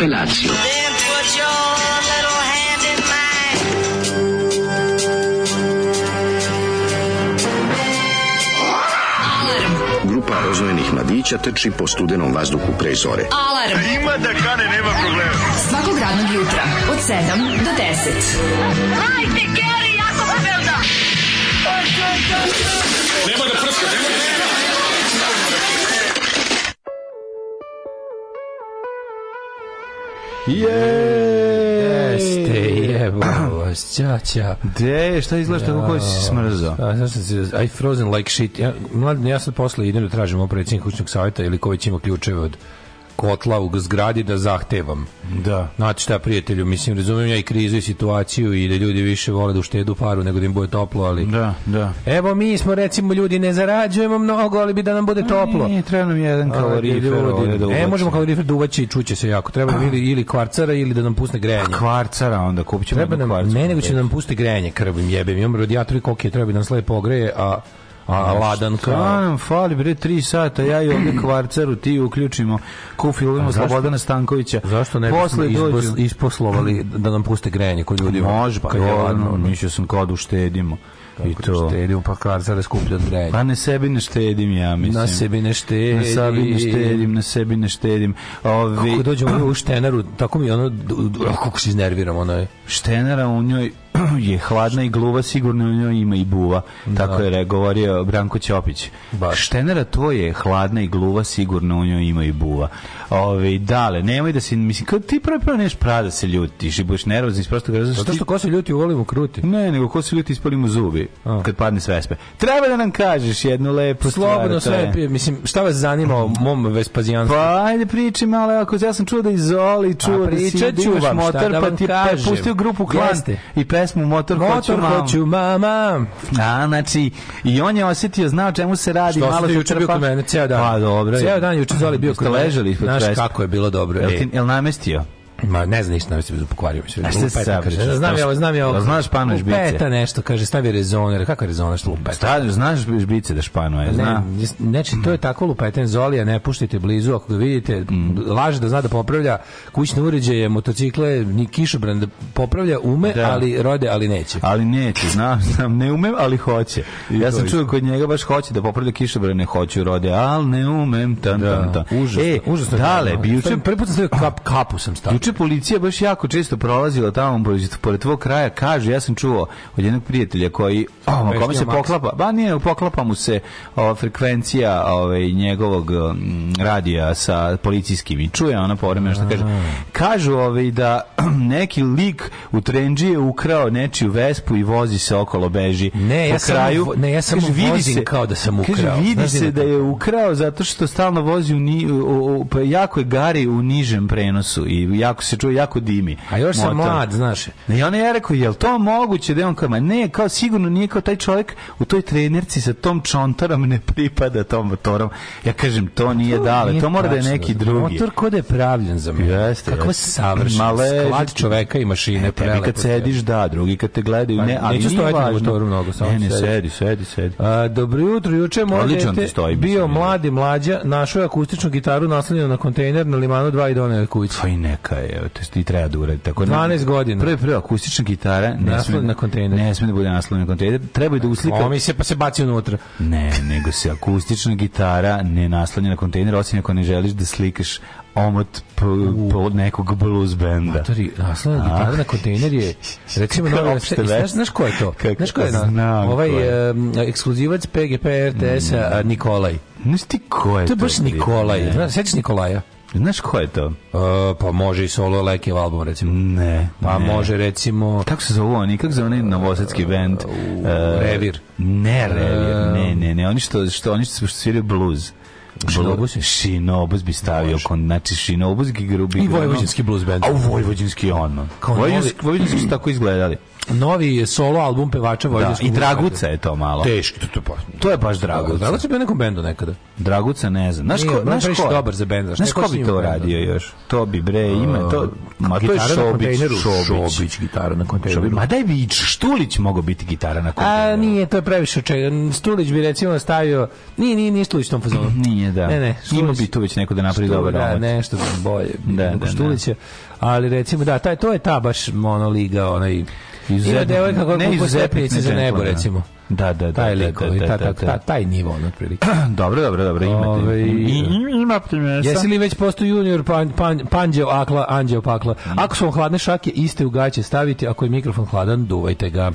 Rádio. Then put your little hand in mine. Grupa rozvojenih mladića trči po studenom vazduhu pre zore. Alarm svakog radnog jutra od 7 do 10. Jeste, jebo vas, ća, ća. De, šta izgledaš tako koji si se smrzao? pa. A, znaš šta se- I frozen like shit. Ja, mladen, ja sad posle idem da tražim ovo predsjednik kućnog savjeta ili ko već ima ključeve od kotla u zgradi da zahtevam. Da. Znate šta, prijatelju, mislim, razumijem ja i krizu i situaciju i da ljudi više vole da uštedu paru nego da im bude toplo, ali... Da, da. Evo mi smo recimo ljudi ne zarađujemo mnogo, ali bi da nam bude toplo. Nije, treba nam jedan kalorifer ovdje da e, ubacimo. možemo kalorifer da uvaći i čuće se jako. Treba nam ili, ili kvarcara ili da nam pusne grejanje. Kvarcara onda, kupit ćemo Treba jednu nam, kvarcaru. ne, nego će nam pusti grejanje krvim jebem. Imam radijator i koke, treba bi da nas lepo ogreje, a, a ladan Šta kao... nam fali, bre, tri sata, ja i ovdje kvarcaru, ti uključimo, kufilujemo zašto- Slobodana Stankovića. Zašto ne Posle bismo dođu- izbos- isposlovali da nam puste grejanje kod ljudi? Može, pa kad je ladno, dobro, ono, mislio sam kao da uštedimo. I kad to. štedimo, pa kvarcara skuplja od grejanja. Pa ne sebi ne štedim ja, mislim. Na sebi ne štedi. Na sebi ne štedim, na sebi ne štedim. Ove, Kako dođemo u štenaru, tako mi ono, d- d- kako se iznerviram, ono je. Štenera u njoj je hladna i gluva, sigurno u njoj ima i buva. Tako je re- govorio Branko Ćopić. Baš. Štenera to je hladna i gluva, sigurno u njoj ima i buva. Ove, dale, nemoj da si, mislim, kao ti prvo prvo neš prava da se ljutiš i budeš nervozan iz prostog razloga što Zato ti- što ko se ljuti, volimo kruti. Ne, nego ko se ljuti ispalimo zubi A. kad padne s vespe. Treba da nam kažeš jednu lepu stvar. Pa Slobodno to je- sve, pije. mislim, šta vas zanima o mom Vespazijanstvu? Pa ajde priči malo, ako ja sam čuo da iz Zoli čuo da si pričat ću imaš vam, šta motor, da pa vam ti pa je kažem. pustio grupu Klan Jeste. i pesmu Motor, Motor mamu. Pa, hoću, mama. A, znači, i on je osjetio, znao čemu se radi. Što malo ste se juče bio trpa. kod mene, ceo dan. Pa, dobro. Ceo dan juče Zoli bio Jeste kod mene. ležali ispod Znaš kresta? kako je bilo dobro. Jel, e. ti, jel namestio? Ma ne znam ništa, mislim da pokvario mi se. A šta Lupeta, sad kaže. pričaš? Znam ja, ovo, znam ja. ovo. Jel znaš Panoš Bice? Lupeta nešto, kaže, stavi rezoner. Kako je rezoner što lupeta? Šta, znaš žbice da španuje, Ne, zna? jes- znači to je tako lupeten Zolija, ne puštite blizu ako ga vidite, Mm. laže da zna da popravlja kućne uređaje, motocikle, ni kišobran da popravlja, ume, Da. ali rode, ali neće. Ali neće, znam, znam, ne umem, ali hoće. ja to sam isto. čuo kod njega baš hoće da popravlja kišobrane, hoću rode, ali ne umem, tan, tan, Da, tan. užasno, e, užasno. je Dale, gadno. bi juče Stavim- prvi put sam stavio kap, kapu sam stavio. Juče policija baš jako često prolazila tamo pored, pored tvog kraja, kaže, ja sam čuo od jednog prijatelja koji, Pa, o, kome se Maks. poklapa, ba nije, poklapa mu se ova frekvencija ovaj, njegovog mm, radija sa policijskim i čuje ona povremeno što kaže. Kažu ovaj, da neki lik u Trendži je ukrao nečiju vespu i vozi se okolo, beži Ne, po ja samo kraju. vo- ne, ja samo vidi vozim kao da sam kaže, ukrao. vidi Znaš se li da je ukrao zato što stalno vozi u, ni, u, u- pa jako je gari u nižem prenosu i jako se čuje jako dimi. A još sam motor. mlad, znaš. I ona je rekao, jel to moguće da je on kao, ma ne, kao sigurno nije kao taj čovjek u toj trenerci sa tom čontarom ne pripada tom motorom. Ja kažem, to nije dale, Nije to mora da je tačno, neki razumem. drugi. Motor kod je pravljen za mene. Jeste, Kakva jeste. savršena Ma leži sklad ti. čoveka i mašine. Tebi prelepo E, pa kad je. sediš, da, drugi kad te gledaju, Pa ne, ali neću nije stojati na važno. motoru mnogo, samo ne, ne, sedim. sedi, sedi, sedi. A, dobro jutro, juče moj Odličan ti dete stoji, mislim, bio je. mladi mlađa, našao je akustičnu gitaru naslanjenu na kontejner na limanu 2 i donio je kući. Pa i neka je, evo, to ti treba da uradi. Tako, 12 godina. Prvi, prvi, akustična gitara. Ne Naslon sme, na kontejner. Ne sme da bude naslon na kontejner. Treba je da uslika... Lomi se pa se baci unutra. Ne, nego se akustična gitara ne naslanja na kontejner, osim ako ne želiš da slikaš omot p- p- nekog blues benda. Tori, naslanja gitara na kontejner je recimo Kako novi opšte znaš, vest. znaš, znaš ko je to? Kako- znaš ko je? na- Znam ovaj ko je. em, ekskluzivac PGP RTS-a a, Nikolaj. Znaš ti ko je To to? je baš bre? Nikolaj. Ne. Znaš, sećaš Nikolaja? Znaš ko je to? E, pa može i solo Lekijev album recimo. Ne. Pa ne. može recimo Kako se zovu oni? Kako se zove onaj novosadski bend? E, Revir. E, Ne, Revir. Ne, ne, ne. Oni što, što, oni što sviraju blues. Šinobus je? Šinobus bi stavio. Kon, znači, Šinobus bi grubi. I vojvođanski blues band. A u vojvođanski je ono. Kao vojvođanski, vojvođanski su tako izgledali. Novi je solo album pevača Da, Vojvodinskog. I Draguca je to malo. Teški, to, to, pa. To je baš Draguca. Draguca. Draguca je bio u nekom bendu nekada. Draguca ne znam. Znaš Nije, ko, on je znaš previše ko? dobar za bend, znaš, Znaš neko ko s bi njim to u bendu. radio još? To bi bre, ima to. Ma to je Gitara na Šobić. kontejneru. Šobić. Šobić, gitara na kontejneru. Šobić. Ma daj bi i Štulić mogao biti gitara na kontejneru. A nije, to je previše očega. Stulić bi recimo stavio... Nije, nije, nije Stulić u tom fazonu. Nije rešenje, da. Ne, ne, Ima Štulić- bi tu već neko da napravi dobar da, omot. nešto bolje. Da, Da, da, da. Štulića. Ali recimo, da, taj, to je ta baš ono liga, onaj... Ima devojka koja ne kupu izuzetnik, stepenice ne za nebo, džentlmena. recimo. Da, da, da. Taj da, lik, da, ovaj, da, ta- da, ta- da. ta- taj nivo, ono, otprilike. Dobro, dobro, dobro, imate. Ovaj, imate mesa. Jesi li već postao junior pan, pan, panđeo akla, anđeo pakla? Mm. Ako su vam hladne šake, iste u gaće staviti, ako je mikrofon hladan, duvajte ga.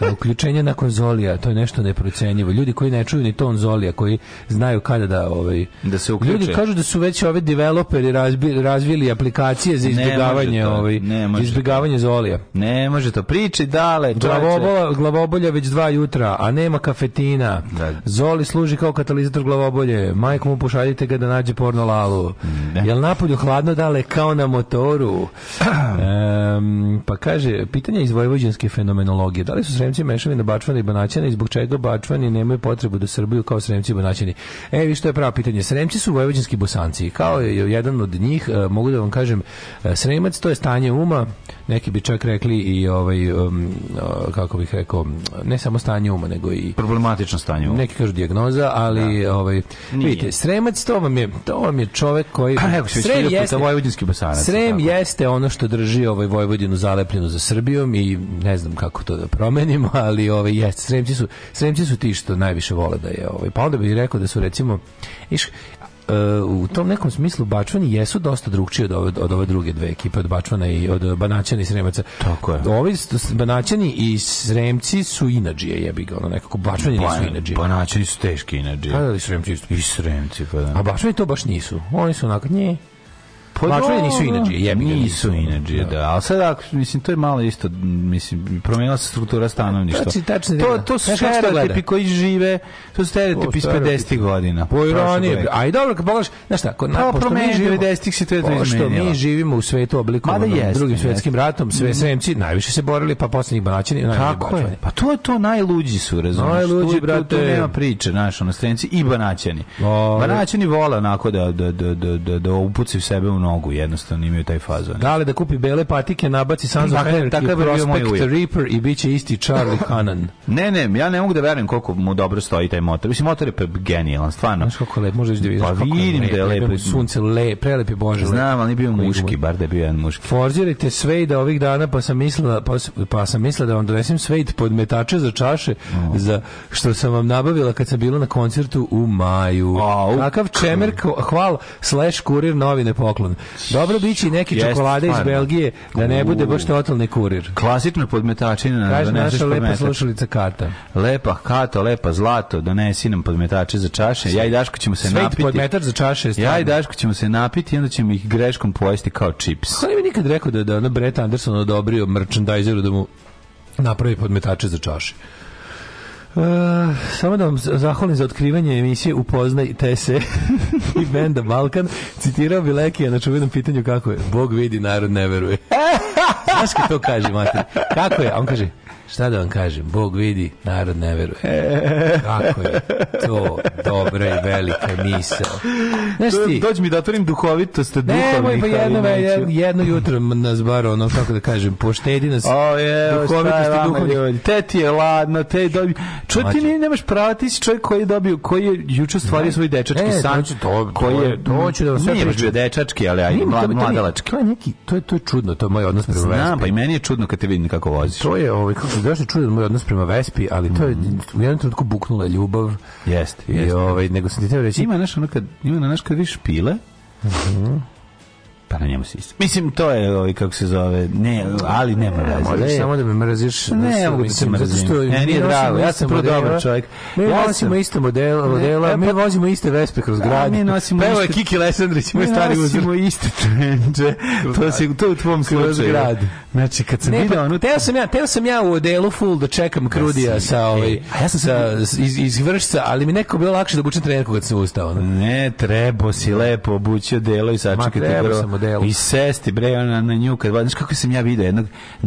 E, Uključenje na konzolija, to je nešto neprocenjivo. Ljudi koji ne čuju ni ton zolija, koji znaju kada da... Ovaj, Da se uključe. Ljudi kažu da su već ove developeri razbi, razvili aplikacije za Ne može izbjegavanje, to, ovaj, ne za može izbjegavanje zolija. Ne, može to priči, dale, čoveče. Glavobola, glavobolja već dva jutra, a nema kafetina. Da. Zoli služi kao katalizator glavobolje. Majko mu pošaljite ga da nađe porno lalu. Jel napolju hladno dale kao na motoru? Em, pa kaže, pitanje iz vojvođanske fenomenologije. Da li su sremci mešavina Bačvana i Banaćana i zbog čega Bačvani nemaju potrebu da Srbiju kao sremci i Banaćani? E, vi što je pravo pitanje. Sremci su vojvođanski bosanci. Kao je jedan od njih, e, mogu da vam kažem, e, sremac to je stanje uma, neki bi čak rekli i ovaj, um, o, kako bih rekao, ne samo stanje uma, nego i Problematično stanje. ovo. neki kažu dijagnoza, ali ovaj vidite, Sremac to vam je to vam je čovek koji A, evo, si već hiljadu puta vojvođanski bosanac, Srem tako. jeste ono što drži ovaj Vojvodinu zalepljenu za Srbijom i ne znam kako to da promenimo, ali ovaj jeste Sremci su Sremci su ti što najviše vole da je ovaj pa onda bih rekao da su recimo iš u tom nekom smislu Bačvani jesu dosta drugčiji od ove, od ove druge dve ekipe od Bačvana i od Banaćana i Sremaca. Tako je. Ovi s- Banaćani i Sremci su inađije, jebi ga, ono nekako Bačvani nisu inađije. Pa načini su teški inađe. Pa da li Sremci isto? I sremci, pa da. A Bačvani to baš nisu. Oni su onako nje. Pa Bačvani nisu dobro. inađije, jebi ga, Nisu nisu. inađije, da. Ali sad, ako, mislim, to je malo isto, mislim, promijenila se struktura stanovništva. Tačni- tačni to, dena. to su Znaš kako se to gleda? stereotipi koji žive, to su stereotipi iz To su 50. godina. Po Prošlog ironiji. veka. A Pa i dobro, kad pogledaš, znaš šta, kod Pa, nas, pošto mi promenio živimo, 90-ih se to je to pošto izmenilo. mi živimo u svetu oblikovanom Mada jeste, drugim svetskim ratom, sve Sremci najviše se borili, pa poslednjih Banaćani, najviše Tako je. Pa to je to najluđi su, razumiješ? Najluđi, tu, Tu, tu brate. nema priče, znaš, ono, strenci i banaćani. O, banaćani vole onako da, da, da, da, da, da upucaju sebe u nogu, jednostavno imaju taj fazon. Dale da kupi bele patike, nabaci Sanzo Dakle, Henrik takav i je bio moj Prospect ujak. Reaper i bit će isti Charlie Hannan. Ne, ne, ja ne mogu da verujem koliko mu dobro stoji taj motor. Mislim, motor je pa genijalan, stvarno. Znaš kako lep, možeš da vidiš Pa kako vidim da je jebe lep. mu Sunce lep, prelepi Bože. lep. Znam, ali bio Koji muški, bar da je bio jedan muški. Forzirajte sve i da ovih dana pa sam mislila pa, s- pa sam mislila da vam donesem sve i podmetače za čaše Mhm. za što sam vam nabavila kad sam bila na koncertu u maju. Au. Kakav čemer ko- hval slash kurir novine poklon. Dobro biće i neke Jeste, čokolade iz stvarno. Belgije da ne bude baš totalni kurir. Klasično podmetačina na Kaže doneseš naša lepa podmetač. slušalica Kata. Lepa kato, lepa zlato, donesi nam podmetače za čaše. Ja i Daško ćemo se Sve napiti. podmetač za čaše. je stvarno. Ja i Daško ćemo se napiti i onda ćemo ih greškom pojesti kao čips. Ko ne bi nikad rekao da, da ono Brett Anderson odobrio merchandiseru da mu napravi podmetače za čaše? E, samo da vam z- zahvalim za otkrivanje emisije Upoznaj te se i benda Balkan. Citirao bi Lekija na čuvenom pitanju kako je. Bog vidi, narod ne veruje. Znaš kad to kaže, mater? Kako je? A on kaže, šta da vam kažem? Bog vidi, narod ne veruje. Kako je to dobra i velika misao. Znaš ti, Dođi mi da otvorim duhovitost ne, moj, duhovnih, pa ali jedno, ve- neću. jedno jutro m- nas bar, ono, kako da kažem, poštedi nas. O je, Duhovitosti duhovitosti duhovnih. duhovnih. Te ti je ladno, te je dobio. Čuj, ti Mlađe. ni- nemaš prava, ti si čovjek koji je dobio, koji je juče stvario svoj dečački E, to san. ću- to- koji je, to- to ću da vam sve Nije baš bio pričam. dečački, ali ajde, Nije mi mlad, to- to mi- mladalački. To je neki, to je, to je čudno, to je moj odnos prema Znam, pa Vespi. i meni je čudno kad te vidim kako voziš. To je, ovaj, kako se došli čudan moj odnos prema Vespi, ali to je, u jednom trenutku buknula je ljubav. Jeste, I, jeste. ovaj, nego sam ti teo reći, Ima naš ono kad, ima na naš kad viš pile, pa na njemu se isto. Mislim, to je, ovaj, kako se zove, ne, ali nema veze. E, Možeš da je- samo da E, me mrziš. Ne, Mislim, mogu da te mislim, mrzim. zato što Ne, mi nije vozimo drago, ja iste sam prvo modele. dobar čovjek. Mi Ja vozimo sam- isto modela, e, pa- modela mi vozimo iste vespe kroz grad. Pa mi nosimo Evo je iste- Kiki Lesandrić, moj Mi stari uzor. nosimo iste trendže. To, se, to je u tvom slučaju. grad. Znači, kad sam Ne, vidio pa, onu... teo sam ja, teo sam ja u odelu full da čekam Krudija sa ovaj, a ja sam sa, iz, iz vršca, ali mi nekako bilo lakše da obučem trenerku kad sam ustao. ono. Ne, treba si lepo obućio delo i sačekati trebao prvo. sam modelu. I sesti bre ona na nju kad vadiš kako sam ja video jednog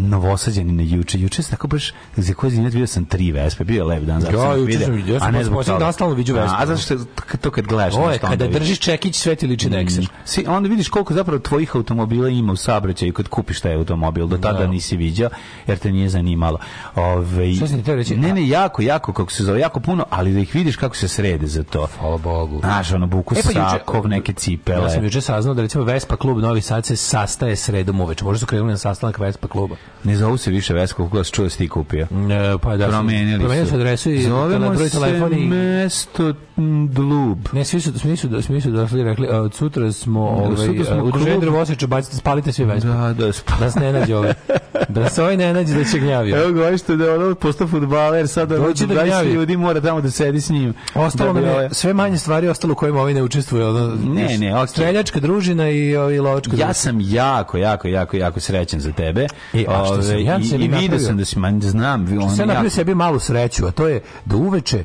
novosađanina juče. Juče sam tako baš za koji zinet video sam tri vespe. Bio je lep dan zato Ja, sam ih juče video. sam vidio, ja sam a ne baš zbog posljednji toga. dan stalno viđu A, vespe. A zato što to kad gledaš Ovo je nešto onda kada vidiš. Mm. držiš čekić sve ti liči na ekser. Si, onda vidiš koliko zapravo tvojih automobila ima u saobraćaju kad kupiš taj automobil. Do tada nisi viđao jer te nije zanimalo. Ove, Šta sam ti teo reći? Ne, ne, jako, jako, kako se zove, jako puno, ali da ih vidiš kako se srede za to. Hvala Bogu. Znaš, ono, buku E, pa juče- sakov, neke cipele. Ja sam juče saznao da recimo Vespa klub Novi Sad se sastaje sredom uveče. Možda su krenuli na sastanak Vespa kluba. Ne zovu se više Vespa, kako se čuo da si ti kupio. E, pa da, Promenili su. su adresu i tele- Zovemo broj telefona se i mesto Dlub. Ne, svi su, svi su, svi su došli i rekli, a, od sutra smo, ovaj, sutra smo a, udruženje klub. drvoseča, bacite, spalite svi vespe. Da, da, sp- Da nas ne nađe ovaj. Da nas ovaj ne nađe da će gnjavio. Evo ga, što da ono postao futbaler, sad ono Dođi da 20 gnjavi. ljudi mora tamo da sedi s njim. da Ostalo nam bi je ovaj- sve manje stvari ostalo u kojima ovi ne učestvuju. Ono, Ne, ne, okej. Streljačka družina i, ovaj, lovačka Ja družina. sam jako, jako, jako, jako srećan za tebe. E, a što sam ja i, sebi i vidio napravio? sam da si, man, znam, vi- ono on Sve napravio jako- sebi malu sreću, a to je da uveče,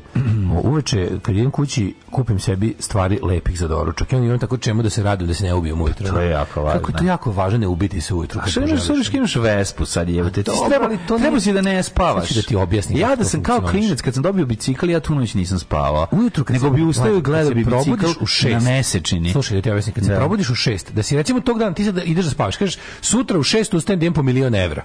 uveče kad idem kući, kupim sebi stvari lepih za doručak. I onda imam tako čemu da se radujem da se ne ubijem ujutro. ono. To je jako važno. Kako je to jako važno ne ubiti se ujutro. A kad što imaš poželiš. sudiš, imaš vespu sad je, ti dobro, treba, ali to treba nije- si da ne spavaš. Sad ću da ti objasnim Ja kako da to sam kao funkcioniše. klinac, kad sam dobio bicikl, ja tu noć nisam spavao. Ujutru kad Nego se- bi ustao i mlađe, gledao kad bi se probudiš bicikl u šest. na mesečini. Slušaj, da ti objasnim, kad se Da. probudiš u šest, da si recimo tog dana ti sad ideš da spavaš, kažeš sutra u šest ustajem da idem po milion evra.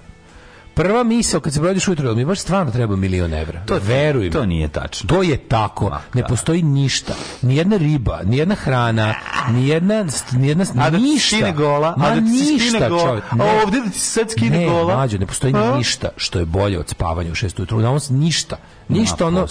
Prva misao kad se probudiš ujutro, jel mi baš stvarno treba milion evra. To veruj mi. To nije tačno. To je tako. Ne postoji ništa. Nijedna riba, nijedna hrana, nijedna, nijedna A da ti ništa. skine gola, Ma a da ti ništa, skine gola, čovjek. a Ne. ovdje da ti sad skine ne, gola. mlađo, ne postoji A? ništa što je bolje od spavanja u šest ujutru. Na on ništa. Ništa ono,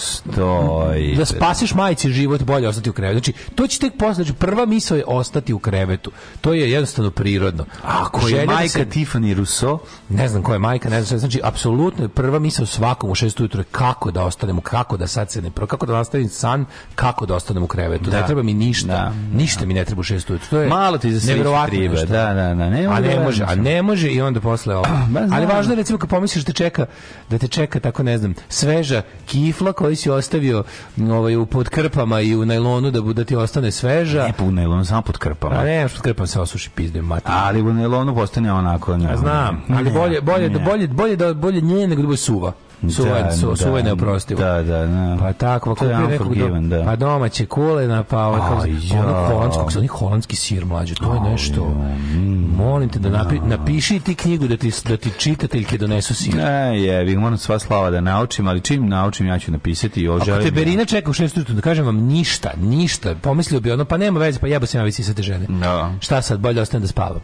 Postoji. da spasiš majci život bolje ostati u krevetu. Znači, to će tek posle, znači prva misao je ostati u krevetu. To je jednostavno prirodno. Ako je Želja da majka se- Tiffany Rousseau, ne znam koja je majka, ne znam šta je. znači apsolutno je prva misao svakom u 6 ujutro je kako da ostanemo, kako da sad se ne pro, kako da nastavim san, kako da ostanem u krevetu. Ne treba mi ništa. Da. ništa mi ne treba u 6 ujutro. To je malo ti za sve neverovatno tribe. nešto. Da, da, da. Ne a mogu da ne verujem. može, a ne može i onda posle ovo. Ma, znam. Ali važno je recimo kad pomisliš da čeka da te čeka tako ne znam, sveža kifla koju si ostavio m, ovaj u pod krpama i u najlonu da bu- da ti ostane sveža. Ne pa- po nailonu, samo pod A krpama. ne, pod krpama se osuši pizde mati. Ali u nailonu postane onako... Ne, Znam, ali ne, bolje, bolje, ne. bolje, bolje da bolje nje nego da bude suva. Suva, je- su, suva je neoprostivo. Da, da, da. Pa tako, To je ako nekog do, unforgiven, da. pa domaće kulena, pa ovaj, kako, Aj, se- ono ja. holandskog, oni holandski sir mlađe, to je nešto. mm. Molim te da napi, napiši ti knjigu da ti, da ti čitateljke donesu sir. Ne, E, jebi, ga, moram sva slava da naučim, ali čim naučim ja ću napisati i Ako oželim. te Berina čeka u šest ujutru, da kažem vam ništa, ništa, pomislio bi ono, pa nema veze, pa jeba se ja visi sa te žene. Da. Šta sad, bolje ostanem da spavam.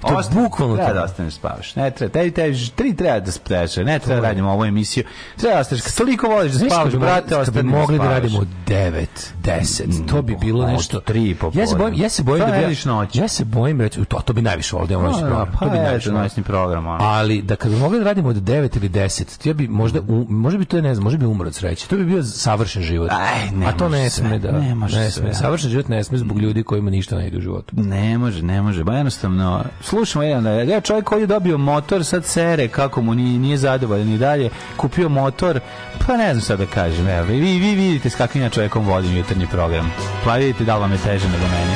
To je Ostane- bukvalno treba to. da ostaneš spavaš. Ne treba, tebi, tebi, tri treba da spavaš, ne treba da radimo ovu emisiju. Treba da ostaneš, kad toliko voliš da Znaš, kad spavaš, bi mo- brate, kad bi ostani mogli da spavaš. Mm, radimo od 9, 10, to bi bilo od nešto. tri popodne. Ja se bojim, ja se bojim To da ne bi vidiš ja, noću. ja se bojim reći, to, to bi najviše volio da imamo noćni Da, da, program. Pa to bi je, najviše to voleo. noćni program, ono. Ali da kad bi mogli da radimo od 9 ili 10, ja bi možda u- možda bi to je, ne znam, možda bi umro od sreće. To bi bio savršen život. Aj, ne A to može ne se, sme da. ne može se, sme. da. Savršen život ne sme zbog ljudi kojima ništa ne ide u životu. Ne može, ne može. Ba jednostavno, slušamo jedan da ja čovjek koji je dobio motor, sad sere kako mu nije, nije zadovoljan i dalje, kupio motor, pa ne znam sad da kažem. Evo, vi, vi vidite s kakvim ja čovjekom vodim jutarnji program. Pa vidite da li vam je teže nego meni.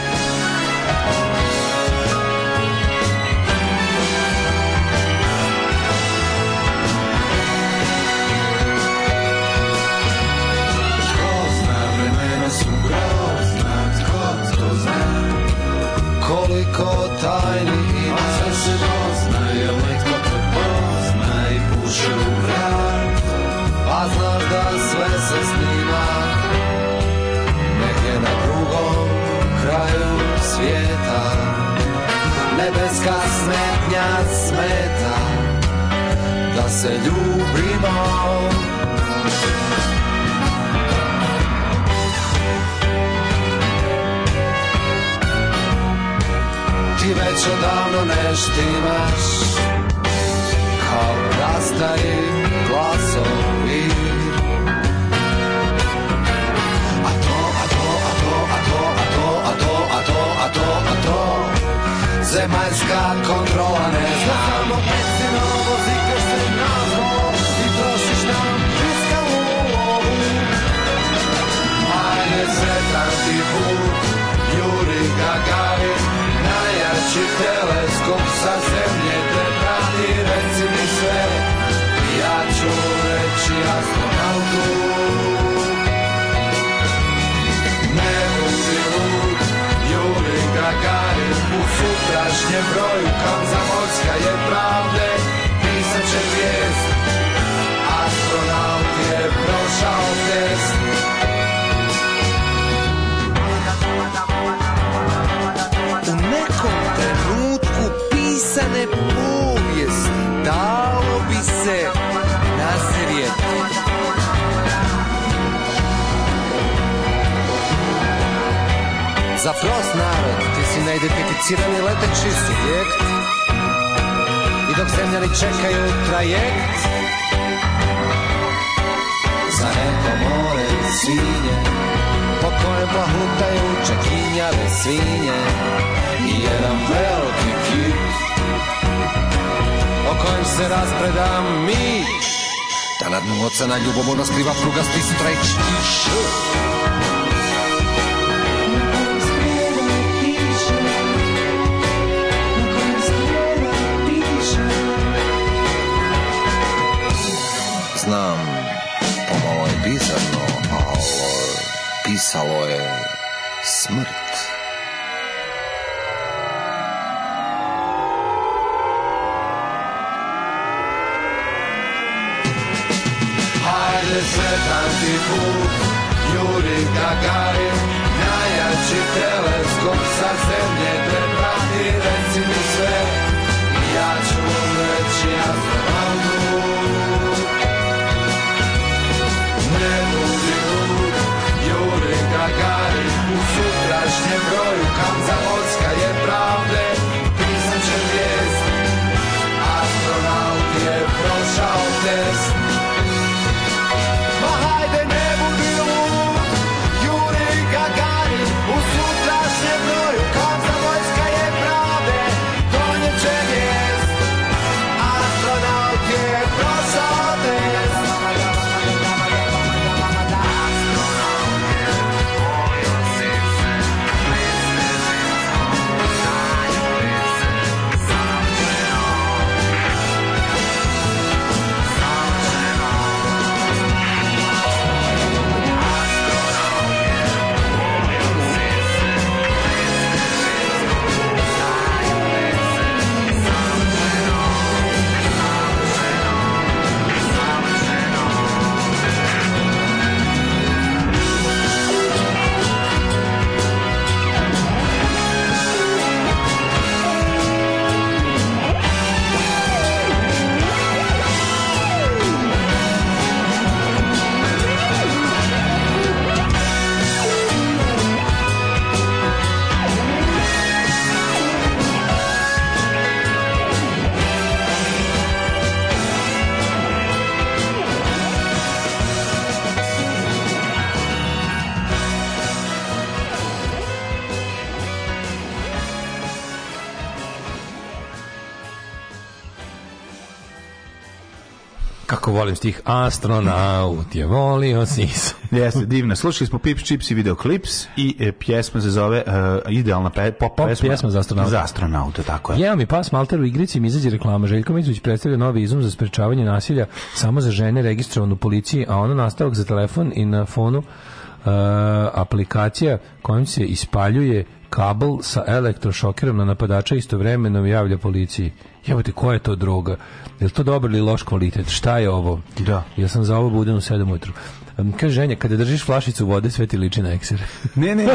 koliko tajni ima Sve se dozna, jel netko te pozna i puše u vrat Pa znaš da sve se snima Negdje na drugom kraju svijeta Nebeska smetnja smeta Da se ljubimo ti već odavno ne štimaš Kao rastari glasovi A to, a to, a to, a to, a to, a to, a to, a to, a to Zemaljska kontrola ne zna Samo pesino vozikaš se na moć I trošiš nam fiskalnu lovu Ajde sretan ti put Juri Gagarin Najjači tele je broju, kanzamorska je pravde, pisat će vijest, astronaut je prošao test. U nekom trenutku pisane povijesti dalo bi se nasrijeti. Za prost narod ti si neidentificirani leteći subjekt I dok zemljani čekaju trajekt Za neko more i svinje Po kojem plahutaju čekinjave svinje I jedan veliki kip O kojem se raspreda mić Da na dnu ocena ljubomorno skriva prugasti streć i šut znam, pomalo je bizarno, ali pisalo je smrt. Hajde sretan ti put, Juri Gagarin, najjači teleskop sa zemlje te prati, reci mi sve, ja ću reći astronautu. Ne budi lud, Juri Gagarin U sutrašnjem broju Kanzamorska je pravde Pisat će vijest Astronaut je prošao test Ma Pa hajde ne budi lud, Juri Gagarin U sutrašnjem broju Kanzamorska je pravde Donijet će vijest Astronaut je prošao test Kako volim stih astronaut je volio si se. Jeste, divna. Slušali smo Pips, Chips i Videoclips i e, pjesma se zove e, idealna pe, pop, Pop pjesma za astronauta. Za astronauta, tako je. Jeo mi pas malter u igrici mi izađe reklama. Željko Mitrović predstavlja novi izum za sprečavanje nasilja samo za žene registrovane u policiji, a ono nastavak za telefon i na fonu e, aplikacija kojom se ispaljuje kabel sa elektrošokerom na napadača istovremeno javlja policiji. Jebote, koja je to droga? Je li to dobar ili loš kvalitet? Šta je ovo? Da. Ja sam za ovo budem u 7 ujutru. Em, Kaže ženja, kada držiš flašicu vode, sve ti liči na ekser. Ne, ne.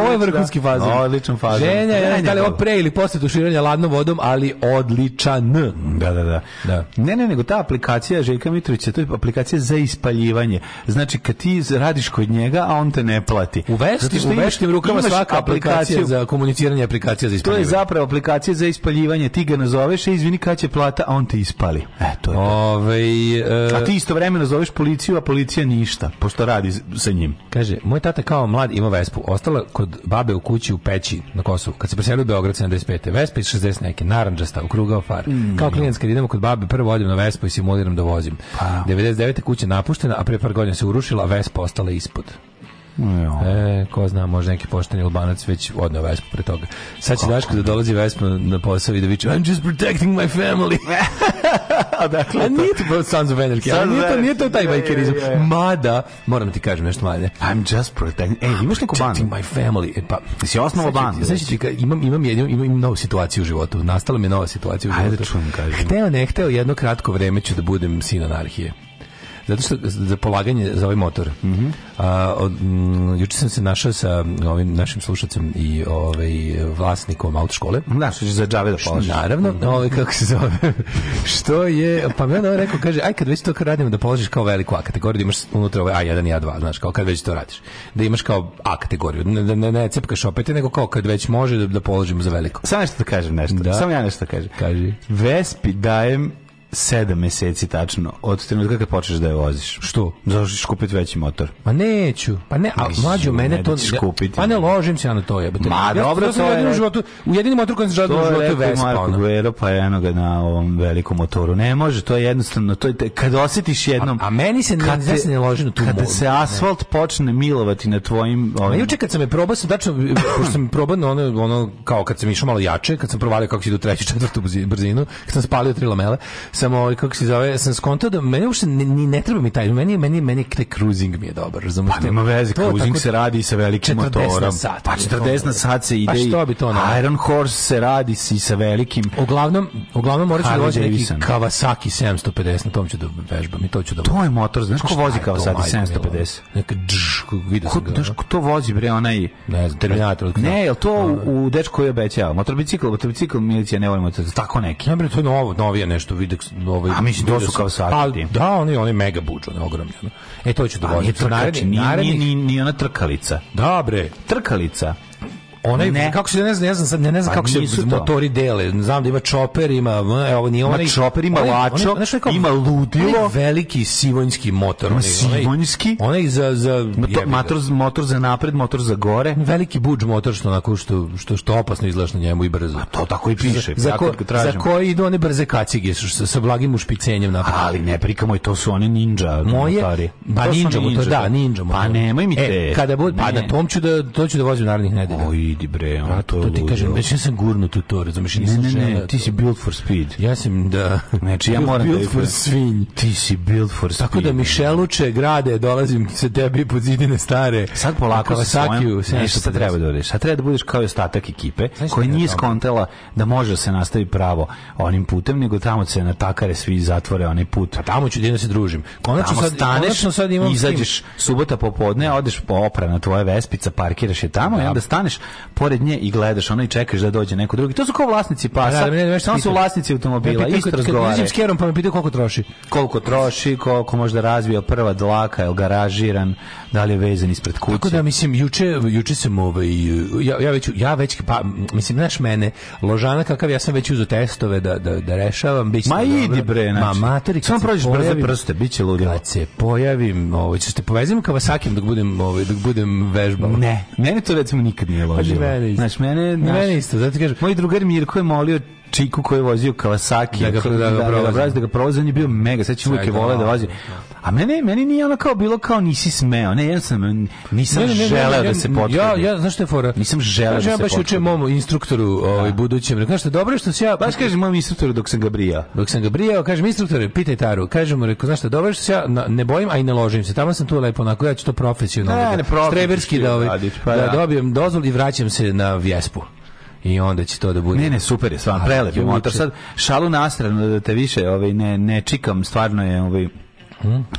Ovo je vrhunski fazon. Odličan fazon. Ženja, ja ne Ne, znam ne, da li je ovo dobro. pre ili posle tuširanja ladnom vodom, ali odličan. Da, da, da, Da. Ne, ne, nego ta aplikacija Željka Mitrovića, to je aplikacija za ispaljivanje. Znači, kad ti radiš kod njega, a on te ne plati. U Zato vesti, što u imaš- veštim rukama imaš svaka aplikacija aplikaciju- za komuniciranje je aplikacija za To je ispaljivanje. zapravo aplikacija za ispaljivanje. Ti ga nazoveš, e, izvini, kad će plata, a on te ispali. E, to je to. Ovaj, e, A ti istovremeno zoveš policiju, a policija ništa, pošto radi s- sa njim. Kaže, moj tata kao mlad ima Vespu. Ostala kod babe u kući u peći na Kosovu. Kad se preselio u Beograd 75. Vespa iz 60 neke, naranđasta, ukrugao far. Mm. Kao klijent kad idemo kod babe, prvo odem na Vespu i Pa. simuliram da vozim. 99. kuća napuštena, a pre par godina se urušila, a Vespa ostala ispod. E, ko zna, možda neki pošteni albanac već odneo vespu pre toga. Sad će Daško da dolazi vespa na posao i da viče I'm just protecting my family. A nije to Sons of Anarchy, ali Sons of nije to, nije to taj Anarchy, je, je, bajkerizam. je. Mada, moram ti kažem nešto manje. I'm just protecting... Ej, imaš neku Protecting bandu? my family. E, pa, Jesi osnovo Sad ću ti- bandu? Sad ću ti, ka- imam, imam, jednu, imam, imam novu situaciju u životu. Nastala mi je nova situacija u Ajde životu. da čujem, kaži. Hteo, ne hteo, jedno kratko vreme ću da budem sin anarhije. Zato što za polaganje za ovaj motor. Mhm. A, od, mm, juče sam se našao sa ovim našim slušacem i ovaj vlasnikom autoškole. Da, što ćeš za džave da polažeš. Naravno, ovaj kako se zove. što je, pa mi onda on rekao, kaže, aj kad već to radimo da položiš kao veliku A kategoriju, da imaš unutra ovaj A1 i A2, znaš, kao kad već to radiš. Da imaš kao A kategoriju, ne, ne, ne, ne cepkaš opet, nego kao kad već može da, da položimo za veliko. Samo nešto da kažem nešto. Da. Samo ja nešto da kažem. Kaži. Vespi dajem sedam meseci tačno od trenutka kad počneš da je voziš. Što? Zašto ćeš kupiti veći motor? Ma neću. Pa ne, a Mislim, mlađo mene ne to da ćeš kupiti. Pa ne ložim se ja na to jebote. Ma, ja, dobro, ja sam to je jedini u re- životu, u jedini motor koji sam želeo u To je životu je rekao i Vespa. Marko ono. Guero, pa eno ga na ovom velikom motoru. Ne može, to je jednostavno, to je, te- kad osjetiš jednom... A- a meni se ne- ja se ne ložim na tu Kada modu. se asfalt počne milovati na tvojim... Ma Ovim, juče kad sam je probao, sam tačno, pošto sam probao na ono, ono, kao kad sam išao malo jače, kad sam provalio kako se ide u treću, četvrtu brzi- brzinu, kad sam spalio tri lamele, sam ovaj, kako se zove, sam skontao da meni uopšte ni, ni ne treba mi taj, meni, meni, meni taj cruising mi je dobar, razumiješ? Pa nema veze, cruising se radi i sa velikim 40 motorom. na sat. pa 40 na sat se ide Pa i- što bi to ne- Iron Horse se radi si sa velikim... Uglavnom, uglavnom morat ću da Harley vozim neki Davidson. Kawasaki 750, na tom ću da vežbam i to ću da... To Pa je motor, znaš ko Šta je vozi kao to, sad majko mila? 750? Neka džš, vidio Ko, sam ga. znaš, ono. ko to vozi bre onaj Ne znam, Terminator. ili Ne, kako. jel to u, u dečko koji obećava? Motorbicikl, motorbicikl, milicija, ne volimo to, tako neki. Ne bre, to je novo, novije nešto, vidi ovaj. A mislim, to vidio su sam- Kawasaki ti. Pa, da, oni oni mega budžu, oni ogromni. Ono. E to ću da A Pa, nije vozim. trkač, Naredni- nije, narednih- nije, nije, nije ona trkalica. Da bre. Trkalica. Onaj Ne. kako se ne znam, ne znam sad, ne, ne znam Pa kako se nisu to. motori dele. Znam da ima čoper, ima m, e, ovo nije onaj. čoper, ima onaj- onaj- lačo, onaj što je kao- ima ludilo. onaj veliki sivonjski motor, onaj. onaj- sivonjski? Onaj za za jebi Motor, ga. Pa motor, motor za napred, motor za gore. veliki budž motor što onako što što što opasno izlaš na njemu i brzo. Pa To tako i piše. za, ja ko, kad ga za tražim. koji idu one brze kacige što- što- sa blagim ušpicenjem na Ali ne, prika moj, to su one ninja moje motori. pa To su ninja motor, da, to. ninja motor. Pa nemoj mi te. E, kada bude pa Ne. na tom ću da to ću da vozim narednih nedelja. O, idi bre, ono to, to, je ti ludilo. kažem, već ja sam gurnu tu to, razumeš, Ne, nisam ne, želeo ne, ti to. si built for speed. Ja sam da Znači, ja moram da build ih- for svinj. Ti si built for speed. Tako da mi šeluče grade, dolazim se tebi pod zidine stare. Sad polako sa Kawasaki-u, svojom, nešto sad 750. treba da uradiš. Sad treba da budeš kao i ostatak ekipe šta koja je nije dobro? skontala da može da se nastavi pravo onim putem, nego tamo se natakare svi i zatvore onaj put. Pa Tamo ću jedino se družim. Konačno Tamo sad, staneš, konačno sad imam s kim. izađeš subota popodne, odeš po opra na tvoje vespica, parkiraš je tamo i onda staneš pored nje i gledaš ono i čekaš da dođe neko drugi. To su kao vlasnici Da, pasa, da, ne, ne, nešto samo su pitaju. vlasnici Ne, automobila, pitaju isto kad- Kad razgovaraju. izađem s kerom pa me pitaju koliko troši. Koliko troši, koliko možda razvija prva dlaka, je li garažiran, da li je vezan ispred kuće. Tako da mislim juče juče sam ovaj ja ja već ja već pa mislim znaš mene ložana kakav ja sam već uzeo testove da da da rešavam biće Ma dobro. idi bre, znači. Ma matori, kad Samo se prođeš brzo pojavim- prste, bit će ludilo. Kad se pojavim, ovaj ćeš te povezim Kawasakijem dok budem ovaj dok budem vežbao. Ne, meni to recimo nikad nije Pa ložilo. mene isto. Znaš, mene, Ne, znaš, mene isto, zato ti kažem. Moj drugar Mirko je molio Čiku koji je vozio Kawasaki Da ga- da ga da, provozi. da ga provozi, on je bio mega, sad će uvijek je Čekaj, voleo da malo. vozi. A mene, meni nije ono kao bilo kao nisi smeo, ne, jednostavno nisam Ne, ne, ne, ne, želeo ja- da se potrudi. Ja, ja, znaš što je fora? Nisam želeo Kažem da ja se baš juče potrudim. mom instruktoru, ovaj, budućem, rekao, znaš što je dobro što se ja... Baš kažem mom instruktoru dok sam ga brijao. Dok sam ga brijao, kažem instruktore, pitaj Taru. Kažem mu, rekao, znaš šta, dobro je što se ja na- ne bojim, a i ne ložim se. Tamo sam tu lepo, onako, ja ću to profesionalno. Ne, da- ne, profesionalno Streberski da, ovaj, radiš, pa da da. dobijem dozvol i vraćam se na vjespu. I onda će to da bude. Ne, ne, super je, stvarno, Ali prelep je juče- motor. Sad šalu na stranu da te više ovaj, ne, ne čikam, stvarno je ovaj,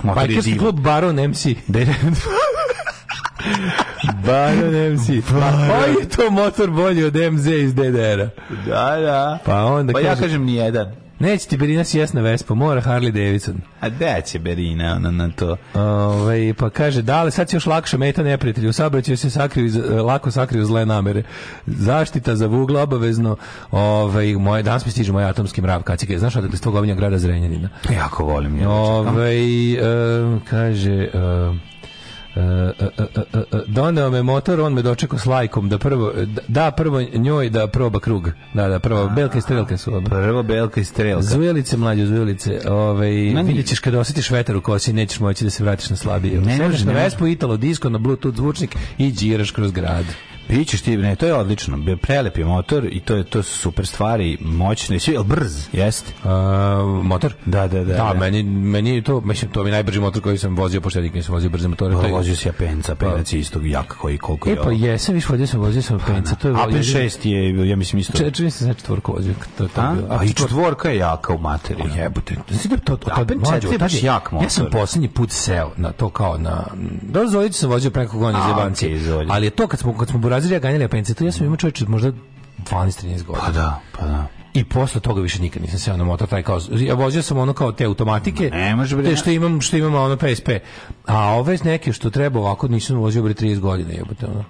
motor je Bajkerski divan. Mm. Pa, klub Baron MC. Baron MC. Pa koji je to motor bolji od MZ iz DDR-a? Da, da. Pa onda pa ja kaže- kažem nijedan. Neće ti Berina sjesna vespa, mora Harley Davidson. A da će Berina ona na to? Ove, pa kaže, da, ali sad si još lakša meta neprijatelju. U saobraćaju se sakriju, iz- e, lako sakriju zle namere. Zaštita za vugla obavezno. Ove, moje, danas mi stiže moj atomski mrav kacike. Znaš odakle s tog ovinja grada E, Zrenjanina? Jako volim je. Ove, e, kaže... e, E, e, e, e, e, doneo me motor, on me dočekao s lajkom da prvo e, da prvo njoj da proba krug. Da, da, prvo belka i strelka su. ono. Prvo Belka i Strelka. Zujelice, mlađe zujelice. Ovaj vidjet ćeš kada osjetiš vetar u kosi, nećeš moći da se vratiš na slabije. Ne Ne može, na ne. Vespu, Italo, disko, na Bluetooth zvučnik i džiraš kroz grad. Pićeš ti, ne, to je odlično. Bio Prelep je motor i to je to su super stvari, moćno i sve, jel brz, jeste. A, motor? Da, da, da, Da, da. meni, meni je to, mislim, to mi je najbrži motor koji sam vozio, pošto ja nikad nisam vozio brze motore. to je- Vozio si ja penca, penac je istog jaka koji koliko E je. pa ovo. jesam, viš vozio sam, vozio sam penca. To je Apen 6 je, ja mislim, isto. Če, čini se da sam četvorku vozio. To, je to A, bilo. a i četvorka je jaka u materiju. Jebote, da si da to to Apen četiri je baš jak motor. Ja sam poslednji put seo na to kao na da Zoljić sam vozio preko godine A, iz okej, Jebanci. Zoljić. Ali je to kad smo kad smo burazirija ganjali Apence, to ja sam imao čoveče možda 12 13 godina. Pa da, pa da. I posle toga više nikad nisam seo na motor taj kao ja vozio sam ono kao te automatike. Ma ne može, bre. Te što imam što imam ono PSP. A ove neke što treba ovako nisam vozio bre 30 godina jebote ono.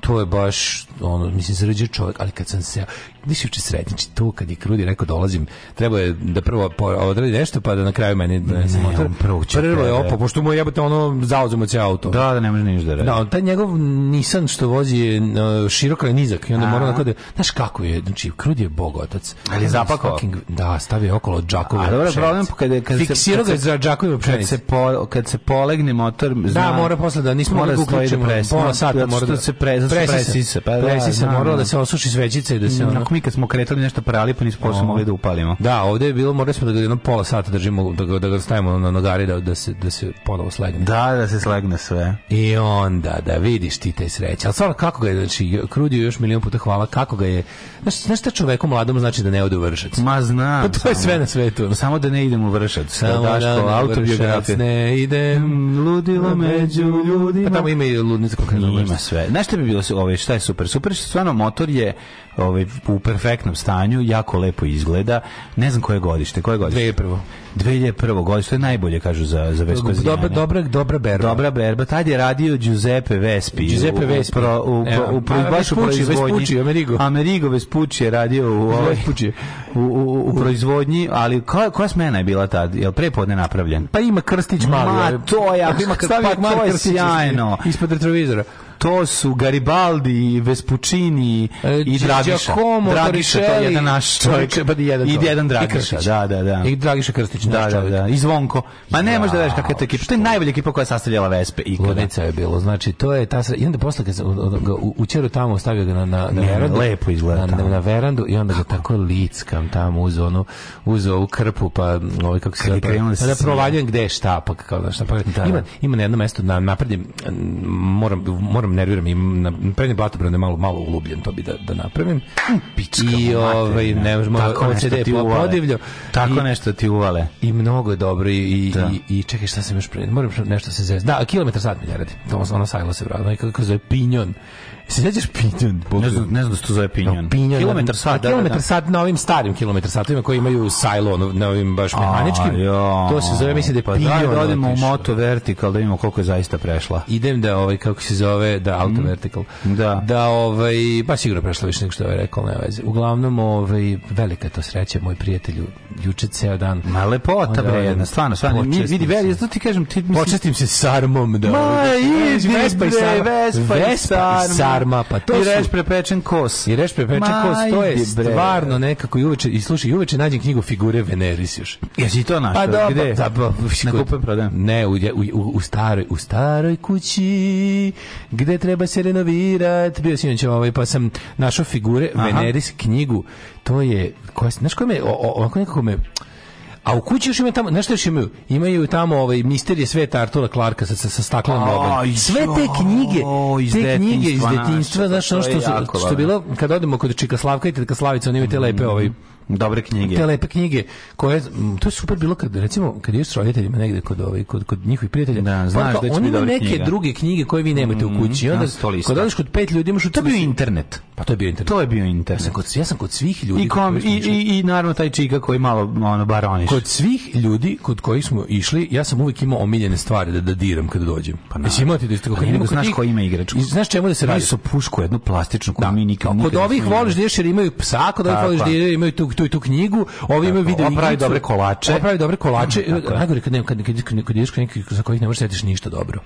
To je baš ono mislim srđe čovjek, ali kad sam se više uče sretniči znači, to kad je Krudi rekao dolazim, treba je da prvo po- odradi nešto pa da na kraju meni donese motor. on prvo će Prvo je tebe. opo, pošto mu je jebote ono zauzemo ceo auto. Da, da ne može ništa da radi. Da, on taj njegov Nissan što vozi je uh, široko je nizak i onda mora onako da... Znaš kako je, znači, Krud je bogotac. Ali je zapakao. da, stavio je okolo džakove A dobro, pšenice. problem kada, kada Fiksirao ga je za džakove kad pšenice. se, po, kad se polegne motor, Da, mora posle da nismo mora mogli da stoji da uključimo. presi. Pola sata Zato mora što da se pre, zato što presisa. Pa da, Mm, presisa, znam, morala znam. da se osuši svećica i da se ono... Onako mi kad smo kretali nešto prali, pa nismo posle mogli da upalimo. Da, ovdje je bilo, morali smo da ga jedno pola sata držimo, da ga, da ga stavimo na nogari da, da, se, da se ponovo slegne. Da, da se slegne sve. I onda da vidiš ti te sreće. Ali stvarno kako ga je, znači, Krudiju još milion puta hvala, kako ga je, znaš, znaš šta čoveku mladom znači da ne ode u vršac? Ma znam. Pa to je samo. sve na svetu. Samo da ne idem u vršac. Samo da, da da, ne autobiografije. Vršac ne idem Ludilo među ljudima. Pa tamo ima i ludnica kako ne Ima sve. Znaš šta bi bilo, su- ovaj, šta je super? Super što stvarno motor je ovaj, u perfektnom stanju, jako lepo izgleda. Ne znam koje godište, koje godište? Dve je prvo. 2001. godište, to je najbolje, kažu, za, za Vespazijane. Dobra, dobra, dobra berba. Dobra berba, tad je radio Giuseppe Vespi. Giuseppe Vespi. U, pro- u, pro- Evo, u, pro- a baš u Vespucci, proizvodnji. Vespucci, Amerigo. Amerigo Vespucci je radio u, ovaj, Vespucci. u, u, u proizvodnji, ali koja, koja smena je bila tad? Jel prepodne napravljen? Pa ima Krstić mali. Ma, ovaj. to je, ako ima Krstić- Stavio pa, Kmar to je Krstić sjajno. Ispod retrovizora. To su Garibaldi, Vespuccini E, i Đ- Dragiša. Giacomo Dragiša, to je Torricelli. jedan naš čovjek. Čovječe, pa i jedan I čovjek. jedan I Dragiša, Krstić. da, da, da. I Dragiša Krstić, naš Da, da, čovjek. da. I Zvonko. Ma ne možeš da veš kakva je to ekipa. To je najbolja ekipa koja je sastavljala Vespe ikada. Ludnica je bilo, znači to je ta sre- i onda posle kad sam u- u- ga u- učeru tamo stavio ga na na Ne, na verandu, lepo izgleda na, tamo. na, na verandu i onda ga tako lickam tamo uz onu uz ovu krpu pa m, ovaj kako se Kad je zove pa- krenulo pa da sve. provaljujem gde je šta pa kao da šta pa ima ima na jednom mestu na napredim moram moram nerviram i na prednje blatobrane malo malo ulubljen to bi da da napravim i ovaj ne možemo Tako nešto OCD ti po- uvale. podivljo Tako I- nešto ti uvale. i mnogo je dobro i, i, Da. i, i čekaj šta sam još pre... Moram što- nešto se zezati. Da, kilometar sat mi ne radi. To ono sajlo se vrati. Ono je kako zove pinjon. Se sjećaš pinjon? Bog Ne znam, ne znam što to zove mi. pinjon. No, pinjon. Kilometar sat, da, da, Kilometar da. sat na ovim starim kilometar satima koji imaju sajlo ono, na ovim baš mehaničkim. jo. to se zove, mislim da je pa pinjon. daj da odemo u otišao. moto vertikal da vidimo koliko je zaista prešla. Idem da ovaj kako se zove da auto vertical. Mm. Da. Da ovaj pa sigurno prešlo više nego što je ovaj rekao, nema veze. Uglavnom ovaj velika je to sreća moj prijatelju juče ceo dan. Ma lepota Onda bre, odem. jedna, stvarno, stvarno. Mi, Počastim vidi, se. veri, zato ti kažem, ti mislim... Počestim se sarmom da. Znači, Ma, idi, Vespa i bre, sarma. Vespa i Vespa i sarma. sarma, pa to I su- reš prepečen kos. I pa reš prepeče Ma, kost, to je idi, bre. stvarno nekako i uveče, i slušaj, i uveče nađem knjigu figure Veneris još. Jesi to našao? dobro, Gde? da, pa, Na kod- kupem prodajem. Ne, u, u, u, u staroj, u staroj kući, gde treba se renovirat, bio sinoć ovaj, pa sam našao figure Aha. Veneris knjigu, to je, koja, znaš koja me, o- o- ovako nekako me, A u kući još ima tamo, nešto još imaju? Imaju tamo ovaj misterije sveta Artura Clarka sa, sa, sa staklenom Aj, nogom. Sve te knjige, joj, iz te knjige iz detinjstva naše, detinjstva, znaš, to ono je što, su- jako Mhm. što je bilo, kad odemo kod Čika Slavka i Tetka Slavica, oni imaju te lepe ovaj, Dobre knjige. te lepe knjige koje m, to je super bilo kad recimo kad ideš s roditeljima negde kod ovaj kod kod njihovih prijatelja Da, pa znaš onda da će oni biti imaju dobra neke knjiga. druge knjige koje vi nemate u kući i onda na sto lista. kad odeš kod pet ljudi imaš u To je bio tvrsi- internet. pa to je bio internet To je bio ja internet. sam kod ja sam kod svih ljudi I, kom, kod i, kojih smo išli- i, i naravno taj čika koji malo ono, baroniš. kod svih ljudi kod kojih smo išli ja sam uvijek imao omiljene stvari da da diram kada dođem pa naravno. Jesi imao ti da isto Pa ne, nego znaš ko ima igračku. znaš čemu da se Imali radi su pušku jednu plastičnu koju mi nikad Kod nikad ovih nismo imali. voliš da ideš jer imaju psa, kod ovih Tako voliš da je. ideš jer imaju tu, tu, i tu knjigu, ovi imaju video Ova pravi igricu. dobre kolače. Ova pravi dobre kolače. Tako je. Najgore kad, nema- kad, kad, kad ideš kod nekih za kojih ne možeš sjetiš ništa dobro.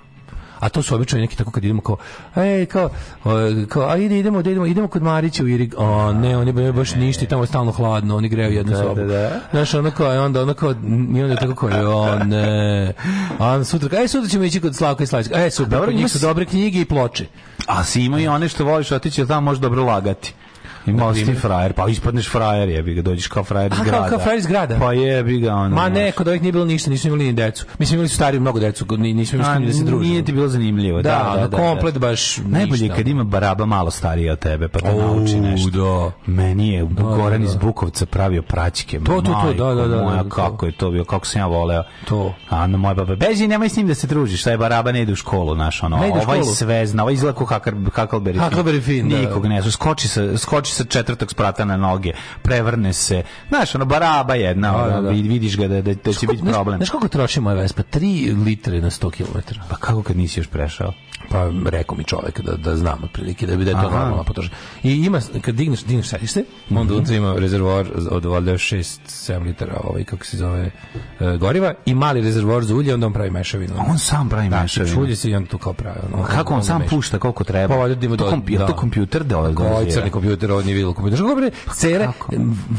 a to su obično neki tako kad idemo kao, ej, kao, e, kao a ide, idemo, da idemo, idemo kod Marića u Irig, o, ne, oni imaju baš ništa i tamo je stalno hladno, oni greju jednu sobu. da, da. Znaš, ono kao, i onda, ono kao, i onda tako kao, o, ne, a onda sutra, ej, sutra ćemo ići kod Slavka i Slavička, ej, super, Dobro, kod njih ima su s- dobre knjige i ploče. A si ima i one što voliš otići, jer tamo možeš dobro lagati. Imao si ti frajer, pa ispadneš frajer, jebi ga, dođeš kao frajer iz A, kao- grada. kao frajer iz grada? Pa jebi ga, ono. Ma ne, znaš. kod ovih nije bilo ništa, nisu imali ni decu. Mislim, imali su stari mnogo decu, ni- nismo imali s A, kim da se družimo. Nije ti bilo zanimljivo. Da, ono, komplet baš Najbolje je ništa. kad ima baraba malo starija od tebe, pa te O, nauči nešto. da. Meni je Goran iz Bukovca pravio praćke. to, to, Majko da, da, da, moja, da, to. kako je to bio, kako sam ja voleo. To. A Ana moja baba, beži, nemoj s njim da se družiš, taj baraba ne ide u školu, naš, ono, Ne ide u ovaj školu? sve zna, ovaj izgleda kao Hakar- Huckleberry Finn. Huckleberry Finn, da. Nikog ne zna, skoči sa, skoči sa četvrtog sprata na noge, prevrne se, znaš, ono, baraba jedna, da, ono, da. vid- vidiš ga da, da, da će biti Znaš- problem. Znaš koliko troši moja Vespa? 3 litre na 100 km. Pa kako kad nisi još prešao? Pa rekao mi čovek da, da znam otprilike da bi da je to Aha. normalno potrošnja. I ima, kad digneš, digneš sedište, onda unutra ima rezervoar za- od valjda 6-7 litara, ovaj, kako se zove, e, goriva i mali rezervoar za ulje, onda on pravi mešavinu. On sam pravi mešavinu. Čulje se i on tu kao pravi. Ono, Kako on onda sam meša. pušta koliko treba? Pa valjda da ima to, do- komp, je li da. to kompjuter da ovaj Ovo je organizira? crni kompjuter, ovo nije bilo kompjuter. Što govorim, cele, Pa kako?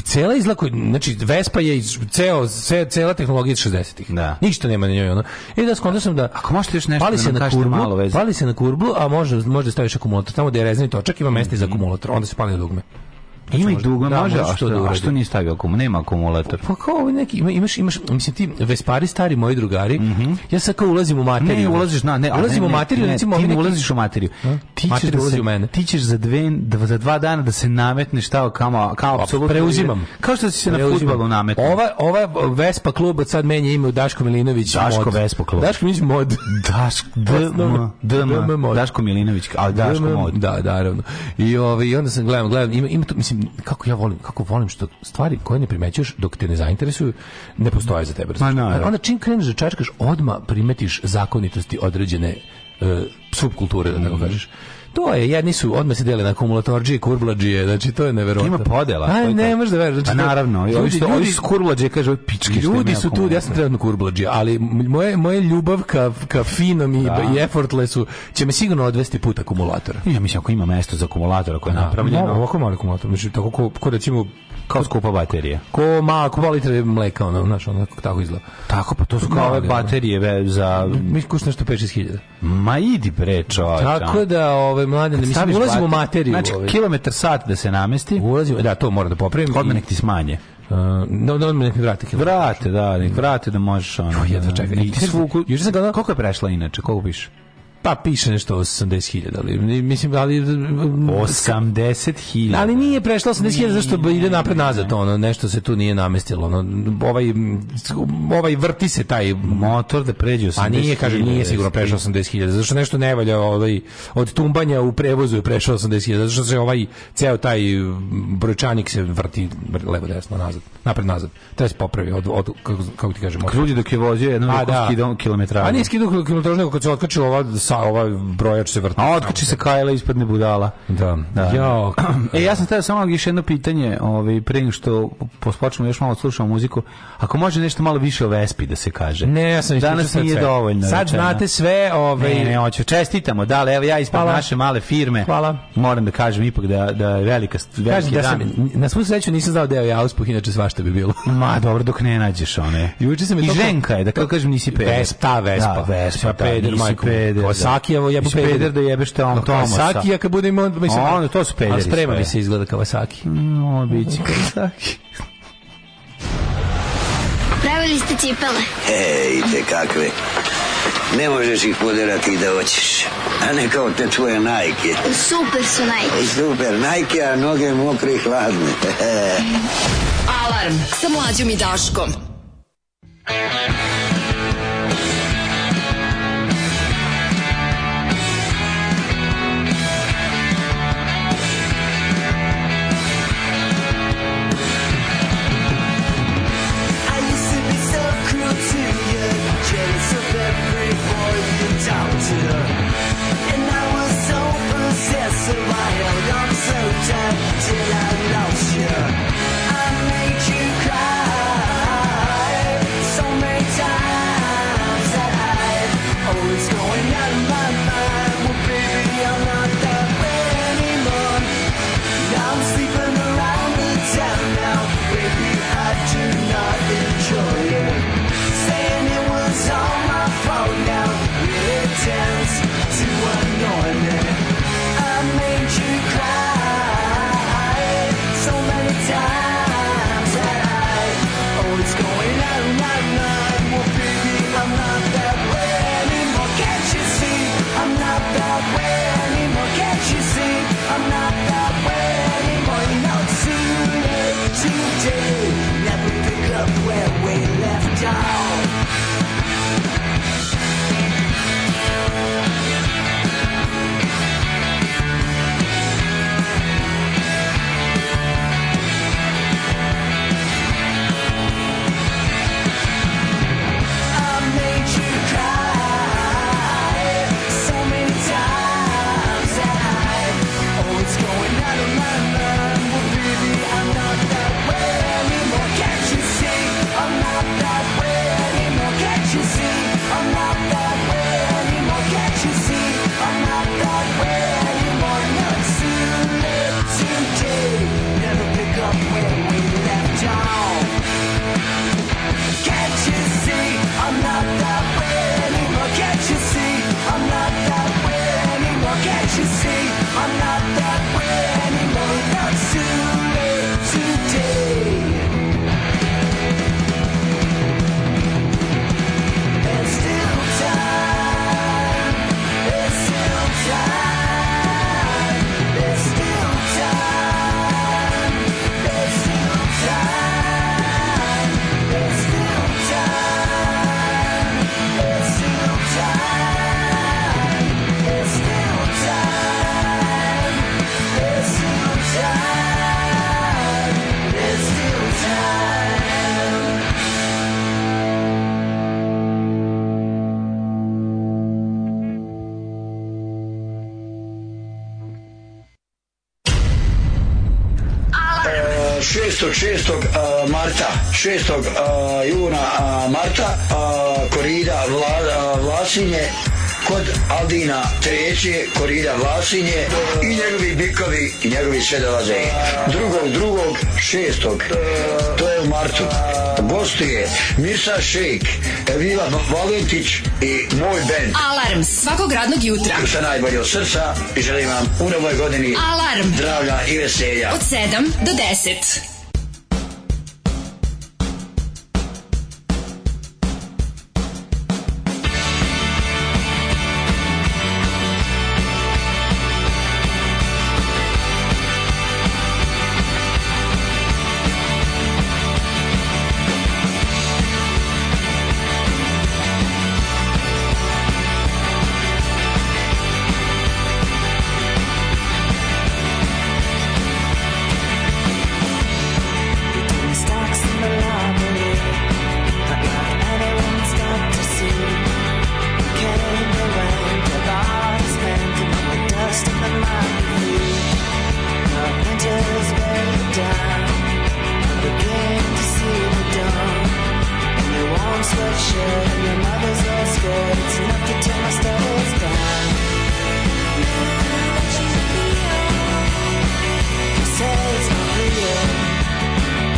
cela izgleda, koji- znači Vespa je iz, ceo, ce, cela tehnologija iz 60-ih. Da. Ništa nema na njoj. Ono. I da skonto sam da... Ako možete još nešto pali da se nam na kažete kurblu, malo veze. Pali se na kurblu, a može, može da staviš akumulator. Tamo gde je rezni točak ima mesta i za akumulator. Onda se pali na dugme. Mhm. Znači, Ima i dugme, Da, može, možeš a to što, da a uradi. što nije stavio akumulator? Nema akumulator. Pa kao ovi neki, ima- imaš, imaš, mislim ti, Vespari stari moji drugari, ja sad kao ulazim u materiju. Mhm. Ne, ulaziš na, ne, a ulazim ne, u ne, materiju, ne, recimo ti ne ovi neki- ulaziš u materiju. A? Ti ćeš, Materija da ulazi se, u mene. ti ćeš za, dve, dva- za dva dana da se nametneš tao kao, kao apsolutno. preuzimam. Kao što si se na Preuzimam. futbalu nametnuo. Ova, ova Vespa klub od sad menja ime u Daško Milinović Daško mod. Vespa klub. Daško Milinović mod. Daš, d, m, d, DM m, mod. Daško Milinović, ali Daško mod. Da, da, naravno. I ovaj i onda sam gledam, gledam, ima ima to, mislim kako ja volim, kako volim što stvari koje ne primećuješ dok te ne zainteresuju ne postoje za tebe. razumeš? naravno. onda čim kreneš da čačkaš, odma primetiš zakonitosti određene e, subkulture, da Mhm. tako kažeš. To je, jedni su odmah se dele na akumulatorđije, kurblađije, znači to je neverovatno. Ima podela. to A, je ne, to. možeš da veruješ. A Znači, to- naravno, i ovi ljudi- što, ovi ljudi- što kurlađe kaže, ovi pički što Ljudi imaju su tu, ja sam akumulator. trenutno kurblađi, ali moje, moje ljubav ka, ka finom i, i effortlessu će me sigurno odvesti put akumulatora. Ja mislim, ako ima mesto za akumulator, ako je napravljeno, Mo- Ovako mali akumulator, znači tako ko, ko recimo kao skupa baterija. ko ma, ko dva litre mleka, ono, znaš, ono, tako izgleda. Tako, pa to su kao ove Mali, ono. baterije ve- za... Mi kuš nešto 5-6 hiljada. Ma idi bre, čovječe. Tako ono. Pa da, ove, mlade, ne Staviš mislim, ulazimo u bateriju, materiju. Znači, ovaj. kilometar sat da se namesti, Ulazimo, da, to moram da popravim. odmah nek ti smanje. Uh, da, da, odmah nek mi vrati kilometar. Vrate, da, nek vrate da možeš ono. Joj, jedva da, čekam. Nek ti svuku... Mm, Juče sam ga ono- Koliko je prešla inače, koliko piše? Pa piše nešto 80.000, ali mislim, ali... 80 hiljada. Ali nije prešlo 80.000 zašto bi ide napred nazad, ono nešto se tu nije namestilo, ono ovaj ovaj vrti se taj motor da pređe 80 A nije, kaže, nije sigurno prešao 80.000, zato što nešto ne valja ovaj, od tumbanja u prevozu je prešao 80.000, zato što se ovaj ceo taj mm, brojčanik se vrti levo desno nazad, napred nazad. Treba se popravi od, od kako, kako ti kažemo. Krudi dok je vozio jednom A, rukom da. skidao kilometražu. A nije skidu kilometraž, nego kad se otkači ova, sa, ova brojač se vrti. A otkači se Kajla ispadne budala. Da. Da. Jao, E, ja sam tada samo još jedno pitanje, ovaj, pre nego što pos- počnemo još malo slušamo muziku, ako može nešto malo više o Vespi da se kaže. Ne, ja sam ispričao Danas sad nije sve. dovoljno Sad rečeno. znate sve, ovaj... Ne, ne, hoću. Čestitamo, da, ali evo ja ispred Hvala. naše male firme. Hvala. Moram da kažem ipak da, da je velika, st- veliki Kažem da sam, dan. na svu sreću nisam znao da je ovaj auspuh, inače svašta bi bilo. Ma, dobro, dok ne nađeš ono. one. Juče sam je I to- ženka je, da kako kažem, nisi peder. Vespa, ta Vespa. Da, Vespa, Pa da, peder, nisi majko. peder. Kao Sakijevo jebo Nisi peder. peder da jebeš te on Tomosa. Kawasaki, a kad budem on, mislim... A, onda to su pederi A sprema sve. Mm. mi se izgleda Kawasaki. No, bit će Kawasaki. Pravili ste cipele. Ej, te kakve. E, Ne možeš ih poderati da hoćeš. A ne kao te tvoje najke. Super su najbolji. I super, najke, a noge mokre i hladne. Alarm sa mlađom i Daškom. I used to be so cruel to you, jealous of every boy you talked to. And I was so possessive, I held on so tight till I lost you. I made you cry so many times. Oh, Oh, 6. 6. a, marta, 6. a, juna a, marta, a, korida Vla, a, Vlasinje, kod Aldina treće, korida Vlasinje i njegovi bikovi i njegovi sve dolaze. Drugog, drugog, šestog, to je u martu. Gostuje Mirsa Šejk, Evila Valentić i moj band. Alarm svakog radnog jutra Sa najbolje od srca i želim vam u novoj godini Alarm. zdravlja i veselja. od 7 do 10. Sweatshirt and your mother's old skirt. It's enough to turn my stomach down. You say it's not real.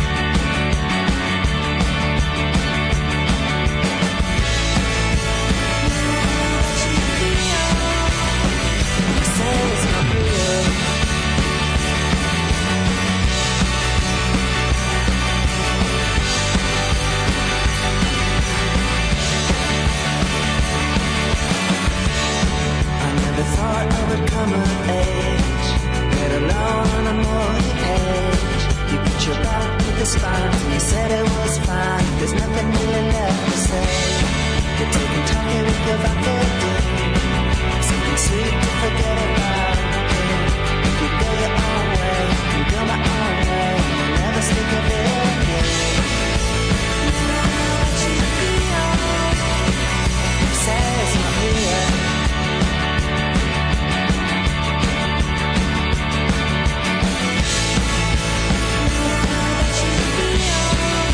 Said it was fine, there's nothing really left to say. You're taking time with your back door. Something sweet to forget about. If you go your own way, you go my own way, and I never speak of it again. Say it's not real.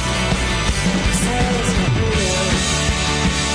Say it's not real.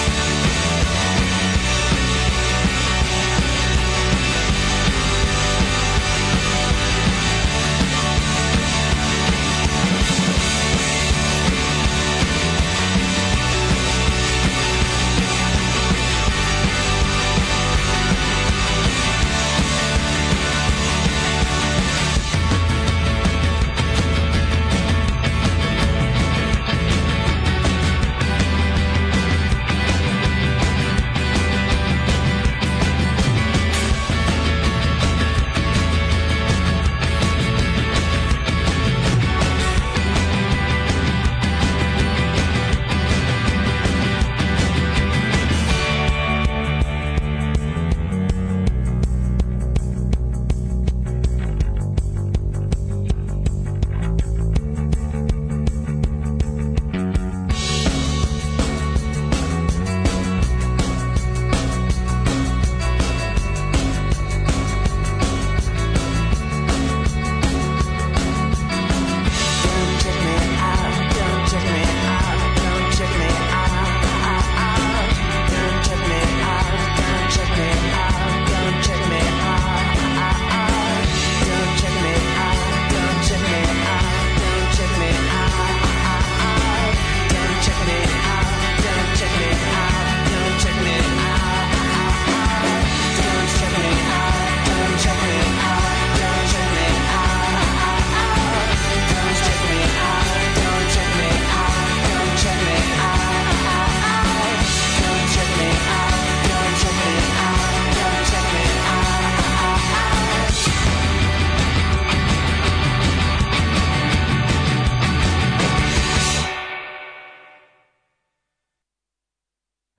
Don't check me out, don't check me out, don't check me out, out, out. Don't check me out, don't check me out, don't check me out, out, out. Don't check me out, don't check me out, don't check me out, out, out. Don't check me out, don't check me out, don't check me out, out, out. Don't check me out, don't check me out, don't check me out, out, out. Don't check me out, don't check me out, don't check me out, out. Don't check me out, don't check me out, don't check me out, out.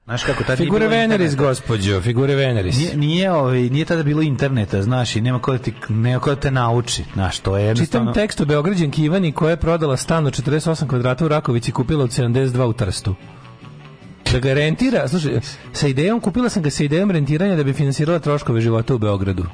Znaš kako tad Figure nije bilo Veneris, interneta. gospođo, figure Veneris. Nije, nije, ovaj, nije tada bilo interneta, znaš, i nema ko da ti, nema ko da te nauči, znaš, to je jednostavno... Pa Čitam tekst o Beograđanki Ivani koja je prodala stan od 48 kvadrata u Rakovici i kupila od 72 u Trstu. Da ga rentira, slušaj, sa idejom, kupila sam ga sa idejom rentiranja da bi finansirala troškove života u Beogradu.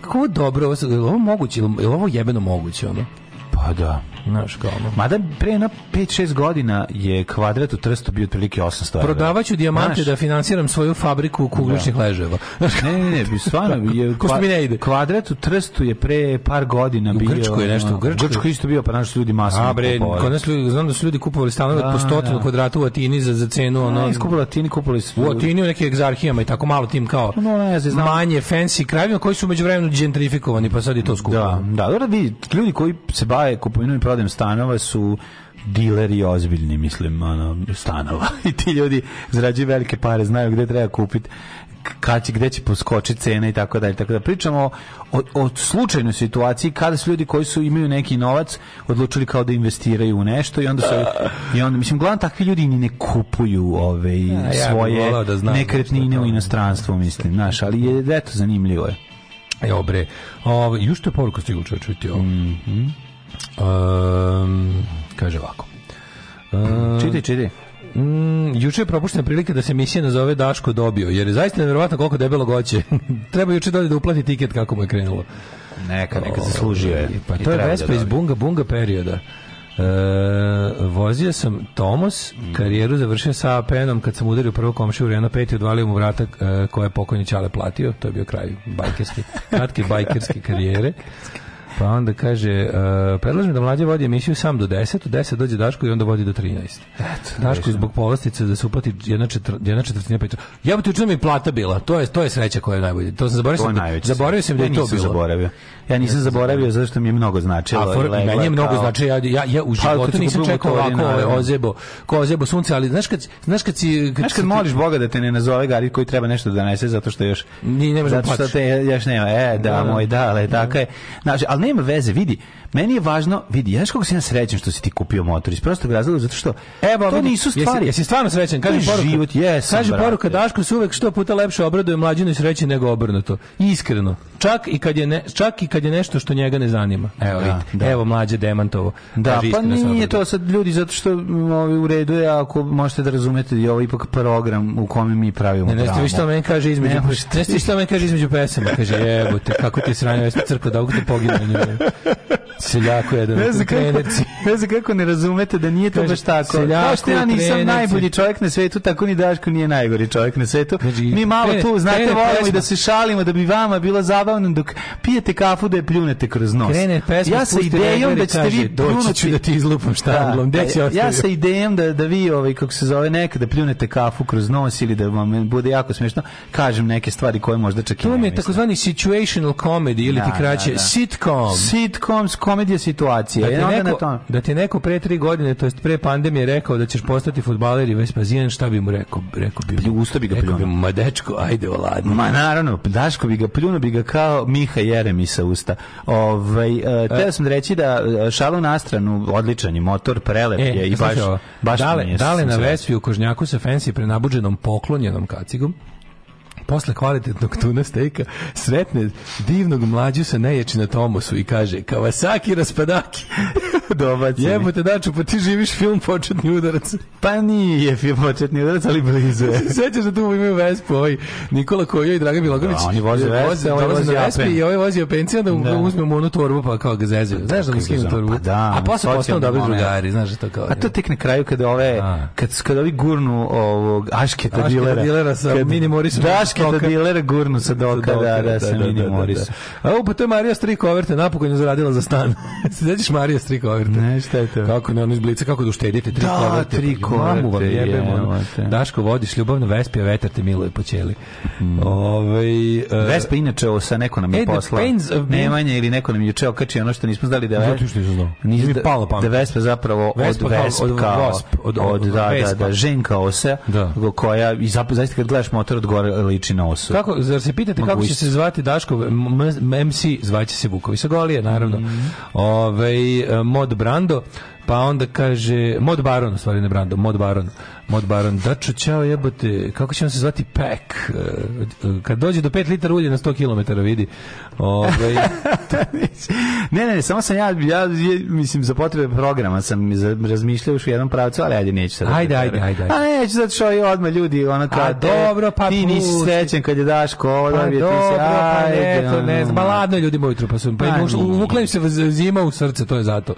Kako ovo dobro, ovo, je li ovo moguće, je li ovo jebeno moguće, ono? Pa da. Znaš, kao ono. Mada pre na 5-6 godina je kvadrat u Trstu bio otprilike 800 evra. Prodavaću dijamante Znaš, da finansiram svoju fabriku kugličnih leževa. Ne, ne, ne, stvarno je pa- Ko što mi ne ide. Kvadrat u Trstu je pre par godina U bio. Grčkoj je nešto, u ono, Grčkoj. Grčkoj isto bio, pa naši ljudi masovno A bre, kupovali. kod nas ljudi, znam da su ljudi kupovali stanove Da, od po stotinu da. kvadrata u Atini za, za cenu ono, Ne, iskupili latini, kupili su. u Atini u nekim egzarhijama i tako malo tim kao No, ne znam, znam. manje fancy krajevima koji su među vremenu gentrifikovani, pa sad i to skupno. Da, da, dobro vidi, ljudi koji se bave kupovinom i prodajom stanova su dileri ozbiljni, mislim, ono, stanova. I ti ljudi zarađuju velike pare, znaju gde treba kupiti kad će, gde će poskočiti cena i tako dalje. Tako da pričamo o, o slučajnoj situaciji kada su ljudi koji su imaju neki novac odlučili kao da investiraju u nešto i onda se i onda mislim glavno takvi ljudi ni ne kupuju ove ja bih svoje volao da znam što je nekretnine to. u inostranstvu mislim znaš ali je eto zanimljivo je Evo bre, ovaj još što je poruka stigla čovječ, čuti ovo. Ehm, kaže ovako. Ehm, čitaj čitaj Mm, juče je propuštena prilika da se emisija nazove Daško dobio, jer je zaista nevjerovatno koliko debelo goće. Treba juče dođe da uplati tiket kako mu je krenulo. Neka, neka zaslužio je. Pa I to je treba Vespa da iz dobije. Bunga Bunga perioda. E, vozio sam Tomos, Mhm. karijeru završio sa penom kad sam udario prvo komšiju u Renault 5 i odvalio mu vrata e, koje je pokojni Čale platio, to je bio kraj bajkerske, kratke bajkerske karijere. Pa onda kaže, e, predlažem da mlađe vodi emisiju sam do 10, u 10 dođe Daško i onda vodi do 13. Daško zbog povlastice da se uplati jedna, četvr, jedna četvrtina pet. Ja bi ti učinu mi je plata bila, to je, to je sreća koja je najbolja. To sam zaboravio, To je sam da, najveći zaboravio sam da sreća. je Ja to nisam bilo. Zaboravio. Ja nisam zaboravio zato što mi je mnogo značilo. A for, i leglo meni je mnogo kao- znači ja ja ja u kad životu si nisam kupio čekao motorine, ovako ovaj naravno. ozebo, kao ozebo sunce, ali znaš kad znaš kad si Znaš kad moliš Boga da te ne nazove Gari koji treba nešto da donese zato što još Ni- ne možeš da zato što plaćaš. te još nema. E, da, Da, da. moj, da, ali tako je. Znači, ali nema veze, vidi. Meni je važno, vidi, ja znaš kako sam ja srećen što si ti kupio motor iz prostog razloga zato što Evo, to vidi, nisu stvari. Jesi, jesi stvarno srećan? Kaže To je poruka. život, jesam, Kaže poruka brate. Daško se uvek što puta lepše obraduje mlađinu i sreće nego obrnuto. Iskreno. Čak i kad je ne, čak i kad je nešto što njega ne zanima. Evo, Da, vidite. da. Evo mlađe demantovo. Da, Kaže, pa iskreno se nije obraduje. to sad ljudi zato što m, ovi u redu je ako možete da razumete da je ovo ipak program u kome mi pravimo Ne, ne ste vi šta dramu. meni kaže između Ne ne, možete. ste vi šta meni kaže između pesama kaže jebote kako ti je sranio jeste crkva da ovog te poginu seljaku jedan Ne znam, kako, trenerci ne znam kako ne razumete da nije to Kaže, baš tako. seljaku, Kao što ja nisam trenerci. najbolji čovjek na svetu, tako ni Daško nije najgori čovjek na svetu. Znači, Mi malo krene- tu, znate, krene volimo pesma. i da se šalimo, da bi vama bilo zabavno dok pijete kafu da je pljunete kroz nos. Krene pesma, ja sa spusti idejom reper i da ćete kaže, vi "Doći pljunuti... ću da ti izlupam štandlom." Gde si pa ja- ostavio? Ja sa idejom da, da vi, ovaj, kako se zove, nekada pljunete kafu kroz nos ili da vam bude jako smiješno, kažem neke stvari koje možda čak i To ne vam je mislim. takozvani situational comedy ili ti Da, kraće da, da. sitcom. Sitcoms, komedija situacija. Da ti, E, onda na Dakle, neko, tom- da ti neko pre tri godine, to jest pre pandemije rekao da ćeš postati futbaler i Vespazijan, šta bi mu rekao? Rekao bi mu, Usta bi Pa ga rekao bi pljunuo. mu, ma dečko, ajde oladno. Ma naravno, Daško bi ga pljuno bi ga kao Miha Jeremi sa usta. Ovaj e, teo sam da reći da e, šalu na stranu, odličan je motor, prelep je i E, slušaj baš ovo. baš dale, mi je dale na srećan. Vespi u kožnjaku sa fancy prenabuđenom poklonjenom kacigom posle kvalitetnog tuna stejka sretne divnog mlađu sa neječi na Tomosu i kaže Kawasaki raspadaki Dobaci mi. jebote daču pa ti živiš film početni udarac Pa nije film početni udarac, ali blizu je. Sećaš da tu imaju Vespu ovaj Nikola Kojo i Dragan Milagović. Da, oni voze Vespe, ovaj dolaze vozi na Vespi Apen. I ovaj vozi Apencija da, da. Da. uzmemo onu torbu pa kao ga zezaju. Znaš da mu Kako skinu ga torbu. zove? Pa da, A posle socijalni postanu dobri moment. drugari, znaš da to kao. A to tek na kraju kada ove A. kad kad ovi gurnu ovog ašketa, Ašketa dilera, dilera sa Mini Morrisom Da, ašketa doka. dilera gurnu sa doka, da, da, sa Mini Morrisom. A ovo, pa to je Marija Strikoverta, napokon je zaradila za stan. Se sećaš Marija Strikoverta? Ne, šta je to? Kako ne, ono iz blica, kako da uštedite tri Da, koverte, tri pa, mamu vam koverte, jebem, ono. jebote. Daško, vodiš ljubavno vespi, a vetar te miluje po ćeli. Ovaj, e, Hmm. Vespa inače ovo sa neko nam je Ed, the poslao. pains of being- Nemanja ili neko nam je juče okačio ono uh, što nismo znali da je Zato što nisam znao. Nisam Mi da- palo pamet. Da Vespa zapravo Vespa od kao- Vespa od kao, Wasp, od- od, od- da, Vespa. da, da, ženka ose Da. koja i zap- zaista kad gledaš motor od gore liči na osu. Kako, zar se pitate kako će Mogućnost. se zvati Daško M- M- MC, zvaće se Vukovi sa Golije, naravno. Mhm. Ovaj, e, Mod Brando, pa onda kaže, Mod Baron, u stvari ne Brando, Mod Baron. Mod Baron, dačo, čao jebote, kako ćemo se zvati pek? E, Kad dođe do 5 litara ulja na 100 km vidi. Ovaj, ne, ne, samo sam ja, ja, je- mislim, za potrebe programa sam za- razmišljao još u jednom pravcu, ali ajde, neću sad. Ajde, ajde, ajde, ajde. A neću, zato što je odmah ljudi, ono, kad, A dobro, pa ti nisi pusti. srećen kad je Daško, ovo Pa dobije, ti dobro, se, pa ajde, ne, to ne znam. ono. Ma ladno je ljudima ujutru, pa su, pa Pa im ušlo- nije. uvukla im se v- zima u srce, to je zato.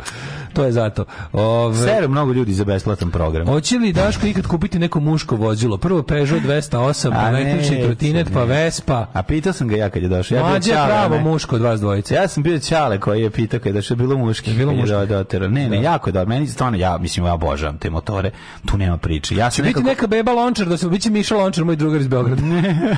To je zato. Ove, Seru mnogo ljudi za besplatan program. Hoće li Daško ikad kupiti neko muško vozilo? Prvo Peugeot 208, A pa električni neće, trotinet, pa ne. Vespa. A pitao sam ga ja kad je došao. Ja bio Mlađe je Ćale, pravo ne? muško od vas dvojice. Ja sam bio Ćale koji je pitao kada što je bilo muški. bilo kad je muški? doterao. Ne, ne, jako je dobro. Meni stvarno, ja mislim, ja obožavam te motore. Tu nema priče. Ja Će sam biti nekako... neka beba lončar, da se biće Miša lončar, moj drugar iz Beograda.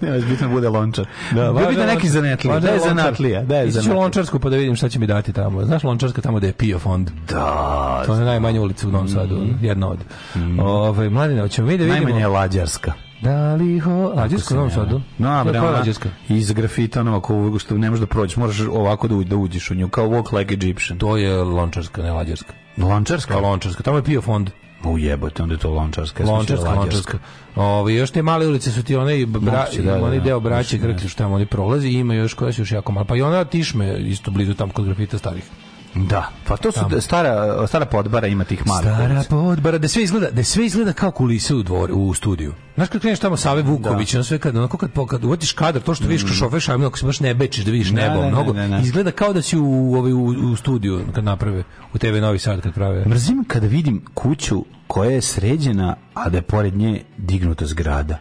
ne, bitno bude lončar. Da, Važno bitno neki lon- zanatlija. važno Da je lončar. zanatlija. Da je Ići ću u zanatlija. lončarsku pa da vidim šta će mi dati tamo. Znaš lončarska tamo gde je PIO fond? Da, Mm. To je najmanja ulica u Novom Sadu, jedna od. Ovaj mladine, hoćemo mi da vidimo. najmanje je lađarska. Da li ho... Lađarska u Novom Sadu? No, Koja bre, je ona Lađarska? iz grafita, ono, ako što ne možeš da prođeš, moraš ovako da, u- da uđeš u nju, kao walk like Egyptian. To je lončarska, ne lađarska. Lončarska? Kao Pa lončarska, tamo je PIO fond. U jebote, onda je to lončarska. Pa ja sam mislio Lončarska, Lončarska. Ove, još te male ulice su ti one i bra, Moguće, da, da, onaj da. deo braće Krklju što tamo oni prolazi i ima još koja su još jako mala. Pa i ona tišme isto blizu tam kod grafita starih. Da, pa to su da- stara, stara podbara ima tih malih. Stara ulica. podbara, da sve izgleda, da sve izgleda kao kulise u dvoru, u studiju. Znaš kad kreneš tamo Save Vuković, on sve kad onako kad pokad uvatiš kadar, to što vidiš kroz šofer šajmina, ako se baš Mm. ne bečiš da vidiš Da, nebo da, da, mnogo, da, da. izgleda kao da si u, u, ovaj, u, u studiju kad naprave, u TV Novi Sad kad prave. Mrzim kada vidim kuću koja je sređena, a da je pored nje dignuta zgrada.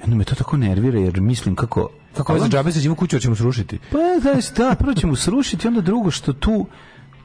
I onda me to tako nervira jer mislim kako... Kako je za džabe se kuću, hoćemo srušiti. Pa znaš, da, prvo ćemo srušiti, onda drugo što tu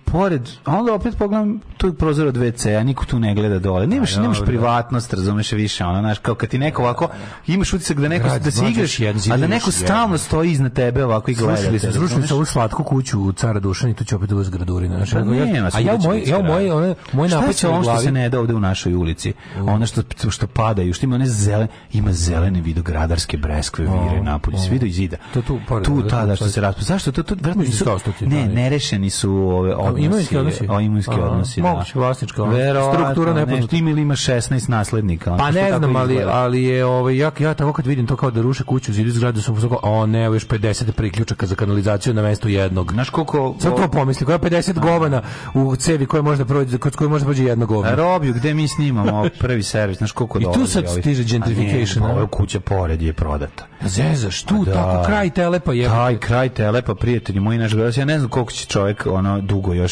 pored, a onda opet pogledam tu je prozor od WC-a, niko tu ne gleda dole. Nemaš, nemaš privatnost, razumeš više, ono, znaš, kao kad ti neko ovako, imaš utisak da neko, Grad, da se mlađe, igraš, a jedan da zid, neko još jedan. stalno stoji iznad tebe ovako i gleda. Srušili smo, te, srušili razumeš? smo ovu slatku kuću u cara Dušana i tu će opet ulaz gradurina. Znači, Pa ono, ja- nema, a ja svuda u će moj, biti ja u moj, zgrada. one, moj Šta je napaćaj sa u ono što glavi. se ne da ovde u našoj ulici? Ono što, što padaju, što ima one zelene, ima zelene vidogradarske breskve vire napolje, svi do izida. To tu pored, Tu da, tada tu što se pored. raspada. Zašto to tu? Vratno, Mislim, kao što ti je ne, tamo. nerešeni su ove odnosi. imovinski odnosi? O, imovinski Aha. odnosi, da. Moguće, vlasnička, ono, Verovatno, struktura nepoznata. nešto. Ima ili ima 16 naslednika. ono, Pa što ne tako znam, ali, izgleda. ali je, ovaj, ja, ja tako kad vidim to kao da ruše kuću, zidu zgradu, sam pozvao, o ne, evo još 50 priključaka za kanalizaciju na mestu jednog. Znaš koliko... Sad to pomisli, koja je 50 govana u cevi koja možda prođe, kod koje možda prođe jedna govana. Robiju, gde mi snimamo prvi servis, znaš koliko I tu dolazi. sad ovih- stiže A ne, gentrification, pa a? Pa Ovo je kuća pored je prodata. Zezaš, tu, Pa Da. tako, kraj telepa je. Taj kraj Telepa, prijatelji moji, naš gledac, ja ne znam koliko će čovjek ono dugo još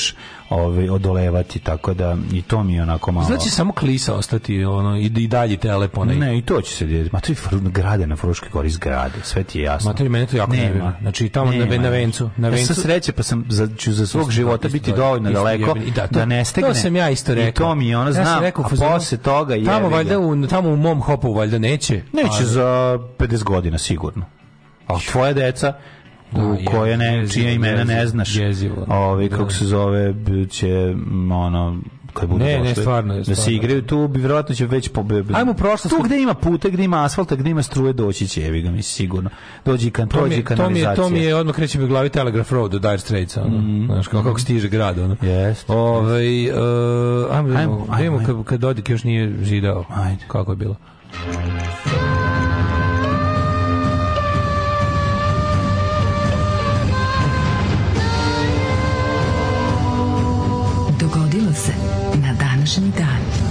ovaj, odolevati, tako da i to mi je onako malo... Znači samo klisa ostati ono, i, i dalji telep onaj. ne, i to će se djeti. Ma to je fr- grade na Fruškoj gori, zgrade, sve ti je jasno. Mater, mene to jako Nema. nervira. Znači, tamo na- na vencu, na Ja sam vencu- sreće, pa sam za, ću za svog Isto, života isto, biti isto, dovoljno isto, daleko jebeni. I da, da, to- ne stegne. to sam ja isto I rekao. to mi je ono, Ja sam znam, rekao u a fazonu, posle toga je... Tamo valjda u, tamo u mom hopu valjda neće. Neće za 50 godina sigurno. A tvoja deca u je, koje ne, jezivo, čija imena ne jezivo, znaš. jezivo. Ovi, kako se zove, će m, ono, kad budu Ne, ne, došli, stvarno je, da se stvarno. igraju tu, bi vjerojatno će već po... Ajmo u prošlost. Tu gde ima puta, gde ima asfalta, gde ima struje, doći će, evi ga mi sigurno. Dođi i kan, To mi, prođi i je- to mi kanalizacija. Mhm. je, to mi je odmah kreće mi u glavi Telegraph Road od Dire Straits, ono. Znaš, kako, kako stiže grad, ono. Jeste. Ovaj, e, ajmo, da vidimo- Ajmo, da vidimo ajmo, kad, kad Dodik još nije židao. Ajde. Kako je bilo. Dogodilo se na današnji dan.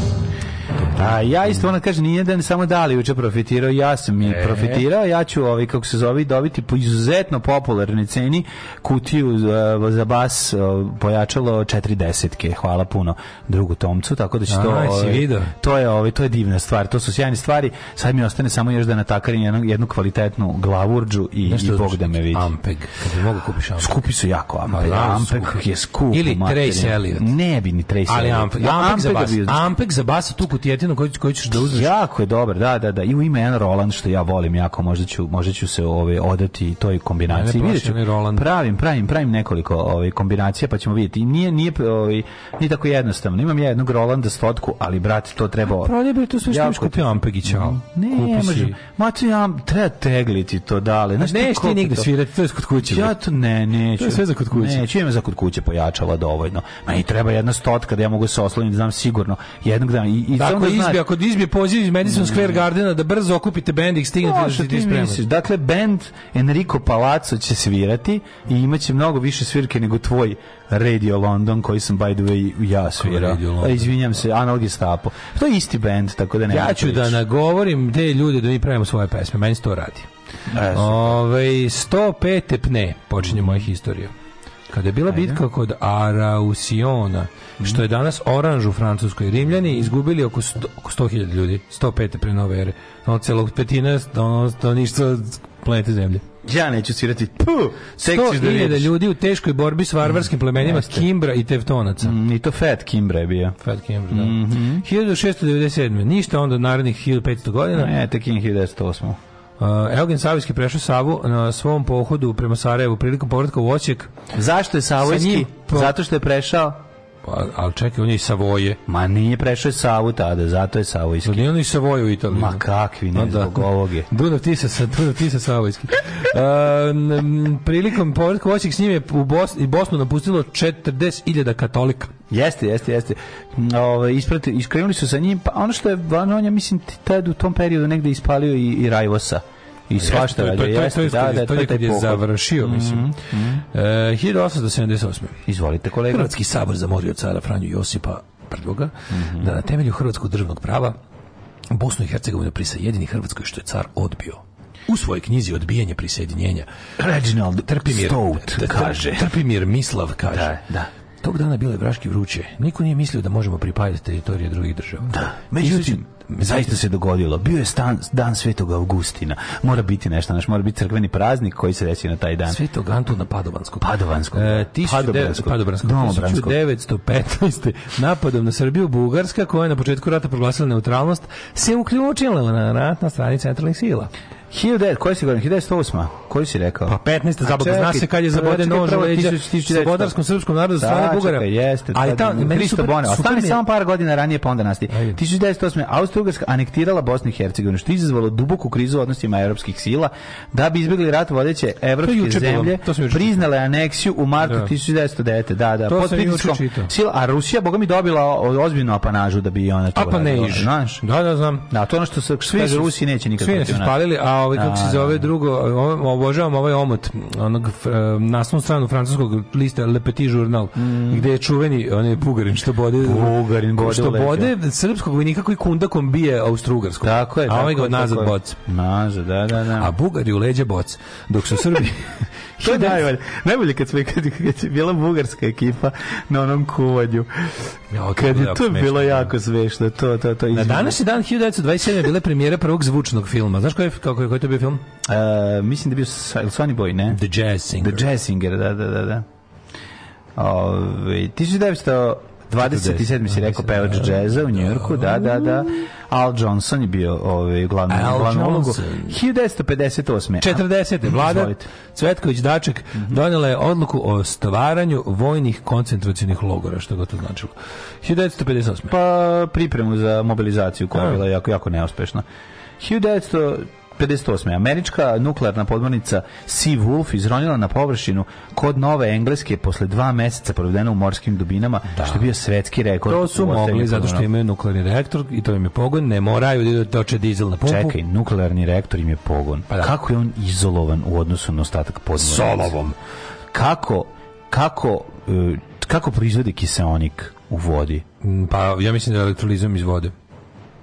A ja isto ona kaže nije da ne samo Dali juče profitirao, ja sam E. i profitirao, ja ću ovaj kako se zove dobiti po izuzetno popularnoj ceni kutiju e, za bas e, pojačalo 40-ke. Hvala puno drugu Tomcu, tako da će to A, si ovaj, video? to je ovaj to je divna stvar, to su sjajne stvari. Sad mi ostane samo još da natakarim jednu, jednu kvalitetnu glavurđu i, i Bog da me vidi. Ampeg. Kad bi mogu kupiš Ampeg. Skupi su jako Ma Ampeg. da, Ampeg skupi. je skup. Ili materijalno. Trace Elliot. Ne bi ni Trace Ali Elliot. Ampeg, Ja Ampeg za Ampega bas. bi uzeo. Ampeg za bas, tu kutijetinu koju, koju ćeš da uzmeš. Jako je dobar, da, da, da. I ima jedan Roland što ja volim jako, možda ću, možda ću se ovaj odati toj kombinaciji. Mene plaši Vidjet ću. onaj Roland. Pravim, pravim, pravim nekoliko ovaj kombinacija pa ćemo vidjeti. I nije nije ovaj nije tako jednostavno. Imam ja jednog Rolanda stotku, ali brate, to treba. Prodaj bi to sve što Jako imaš kupio Ampeg i ćao. Ne, Kupi si. možem. Ma to ja treba tegliti to dale. Znaš Neš ti koliko nigde to- svirati, to je kod kuće. ja to ne, neću. To je sve za kod kuće. Neću, imam za kod kuće pojačala dovoljno. Ma i treba jedna stotka da ja mogu se osloniti, znam sigurno. Jednog dana. I, i Tako samo da je znaš. izbija, ako izbija poziv iz Madison Square Gardena da brzo okupite bend i stignete da Mm. Može, se ti misliš. Dakle, band Enrico Palazzo će svirati i imaće mnogo više svirke nego tvoj Radio London, koji sam, by the way, ja svirao. Radio London? A, Izvinjam se, Analog Gestapo. To je isti band, tako da ne Ja ću da nagovorim te ljude da mi pravimo svoje pesme, meni se to radi. E, super. Ove, 105. pne počinje moja historija. Kada je bila bitka kod Arausiona, što je danas oranž u Francuskoj, Rimljani izgubili oko 100 oko 100.000 ljudi, 105. pre nove ere. Ono celog petina, ono stanovništvo planete Zemlje. Ja neću svirati. Puh, tek ćeš da 100.000 vidiš. ljudi u teškoj borbi s varvarskim plemenima Kimbra i Tevtonaca. Mm, I to Fat Kimbra je bio. Fat Kimbra, da. 1697. Ništa onda od narednih 1500 godina. Ne, tek E, je 1908. Uh, Eugen Savijski prešao Savu na svom pohodu prema Sarajevu prilikom povratka u Osijek. Zašto je Sa Savojski? njim po- Zato što je prešao? Pa, ali čekaj, on je iz Savoje. Ma nije prešao je Savu tada, zato je Savojski. Pa Zar nije on iz Savoje u Italiji? Ma kakvi, ne, A, da. zbog ovog je. Dunav Tisa, sa, Dunav Tisa Savojski. Um, m, prilikom povratka u Osijek s njim je u Bos, i Bosnu napustilo 40.000 katolika. Jeste, jeste, jeste. Ove, isprati, iskrenuli su sa njim, pa ono što je, on, on je, mislim, t- tad u tom periodu negde ispalio i, i Rajvosa. I svašta To je- to je- radio, to je- jeste, to je- da, da, to to je taj je kad je pohod. završio, mislim. E, 1878. Izvolite, kolega. Hrvatski sabor zamorio cara Franju Josipa Prvoga Mhm. da na temelju hrvatskog državnog prava Bosnu i Hercegovinu prisjedini Hrvatskoj što je car odbio. U svojoj knjizi odbijanje prisjedinjenja Reginald Trpimir, Stout Tr- Tr- kaže. Trpimir Mislav kaže. Da, da. Tog dana bilo je vraški vruće. Niko nije mislio da možemo pripajati teritorije drugih država. Da. Međutim, zaista se dogodilo. Bio je stan, dan Svetog Augustina. Mora biti nešto, znaš, mora biti crkveni praznik koji se desi na taj dan. Svetog Antuna Padovanskog. Padovanskog. E, Padobranskog. 1900 Padobranskog. Domobranskog. 1915. napadom na Srbiju Bugarska, koja je na početku rata proglasila neutralnost, se uključila na ratna strani centralnih sila. 1900, koji si govorim? 1908. Koji si rekao? Pa 15. A zabavno, čekaj, zna se kad je prvo, zabode čekaj, nož u prvo leđa 1900. slobodarskom srpskom narodu Da, strane Bugara. čekaj, jeste. ta, Ali ta, meni Kristo super, Bono. super Ostani mi je- samo par godina ranije, pa onda nastavi. Ajde. 1908. Austro-Ugarska anektirala Bosnu i Hercegovinu, što je izazvalo duboku krizu u odnosima evropskih sila. Da bi izbjegli rat vodeće To je evropske juče bilo, zemlje, to sam juče priznale aneksiju u martu Da. 1909. Da, da, To pod sam juče pritiskom čitao. sila. A Rusija, boga mi, dobila o- ozbiljnu apanažu da bi i ona to A pa ne uradila, iš. Znaš? Da, da, znam. Da, to je ono što se svi Kažu, Rusi neće nikad Svi nas protiv nas. ispalili, a ovaj kako Da, se zove drugo, ovo- obožavam ovaj omot onog fr- naslovnu stranu francuskog lista Le Petit Journal, gde je čuveni onaj Bugarin što bode Mm. Bugarin bode što u leđa. bode srpskog vojnika koji kundakom bije Austrougarskog. Tako je. A ovaj tako ga je, nazad tako je. boc. Nazad, da, da, da. A Bugari u leđa boc, dok su Srbi To je najbolje. Najbolje kad, sve, kad, kad je bila bugarska ekipa na onom kuvanju. Jao, to je kad bilo je jako to smešno, bilo da. jako smešno. To, to, to. Na izvinjam. današnji dan 1927 je bila premijera prvog zvučnog filma. Znaš koji je, kako je, koji je to bio film? E, mislim da je bio Sa- ili Sonny Boy, ne? The Jazz Singer. The Jazz Singer, da, da, da. Ovaj, da. Ove, 1927. si rekao pevač džeza u Njujorku, da, da, da. Al Johnson je bio ovaj, glavni, Al glavnu ulogu. Johnson. 1958. 40. vlada Izvolite. Mhm. Cvetković Daček donela je odluku o stvaranju vojnih koncentracionih logora, što ga to značilo. 1958. pa pripremu za mobilizaciju koja je bila jako, jako neuspešna. 1958. Američka nuklearna podmornica Sea Wolf izronila na površinu kod Nove Engleske posle dva meseca provedena u morskim dubinama, što je bio svetski rekord. Pa, to su u ostajanju mogli zato što podmorno. imaju nuklearni reaktor i to im je pogon, ne moraju da idu da toče dizel na pumpu. Čekaj, nuklearni reaktor im je pogon. Pa da. Kako je on izolovan u odnosu na ostatak podmornice? Solovom. Kako, kako, e, kako proizvodi kiseonik u vodi? Mm, Pa ja mislim da elektrolizom iz vode.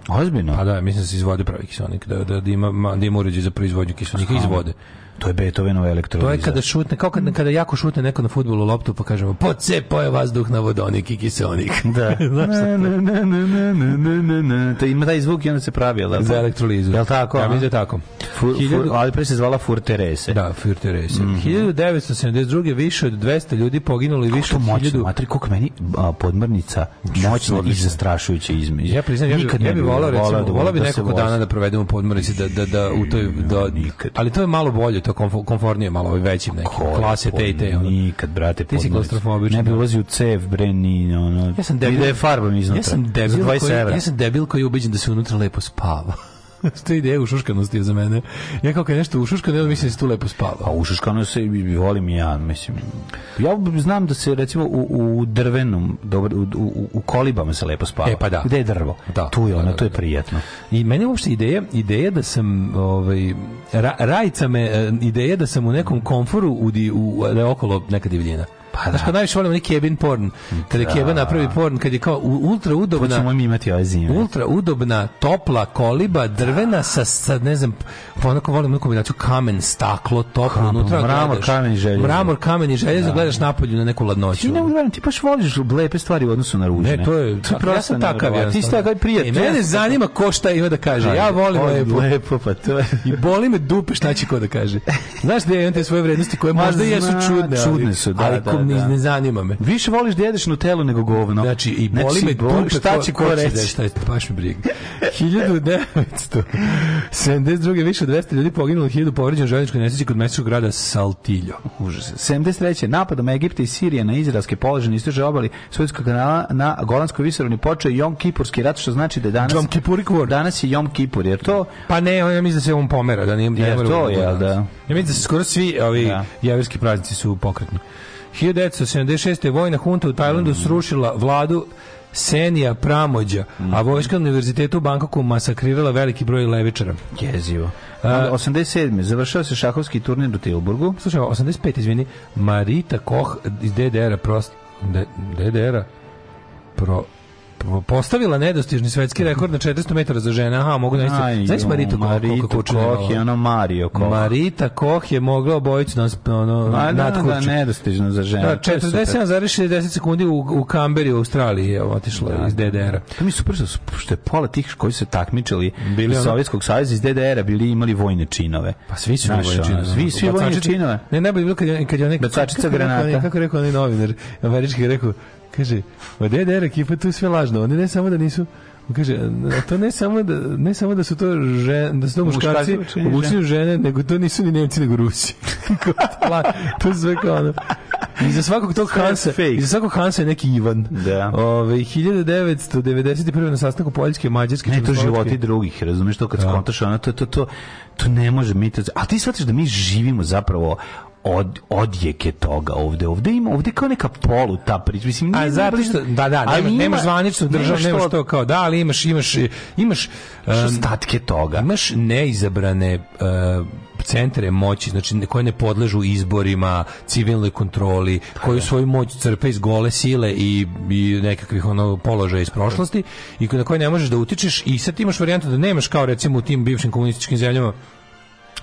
Ozbiljno? Pa da, mislim da se iz vode pravi kiselnik, da, da, da, ima, ma- da ima uređaj za proizvodnju kiselnika iz vode. To je Beethovenova To elektroliza. je kada šutne, kao kada, kada jako šutne neko na futbolu loptu, pa kažemo, pocepao je vazduh na vodonik i kiselnik. Da. na, na, na, na, na, na, na, na, na. To ima taj zvuk i onda se pravi, jel da? za elektrolizu. pa, Jel tako? Ja a? mislim da je tako. Fur, fur, Hiljadu- ali pre se zvala Fur Terese. Da, Fur Teresa. Mhm. 1972. više od 200 ljudi poginulo i više Što od moćno, 1000... matri, koliko meni a, podmrnica moćna i zastrašujuća izme. Ja priznam, ja, bi- ja bi volao, recimo, volao bi nekoliko dana da provedemo u podmornici, da, da, da, u toj, da, Nikad. ali to je malo bolje, to je komfo- komfornije, malo ovim većim nekim, klase te i te. ono. Nikad, brate, Ti si podmornica. klaustrofobičan, Ne bi da. ulazio u cev, bre, ni ono... Ja sam ni debil. da je farbam iznutra. Ja sam debil, Za 20 koji, evra. ja sam debil koji je ubeđen da se unutra lepo spava. to ideja ušuškanosti je za mene. Ja kako je nešto ušuškano, ja mislim da se tu lepo A spava. u Šuškanu Pa se i- i volim i ja, mislim. Ja znam da se recimo u, u drvenom, dobro, u, u, u kolibama se lepo spava. E, pa da. Gde je drvo? Da. Tu je Da, ono, da, to je da. prijatno. I meni je uopšte ideja, ideja da sam ovaj ra, rajca me e, ideja da sam u nekom komforu u, di- u da je okolo neka divljina. Pa da. Znaš, kad najviše volim onaj kebin porn, kada je keba napravi porn, kad je kao u- ultra To udobna, ćemo mi imati ove zime. ultra udobna, topla koliba, drvena sa, sa ne znam, pa onako volim onu kombinaciju kamen, staklo, toplo, Kamen, unutra mramor, gledaš- kamen i željezo. Mramor, kamen i željezo, gledaš napolju na neku Ti ladnoću. ne mogu da verujem, ti baš voliš lepe stvari u odnosu na ružne. Ne, to je, ja prosto sam takav neverovatno. jedan. Ti si takav prijatno. E, mene zanima ko šta ima da kaže. Ja volim ovaj Oj, lepo. Lepo, pa to je... I boli me dupe šta će ko da kaže. Znaš da ja imam te svoje vrednosti koje možda zna, jesu čudne, ali, čudne su, da, ali da, ko- ne- da. ne zanima me. Više voliš da jedeš Nutellu nego govno. Znači, i boli me dupe šta će ko Da, reći. šta je, baš mi briga. 1972. više od 200 ljudi poginulo, 1000 povređeno u željeničkoj nesreći kod mesečkog grada Saltiljo. Užas. 73. Napadom Egipta i Sirije na izraelske položaje na istočnoj obali Suetskog kanala na Golanskoj visoravni počeo je Jom Kipurski rat, što znači da je danas... Jom Kipurik War. Danas je Jom Kipur, jer to... Pa ne, on- ja mislim da se on pomera, da nije... da ne Jer mora to u- je, danas. da. Ja mislim da se skoro svi ovi Da. jeverski praznici su pokretni. 1976. vojna hunta u Tajlandu Mm. srušila vladu Senija Pramođa, Mm. a vojska na univerzitetu u Bankoku masakrirala veliki broj levičara. Jezivo. Onda, 87. Završao se šahovski turnir u Tilburgu. Slušaj, 85, izvini, Marita Koch iz DDR-a prost... D- DDR-a pro, pro- postavila nedostižni svetski rekord na 400 metara za žene. Aha, mogu da isti. Znaš Mm. jo, Maritu Koch, Maritu koliko ovaj- kučina je Koch i imala? ono Mario Koch. Marita Koch je mogla obojicu nas ono, Ma, da, da, natkući. nedostižno za žene. Da, To je super. 47,60 sekundi u, u Kamberi u Australiji je otišla iz DDR-a. To mi je super što, su- što je pola tih koji su se takmičili Bili iz ono- Sovjetskog saveza iz DDR-a bili imali vojne činove. Pa svi su Znaš, vojni ono, činovi. Svi, svi vojni Bacačica- činove. Ne, najbolje je bilo kad je, kad je onaj... Bacačica kako je rekao granata. onaj- Kako je rekao onaj novinar, američki je rekao, kaže, od DDR ekipa tu je sve lažno, oni ne samo da nisu on kaže a to ne samo da ne samo da su to žen, da su to Muškarci muškarci obučeni obučeni u žene nego to nisu ni Nemci nego Rusi Kao la- to je sve kao ono i za svakog tog je Hansa fake. i za svakog Hansa je neki Ivan Da. Ove, 1991. na sastanku Poljske, Mađarske Ne, to Čehoslovačke- životi drugih, razumeš to kad skontaš, ono, to, to, to, to ne može mi to... A ti shvatiš da mi živimo zapravo od odjeke toga ovde ovde ima ovde kao neka polu ta priča mislim A nije zato što da da ali nemaš, ima- nemaš zvaničnu državu, nemaš što- to kao da, ali imaš imaš imaš što em, statke toga imaš neizabrane em, centre moći, znači koje ne podležu izborima, civilnoj kontroli, koji svoju moć crpe iz gole sile i, i nekakvih ono položaja iz prošlosti i na koje ne možeš da utičeš i sad imaš varijantu da nemaš kao recimo u tim bivšim komunističkim zemljama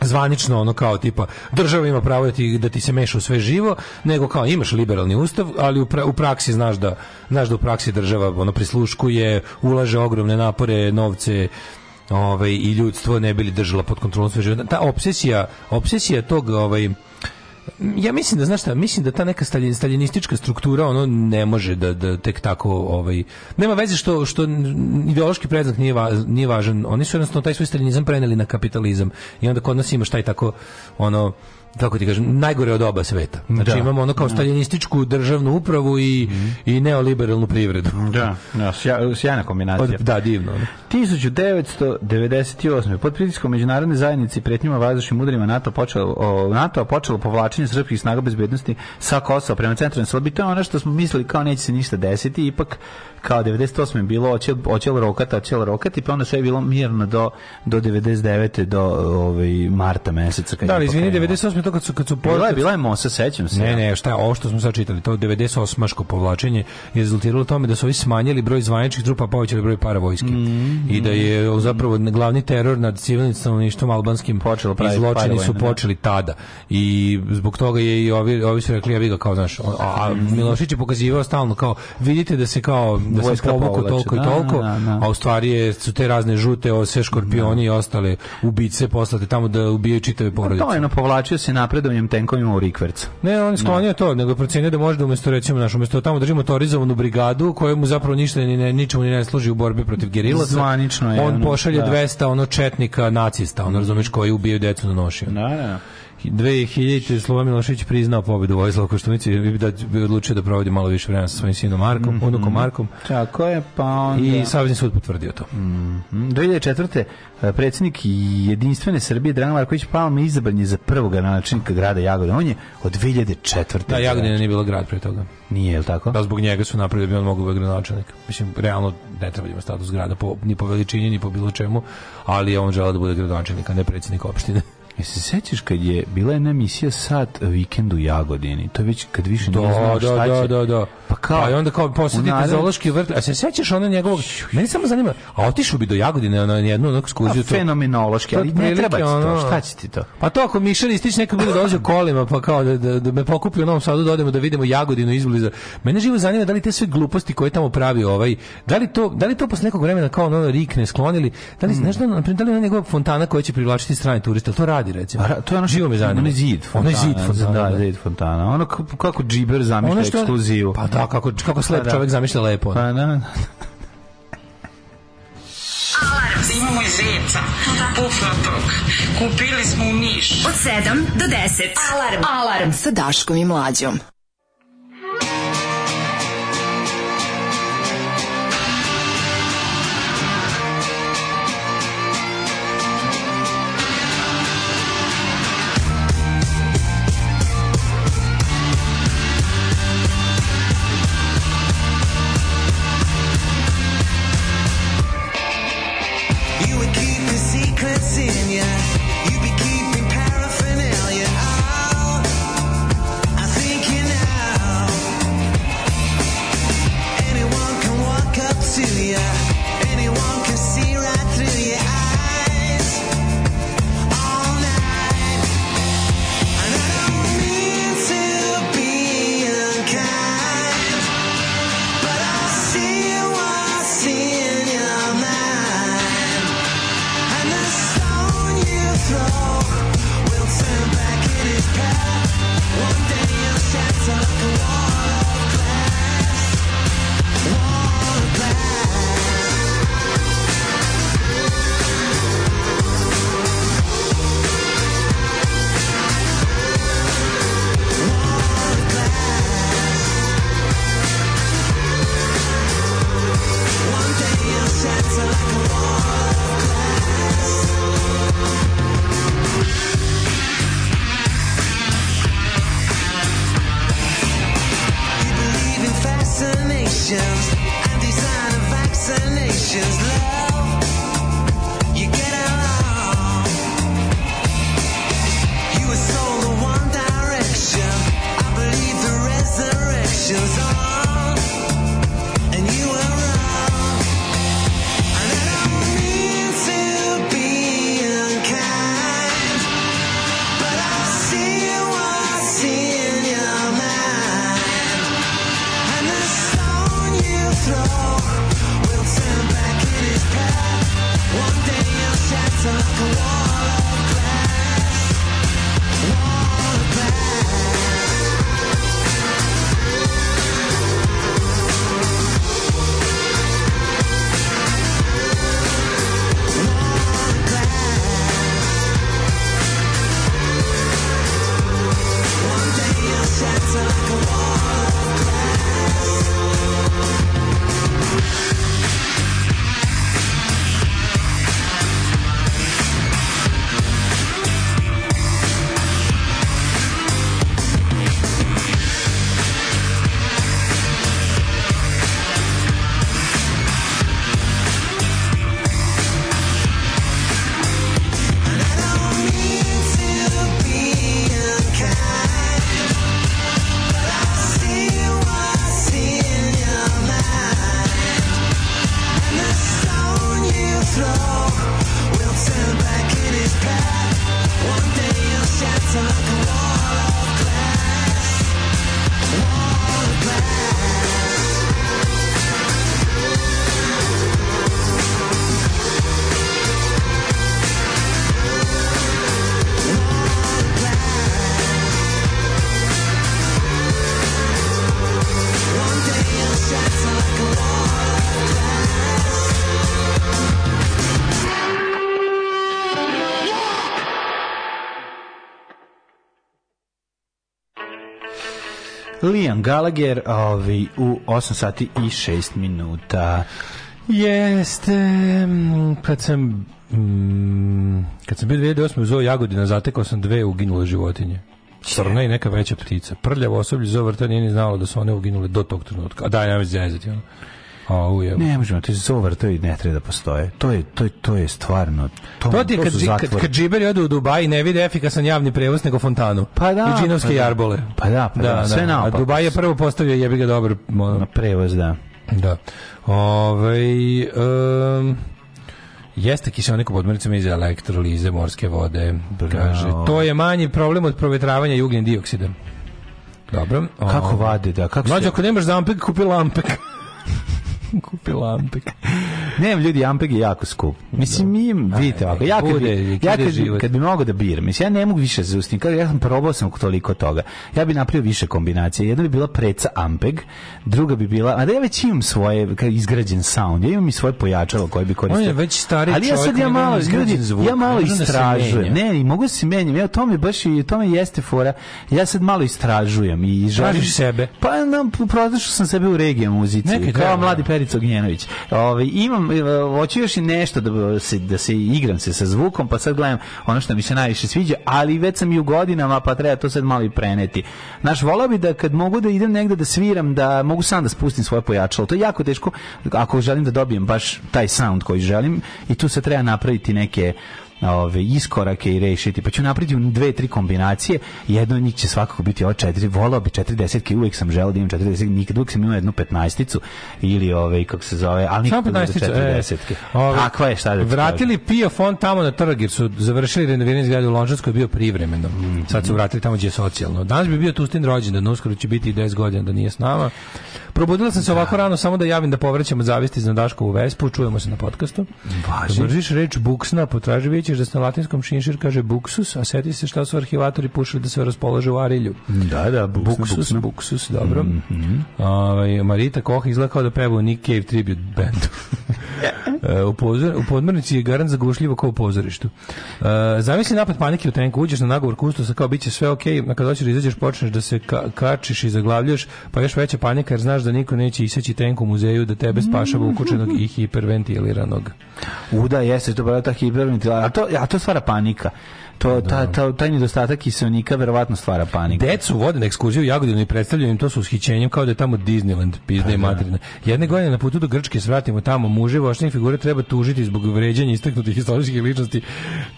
zvanično ono kao tipa država ima pravo da ti, da ti se meša u sve živo, nego kao imaš liberalni ustav, ali u, pra- u praksi znaš da znaš da u praksi država ono prisluškuje, ulaže ogromne napore, novce, ovaj i ljudstvo ne bili držala pod kontrolom sve živo. Ta obsesija, obsesija tog ovaj ja mislim da znaš šta, mislim da ta neka stalin, staljinistička struktura ono ne može da, da tek tako ovaj nema veze što što ideološki predznak nije va- nije važan. Oni su jednostavno taj svoj staljinizam preneli na kapitalizam i onda kod nas imaš taj tako ono kako ti kažem, najgore od oba sveta. Znači Da. imamo ono kao staljinističku državnu upravu i, i neoliberalnu privredu. da da sja- sjajna Pa kombinacija Da, divno. ono. 1998. pod pritiskom međunarodne zajednice i pretnjima vazdušnim udarima NATO počelo o, NATO počelo povlačenje srpskih snaga bezbednosti sa Kosova prema centralnoj Srbiji. To je ono što smo mislili kao neće se ništa desiti, ipak kao 98. je bilo oćel oćel rokat, oćel rokat i pa onda sve je bilo mirno do do 99. do ovaj marta meseca kad Da, ali je izvini, pokrenulo. 98. to kad su, kad su Bila je, portali- bila je Mosa, sećam se. Ne, ne, šta, ovo što smo sad čitali, to 98-aško povlačenje je rezultiralo tome da su ovi smanjili broj zvaničnih trupa, a povećali broj paravojske. I da Mm. je zapravo glavni teror nad civilnim stanovništvom albanskim Počelo i praviti zločini su paravojne, da. počeli tada. I zbog toga je i ovi, ovi su rekli, ja ga kao, znaš, a, a Mm. Milošić je pokazivao stalno kao, vidite da se kao, da se Vojska povuklo povlači, toliko i da, toliko, da, da. a u stvari je, su te razne žute, ove sve škorpioni i ostale ubice poslate tamo da ubijaju čitave porodice. To je ono, povlačio se napredovanjem tenkovima u Rikverc. Ne, on je sklonio to, nego je procenio da može da umesto recimo naš umesto tamo drži motorizovanu brigadu kojemu zapravo ništa ni ne, ničemu ni ne služi u borbi protiv gerilaca. Zvanično je, On ono, pošalje da. 200 ono četnika nacista, on razumeš koji ubijaju decu na noši. Da, da. 2000. Slova Milošić priznao pobedu Vojislava Koštunici i da bi odlučio da provodi malo više vremena sa svojim sinom Markom, unukom Markom. Mhm. Tako je, pa onda... Mhm. I Savjezni sud potvrdio to. 2004. eh, predsjednik jedinstvene Srbije Dragan Marković Palma izabran je za prvog načelnika grada Jagodina. On je od 2004. Da, Jagodina nije bila grad pre toga. Nije, jel tako? Da, zbog njega su napravili da bi on mogao biti gradonačelnik. Mislim, realno ne treba da ima status grada po, ni po veličini, ni po bilo čemu, ali je on želeo da bude gradonačelnik, a ne predsjednik opštine. Jel E, se sećaš kad je bila jedna emisija Sat vikend u Jagodini? To je već kad više Da, nije znao šta da, će. da, da, da. Pa kao... Pa i onda kao u posetite narednom- zoološki vrt. A se sećaš ono njegovog... Mene samo zanima, a otišao bi do Jagodine ono, na jednu onako Pa, skuziju. to- fenomenološki, To je ali ne treba ti otprilike to, ono- šta će ti to? Pa to ako Mišan Ristić nekad bude dolazio kolima, pa kao da, da, da me pokupi u Novom Sadu, da odemo da vidimo Jagodinu izbliza. Mene živo zanima da li te sve gluposti koje tamo pravi ovaj, da li to, da li to posle nekog vremena kao ono rikne sklonili, da Hmm. li, znaš da, na primjer, da li ona njegova fontana koja će privlačiti strane turiste, jel to radi recimo? A ra- to je ono što živo me zanima. Ono je zid fontana. Ono je zid fontana, Da, da. zid fontana. Ono k- kako džiber zamišlja Ono što- ekskluzivu. Pa da, kako, kako slep Pa da. čovjek zamišlja lepo. ono. Pa da. Imamo i zeca, pufnatog. Kupili smo u Niš. Od 7 do 10. Alarm. Alarm sa Daškom i Mlađom. You would keep the secrets in ya. You'd be keeping paraphernalia out. I think you now. Anyone can walk up to ya. Anyone can see right through your eyes. All night. And I don't mean to be unkind. But I see what's in your mind. And the stone you throw will turn back in its path. One day you'll shatter the wall of glass. Wall of glass. One day you'll shatter like a wall of glass. Liam Gallagher, ovi, u 8 sati i 6 minuta. Jeste, mm, kad sam mm, kad sam bio 2008. u zoo Jagodina, zatekao sam dve uginule životinje. Crna i neka veća ptica. Prljavo osoblje zoo vrta nije ni znalo da su one uginule do tog trenutka. A daj, nemoj se zezati. Ono. A, ujebo. Ne možemo, to je zovar, to i ne treba da postoje. To je, to, je- to je stvarno, to, To ti je to kad, su dži- kad, zatvori. kad džiberi odu u Dubaj i ne vide efikasan javni prevoz nego fontanu. Pa da, I džinovske pa da. jarbole. Pa da, pa da, sve A naopako. Dubaj je prvo postavio jebi ga dobar ono, Na prevoz, da. Da. Ove, um, jeste kiselnik u podmornicama iz elektrolize morske vode. Kaže, to je manji problem od provetravanja i ugljen dioksida. Dobro. Kako Ove, vade, da, kako Mlađo, se... ako nemaš zampek, kupi lampek. kupi lampek. Ne, ljudi, Ampeg je jako skup. Mislim, mi im, vidite, ovako, ja kad, bude, bi, kad ja je kad, bi, život. kad bi mogao da biram, mislim, ja ne mogu više za ustim, ja sam probao sam toliko toga. Ja bi napravio više kombinacija. Jedna bi bila preca Ampeg, druga bi bila, a da ja već imam svoje, ka- izgrađen sound, ja imam i svoje pojačalo koje bi koristio. On je već stari Ali ja čovjek, sad on ja ima malo, izgrađen ljudi, zvuk, ja malo ne može da se istražujem. menja. Ne, i mogu da se menjam. Ja to mi baš i to mi jeste fora. Ja sad malo istražujem i želim Tražiš sebe. Pa nam pronašao sam sebe u regije muzici, Neka je kao treba, mladi da. Perica Ognjenović. Ovaj imam e, hoću još i nešto da se da se igram se sa zvukom, pa sad gledam ono što mi se najviše sviđa, ali već sam i u godinama, pa treba to sad malo i preneti. Naš volao bi da kad mogu da idem negde da sviram, da mogu sam da spustim svoje pojačalo. To je jako teško ako želim da dobijem baš taj sound koji želim i tu se treba napraviti neke ove iskorake i rešiti. Pa ću napraviti u dve, tri kombinacije. Jedno od njih će svakako biti ova četiri. Volao bi 40 uvijek sam želeo da imam 40 nikad uvijek sam imao jednu 15 ili ove kako se zove, ali Samo nikad 15 40 Ovaj, Takva je šta da ti Vratili PIO fond tamo na trg jer su završili renoviranje zgrade u Lončanskoj je bio privremeno. Mhm. Sad su vratili tamo gdje je socijalno. Danas bi bio Tustin rođendan, uskoro će biti i 10 godina da nije s nama. Probudila sam se ovako rano samo da javim da povraćam od zavisti iz Nadaškovu Vespu, čujemo se na podcastu. Važi. Držiš reč buksna, potraži vidjet ćeš da se na latinskom šinšir kaže buksus, a seti se šta su arhivatori pušili da se raspolože u Arilju. kažem. Da, da, buksna, Buksus, buksna. Mhm. buksus, dobro. Ovaj, Marita Koh izgleda kao da peva u Nick Cave tribute bandu. E, u, pozor, u podmornici je garant zagušljivo kao u pozorištu. E, zamisli napad panike u tenku, uđeš na nagovor kustosa kao bit će sve ok, a kad hoćeš da izađeš počneš da se ka kačiš i zaglavljaš, pa još veća panika jer znaš da niko neće iseći tenku u muzeju da tebe spašava ukučenog i hiperventiliranog. Uda jeste to bila ta hiperventilacija, a to a to stvara panika. To Pa ta, ta, taj nedostatak kiselnika verovatno stvara paniku. Decu vode na ekskurziju u Jagodinu i predstavljaju im to s ushićenjem kao da je tamo Disneyland, Pa pizda i materina. Jedne godine na putu do Grčke svratimo tamo muže, vošnih figure treba tužiti zbog vređanja istaknutih historijskih ličnosti.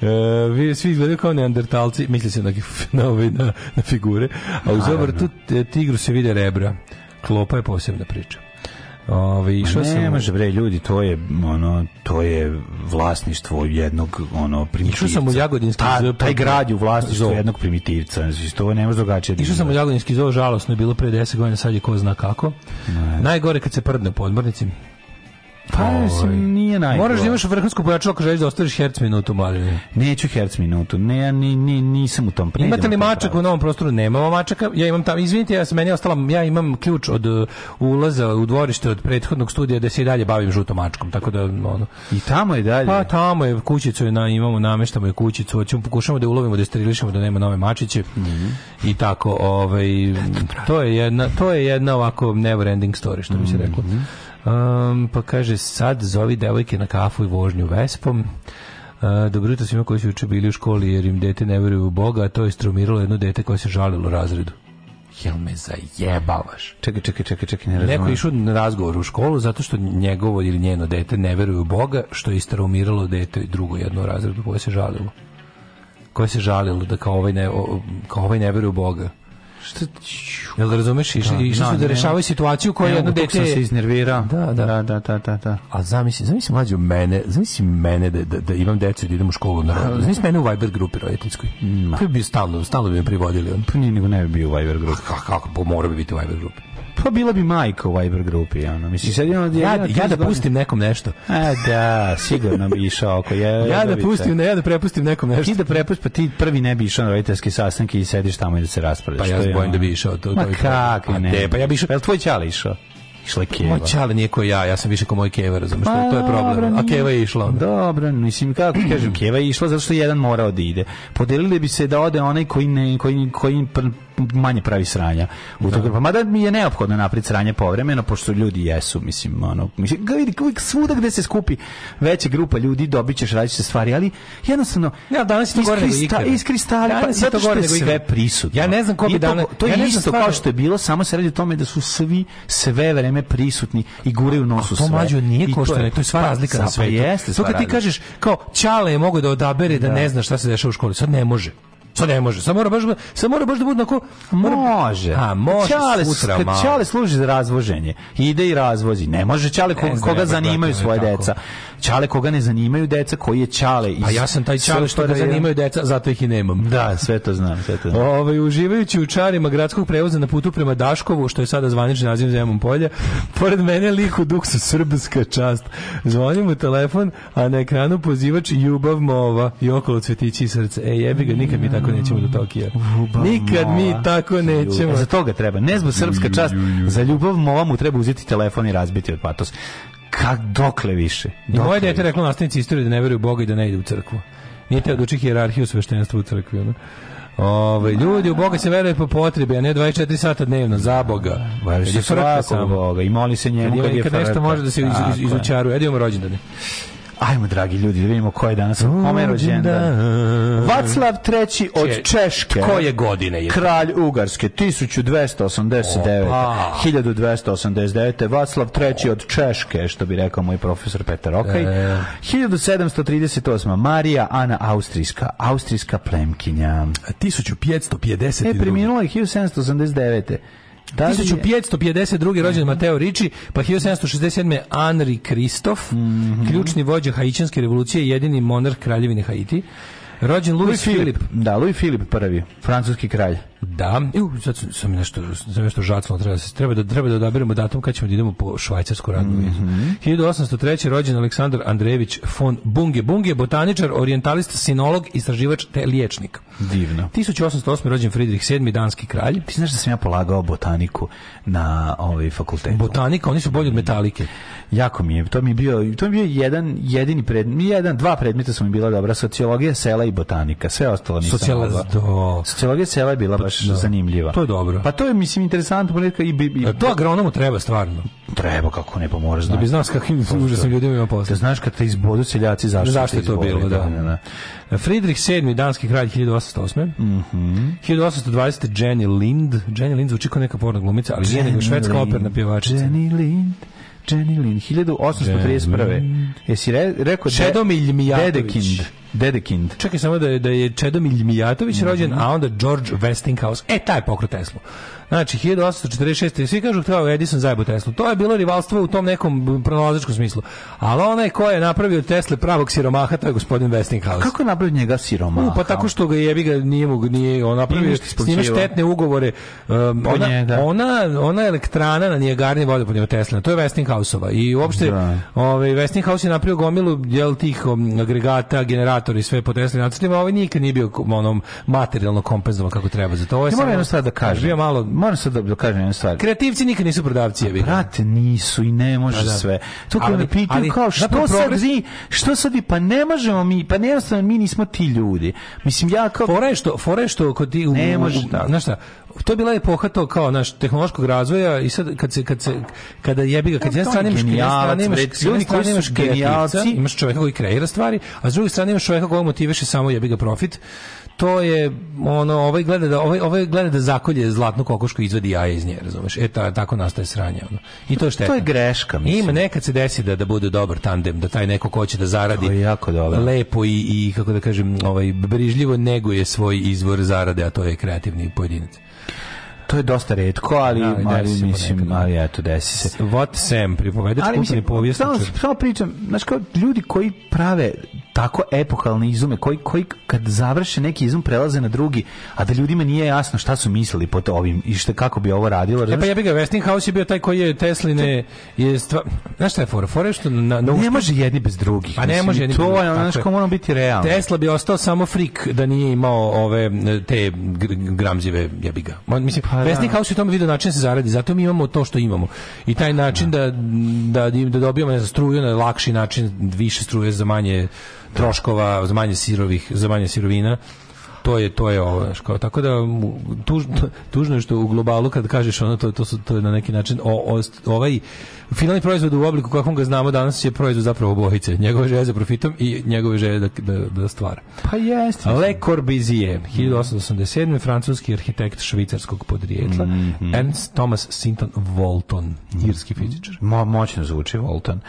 E, vi svi izgledaju kao neandertalci, misli se na, na, ove- na, na figure, a uz obrtu e, tigru se vide rebra. Klopa je posebna priča. Ove, išao Ne sam, može bre ljudi, to je ono to je vlasništvo jednog ono primitivca. Išao sam u Jagodinski Ta, zoo, Pa, pa- taj grad je u vlasništvu zoo. jednog primitivca. Znači, to ne može drugačije. da Išao sam u izgleda. Jagodinski zoo, žalosno je bilo pre 10 godina, sad je ko zna kako. Najgore kad se prdne u podmornici. Pa mislim, nije najgore. Moraš da imaš vrhunsko pojačalo ako želiš da ostaviš herc minutu maline. Neću herc minutu. Ne, ja ni, ni, nisam u tom pre. Imate idem li u tom mačak u pravcu. novom prostoru? Nemamo mačaka. Ja imam tamo, izvinite, ja sam meni je ostala, ja imam ključ od uh, ulaza u dvorište od prethodnog studija da se i dalje bavim žutom mačkom, tako da ono. I tamo je dalje. Pa tamo je kućicu je na, imamo nameštamo je kućicu, hoćemo pokušamo da je ulovimo, da je sterilišemo da nema nove mačiće. I tako, ovaj Mhm. to je jedna to je jedna ovako never ending story što bi se reklo. Um, pa kaže sad zovi devojke na kafu i vožnju Vespom. Uh, dobro jutro svima koji su juče bili u školi jer im dete ne veruje u Boga, a to je stromiralo jedno dete koje se žalilo razredu. Jel me zajebavaš? Čekaj, čekaj, čekaj, čekaj, ne Neko razumem. je išao na razgovor u školu zato što njegovo ili njeno dete ne veruje u Boga, što je istraumiralo dete i drugo jedno u razredu koje se žalilo. Koje se žalilo da kao ovaj ne, o- kao ovaj ne veruje u Boga. Šta ti- Jel da razumeš? Išli, išli da, su da ne, rešavaju situaciju koju Ne jedno mogu, toliko dete sam se je... iznervirao. Da, da. da, da, da, da, da. A zamisli, zamisli mlađe mene, zamisli mene da, da, da imam decu i da idem u školu na rodinu. Zamisli mene u Viber grupi roditeljskoj. To bi bio stalno, stalno bi me privodili. On. Pa nije nego ne bi bio u Viber grupi. Kako, kako, pa mora bi biti u Viber grupi. Pa bila bi majka u Viber grupi, ono. Mislim, sad jedno... Ja, jedno- ja da pustim nekom nešto. A E, da, sigurno bi išao oko je. Ja da pustim, ne, ja da prepustim nekom nešto. Ti da prepusti, pa ti prvi ne bi išao na roditeljski sastanke i sediš tamo i da se raspravljaš. Pa ja To se je bojim ono. da bi išao. To, Ma to bi- kakvi A ne. de, pa ja bi išao. Jel tvoj ćale išao? Išla je keva. Moj čale nije ko ja, ja sam više ko moj keva, razumiješ, to, to je dobro, problem. A nije. keva je išla onda. Dobro, mislim kako ti kažem, Keva je išla zato što je jedan morao da ide. Podelili bi se da ode onaj koji ne koji koji pr- manje pravi sranja. U da. Pa mada mi je neophodno napraviti sranje povremeno, pošto ljudi jesu, mislim, ono, mislim, ga vidi, uvijek svuda gde se skupi veća grupa ljudi, dobit ćeš različite stvari, ali jednostavno, Ja, danas je to gore nego ikada. iz kristali, pa, Danas je to zato što gore je nego ikada. sve prisutno. Ja ne znam ko bi Nije to danas- go- To ja ne je znam isto stvarno- kao što je bilo, samo se radi o tome da su svi sve vreme prisutni i guraju nos u To sve. pa mlađo I nije to koštane, je- to je sva pa, razlika za- na pa svetu. Jeste, to sva kad ti razlika. kažeš kao čale je mogao da odabere da, ne zna šta se dešava u školi, sad ne može. Sad ne može. Sad mora baš, sad mora baš da bude onako... Mora, Može. A, može Ćale, sutra kad malo. Ćale služi za razvoženje. Ide i razvozi. Ne može Ćale ko- Ne znam, koga ja, zanimaju brate, svoje tako. deca. Ćale koga ne zanimaju deca, koji je Ćale iz Pa ja sam taj čale što ga SFRJ. zanimaju deca, zato ih i nemam. Da, sve to znam, sve to znam. Ovaj uživajući u čarima gradskog prevoza na putu prema Daškovu, što je sada zvanični naziv Zemun polja, pored mene lik u duksu srpska čast. Zvoni mu telefon, a na ekranu pozivač ljubav mova i okolo cvetići i srce. E jebi ga, nikad mi tako nećemo do Tokija. Nikad mi tako nećemo. E, Za toga treba. Ne zbog srpska čast, za ljubav mova mu treba uzeti telefon i razbiti od patos. Kak dokle više? I moje Dokle dete više? reklo nastavnici istorije da ne veruje u Boga i da ne ide u crkvu. Nije teo da uči hijerarhiju sveštenstva u crkvi. ono. Ove, ljudi u Boga se veruje po potrebi, a ne 24 sata dnevno, za Boga. Vališ Jer je se frka svakog samo. Boga i moli se njemu Kad, kad je kad nešto frka. može da se iz, Tako iz, je. izučaruje. Ajde imamo rođendane. Ajmo, dragi ljudi, da vidimo ko je danas. Kome je rođendan? Vaclav III od Če- Češke. Koje godine je? Kralj Ugarske 1289 Opa. 1289 Vaclav III od Češke što bi rekao moj profesor Petar Okaj E. 1738 Marija Ana Austrijska austrijska plemkinja 1552. E preminula je 1789 Da li je- 1552. rođen Mateo Riči, pa 1767. Anri Kristof, Mhm. ključni vođa Haitijanske revolucije i jedini monarh kraljevine Haiti. Rođen Louis, Louis Filip. Da, Louis Filip prvi, francuski kralj. Da, ju, sad sam- sam nešto, sam nešto žacno, treba, se- treba, da, treba da odaberemo datum kad ćemo da idemo po švajcarsku radnu vizu. 1803. rođen Aleksandar Andrejević von Bunge. Bunge je botaničar, orientalist, sinolog, istraživač te liječnik. Divno. 1808. rođen Fridrih VII, danski kralj. Ti znaš da sam ja polagao botaniku na ovaj fakultetu. Botanika, oni su bolji od metalike. Jako mi je, to mi je bio, to mi je bio jedan jedini predmet, jedan, dva predmeta su mi bila dobra, sociologija sela i botanika, sve ostalo nisam. Socijala- mogao. do- Sociologija sela je bila baš zanimljiva. To je dobro. Pa to je mislim interesantno ponekad i, bi- i E, To agronomu treba stvarno. treba kako ne pa moraš Da znati. bi znaš s kakvim užasnim ljudima ima Da posla. znaš kad te izbodu seljaci zašto, Zašto te je to izbode, bilo, da. Friedrich VII, danski kralj 1808. Mhm. 1820. Jenny Lind. Jenny Lind zvuči kao neka porna glumica, ali nije nego švedska Lind, operna pjevačica. Jenny Lind, Jenny Lind, 1831. Jesi re, rekao de- Čedomilj Mijatović. Dedekind. Dedekind. Čekaj samo da je, da je Čedomilj Mijatović Mhm. rođen, a onda George Westinghouse. E, taj je pokro Teslu. Znači, 1846. Svi kažu kao Edison zajebo Teslu. To je bilo rivalstvo u tom nekom pronalazačkom smislu. Ali onaj ko je napravio od Tesle pravog siromaha, to je gospodin Westinghouse. Kako je napravio njega siromaha? U, pa tako što ga jebi ga nije mu nije on napravio Nije ništa s njime isplaćivao. Pa štetne ugovore. Um, ona, njega. ona, ona elektrana na Nijagarni vodopadnje Tesla, to je Westinghouse-ova i uopšte Da. ovaj Westinghouse je napravio gomilu jel tih um, agregata, generatori sve po Tesla nacrtima, a ovaj nikad nije bio kom- onom materijalno kompenzovan kako treba za to. Ovo je Ja moram samo- jednu stvar da kažem. Bio malo Moram sad da- da kažem jednu stvar. kreativci nikad nisu prodavci, jebi ga. Brate, nisu i ne može Pa da. sve. To kad Ali- me pitaju ali, kao što zapravo sad progres- vi, što sad vi, pa ne možemo mi, pa jednostavno mi nismo ti ljudi. Mislim, ja kao... Fora je što, fora je što kod ti u, Ne može u- tako. znaš šta, to je bila epoha to kao naš tehnološkog razvoja i sad kad se kad se kada jebi ga kad s jedne to je strane imaš genijalac, genijalac, imaš, bre, s jedne ljudi koji strane imaš su kreativca, genijalci. imaš čovjeka koji kreira stvari, a s druge strane imaš čovjeka kojeg motiviše samo jebi ga profit. To je ono ovaj gleda da ovaj ovaj gleda da zakolje zlatnu kokošku i izvadi jaje iz nje, razumeš? E ta, tako nastaje sranje ono. I to je šteta. To je greška, mislim. Ima nekad se desi da da bude dobar tandem, da taj neko ko će da zaradi To je jako dobro. lepo i, i kako da kažem, ovaj brižljivo neguje svoj izvor zarade, a to je kreativni pojedinac. To je dosta redko, ali, Da, ali ali desi se mislim, ponekad. ali eto, desi se. What Sam, pripovedač Ali kulturni mislim, samo, povjesničar. samo pričam, znaš kao ljudi koji prave tako epohalne izume, koji, koji kad završe neki izum prelaze na drugi, a da ljudima nije jasno šta su mislili pod ovim i šta, kako bi ovo radilo. E razumeš? pa jebi ga, Westinghouse je bio taj koji je Tesline... Je stva... Znaš šta je fora? Fora je što na, na ne može jedni bez drugih. Pa ne mislim, može i jedni bez To drugih, je E, ono, tako znaš, je. kao moramo biti realni. Tesla bi ostao samo frik da nije imao ove e, te gr- gramzive jebiga. Ma, Mislim, Pa da. Westinghouse je u tome video način da se zaradi, zato mi imamo to što imamo. I taj način da, da, da dobijemo ne znam, struju na lakši način, više struje za manje troškova, za manje sirovih, za manje sirovina. to je to je ovo znaš, kao, tako da mu- tužno, tužno je što u globalu kad kažeš ono to to su to je na neki način o, o- ovaj finalni proizvod u obliku kakvom ga znamo danas je proizvod zapravo obojice njegove želje za profitom i njegove želje da da, da stvara Pa jeste. Le Corbusier, 1887. francuski arhitekt švicarskog podrijetla, Mhm. Ernst Thomas Sinton Walton, irski fizičar. Mo, moćno zvuči Volton.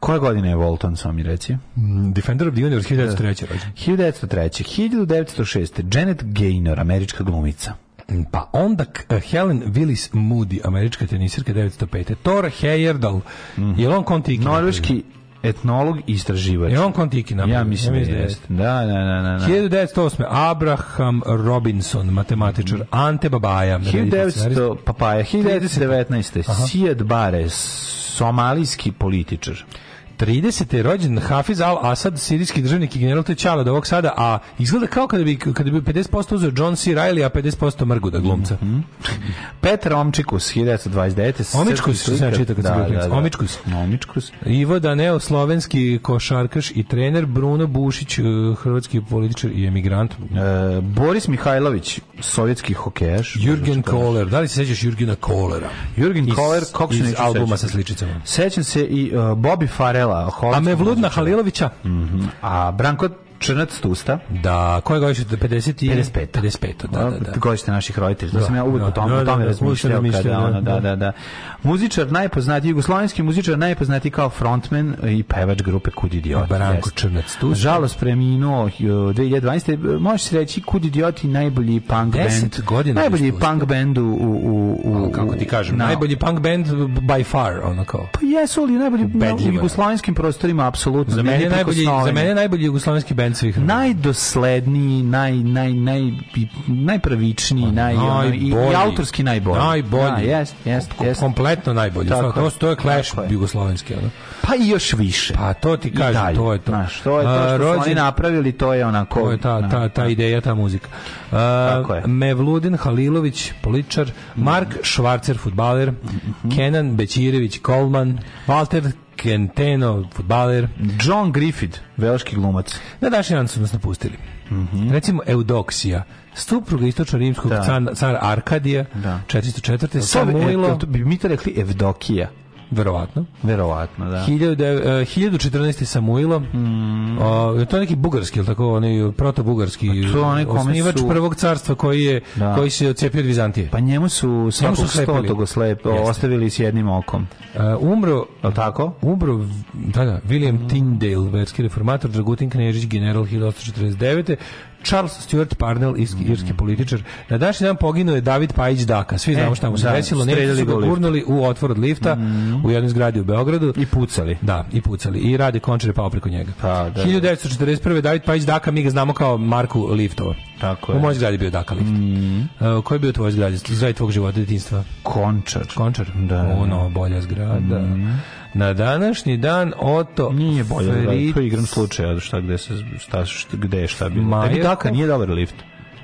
Koja godina je Volton, samo mi reci? Mhm. Mm, Defender of the Universe, 1903. rođen. 1903. 1906. Janet Gaynor, američka glumica. Mm, Pa onda k- eh, Helen Willis Moody, američka tenisirka 905. Thor Heyerdahl. Mhm. Je li on kontiki? No, Norveški etnolog i istraživač. Je li on kontiki? Ja mislim da jeste. Da, da, da, da. da. 1908. Abraham Robinson, matematičar, Mhm. Ante Babaja. 1900, papaja, 1919. Sijad Bare, somalijski političar. 30. je rođen Hafiz al-Assad, sirijski državnik i general Tečala do ovog sada, a izgleda kao kada bi, kada bi 50% uzeo John C. Reilly, a 50% Mrguda glumca. Petar Omčikus, 1929. Omičkus, srpski što sam ja slikar. čitao kad sam bio klinac. Omičkus. Omičkus. Ivo Daneo, slovenski košarkaš i trener, Bruno Bušić, eh, hrvatski političar i emigrant, E, Boris Mihajlović, sovjetski hokejaš. Jürgen Kohler. Da li se sećaš Jürgena Kohlera? Jürgen Kohler, kako se iz neću albuma sećati. sa sličicama. Sećam se i uh, Bobby Farela, A Mevludna Halilovića? a Branko Črnac Tusta. Da, koje godište? 50 i... 55. 55, Pa da, da, da. Godište naših roditelja. To sam ja uvijek da. o tome, Da, o da, tome da, razmišljao. uvijek sam kada, razmišljao, ono, da, da, da, da. Muzičar najpoznatiji, jugoslovenski muzičar najpoznatiji kao frontman i pevač grupe Kud idioti. Branko jeste. Črnac Tusta. Žalost preminuo uh, 2012. Možeš se reći Kud idioti najbolji punk Deset band. godina Najbolji već punk band u... u, u, u kako ti kažem, na- najbolji punk band by far, ono kao. Pa jesu li najbolji na, u Ubedljivo je. jugoslovenskim prostorima, apsolutno. Za mene je najbolji, za neprikosnoveni. mene je najbolji jugoslovenski band svih. vremena. najdosledniji, naj, naj, naj, i- najpravičniji, naj, ono, i, i Pa Najbolji. autorski najbolji. Najbolji. Da, jest, jest, Kom- jest. Kompletno najbolji. Tako Sva- to, je. to je Clash Tako je. jugoslovenski, ono. Pa i još više. Pa to ti I kažem, dalje. to je to. Znaš, to je to A, što su oni rođen- napravili, to je onako... To je ta, ta, ta ideja, ta muzika. Uh, Tako je. Mevludin Halilović, političar, Mark Švarcer, futbaler, Kenan Bećirević, Kolman, Walter Kenteno, futbaler. John Griffith, velški glumac. Na današnji dan su nas napustili. Recimo Eudoksija, supruga istočno-rimskog Mhm. Da. car, car Arkadija, Da. e, 404. Samuilo... Samuilo, bi mi to rekli Evdokija, verovatno, verovatno, da. 1900, eh, 1014. Samuilo, Mm. o, je to neki bugarski, ili tako, onaj proto-bugarski Pa to onaj kome osnivač su- prvog carstva koji, je, Da. koji se odcepio od Vizantije. Pa njemu su svakog slepili. stotog oslepo, Jeste. ostavili s jednim okom. Eh, umro Je li tako? Umro, da, da, William Mm. Tyndale, verski reformator, Dragutin Knežić, general 1849. Charles Stuart Parnell, irski, Mm. irski političar. Na današnji dan poginuo je David Pajić Daka. Svi znamo šta mu se E, da, desilo. Nemci streljali su ga ga u lift. gurnuli u otvor od lifta u jednoj zgradi u Beogradu. Mm. I pucali. Da, i pucali. I Rade Končar je pao preko njega. Pa, da, da. 1941. David Pajić Daka, mi ga znamo kao Marku Liftova. Tako U je. Mhm. mojoj zgradi je bio Daka Lift. E, koji je bio u tvojoj zgradi? Zgradi tvog života, detinjstva? Končar. Končar? Da. Mhm. Ono, bolja zgrada. Na današnji dan Oto Nije bolje, Fritz- da, to je igran slučaj, od šta gde se šta šta- gde je šta bilo. Majer- Tebi Daka nije dobar lift.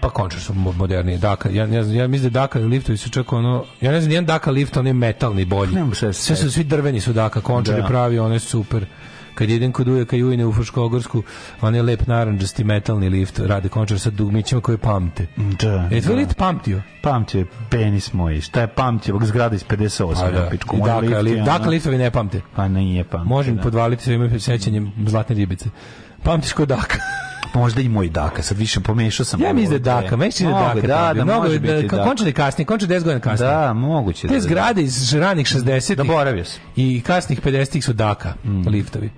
Pa Končar su mo- moderniji. Daka, ja, ne znam, ja mislim da Daka liftovi su čak ono, ja ne znam, jedan Daka lift, on je metalni bolji. Ne mogu se Sve su, setiti. svi drveni su Daka, Končar Da. je pravi, on je super. Kad idem kod Ujaka Jujine u Fruškogorsku, on je lep naranđasti metalni lift, rade Končar sa dugmićima koje pamte. Da. E, tvoj lift pamtio? Pamti je penis moj. Šta je pamti ovog zgrada iz 58? Pa da. da. Pičku, I moj Daka, lift je, li, ono- Daka liftovi ne pamte. Pa nije pamti. Možem da. podvaliti svojim sećanjem zlatne ribice. Pamtiš ko Daka? Možda i moj Daka, sad više pomešao sam. Ja ovo mislim da je ovdje. Daka, meni se čini da je Mogu, Daka. Da, tamo bio. da, Mnogo može je biti da, Daka. Končar je kasnije, Končar 10 godina kasnije. Da, moguće da. Te da. zgrade iz ranih 60-ih Zaboravio sam. i kasnih 50-ih su Daka Mm. liftovi. Uh,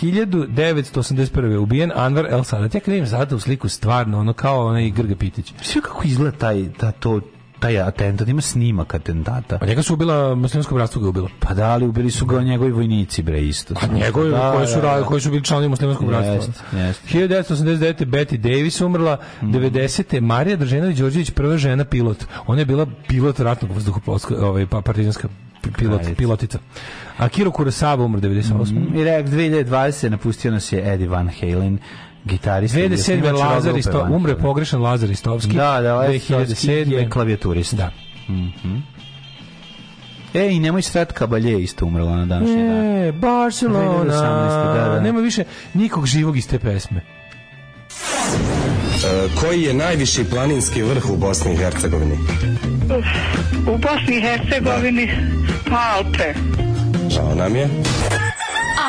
1981. ubijen Anvar El Sadat. Ja kad vidim Sadata u sliku stvarno, ono kao onaj Grga Pitić. Sve kako izgleda taj, ta, to, taj atentat, ima snimak atentata. Pa njega su ubila, muslimsko bratstvo ga je ubilo. Pa da, ali ubili su ga njegovi vojnici, bre, isto. A njegovi Da, koji, da, su, ra- da. koji su bili članovi muslimanskog bratstva. Jeste, jeste. Mm. 1989. Betty Davis umrla, 90. Marija Drženović Đorđević, prva žena pilot. Ona je bila pilot ratnog vazduhoplovstva, ovaj, pa partizanska pi- pilot, Kraljica. pilotica. A Kiro Kurosawa umr 98. I rek 2020 napustio nas je Eddie Van Halen, gitarista. i 2007. osnivač rock Lazar grupe Isto, Van umre Halen. pogrešan Lazar Istovski. Da, ovaj da, je 2007. klavijaturista. Mhm. Da. E, i nemoj Strat Kabalje je isto umrla na današnji dan. E, Barcelona. 2018., da, da. Nema više nikog živog iz te pesme. koji je najviši planinski vrh u Bosni i Hercegovini? U Bosni i Hercegovini Alpe. Žao nam je.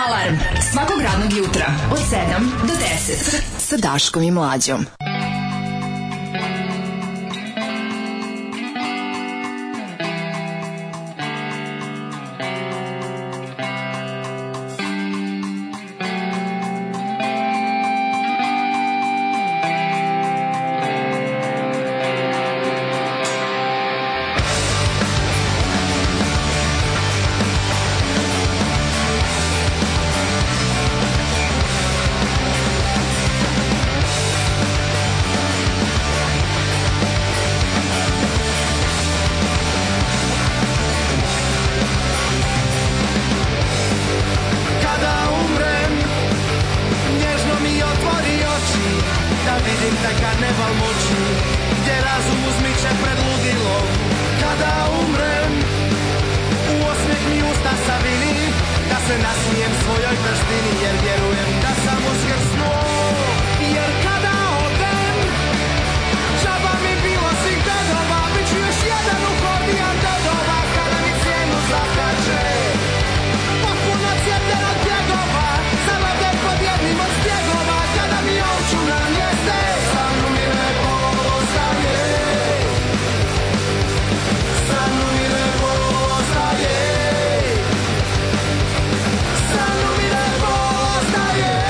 Alarm svakog radnog jutra od 7 do 10 sa Daškom i Mlađom. Kada umrem, nježno mi otvori oči Da vidim da karneval moći Gdje razum uzmiče pred ludilo Kada umrem, u osmijeh mi usta savini Da se nasmijem svojoj vrštini Jer vjerujem da sam uskrsnuo Jer kada odem, džaba mi bilo svih dedova Bit ću još jedan u kordijan dedova Kada mi cijenu zakače Potpuno cjeter od bjegova Zavade pod jednim od stjegova Kada mi oču na mjeste Sa mnom mi lepo ostaje Sa mnom mi lepo ostaje Sa mnom mi lepo ostaje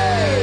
no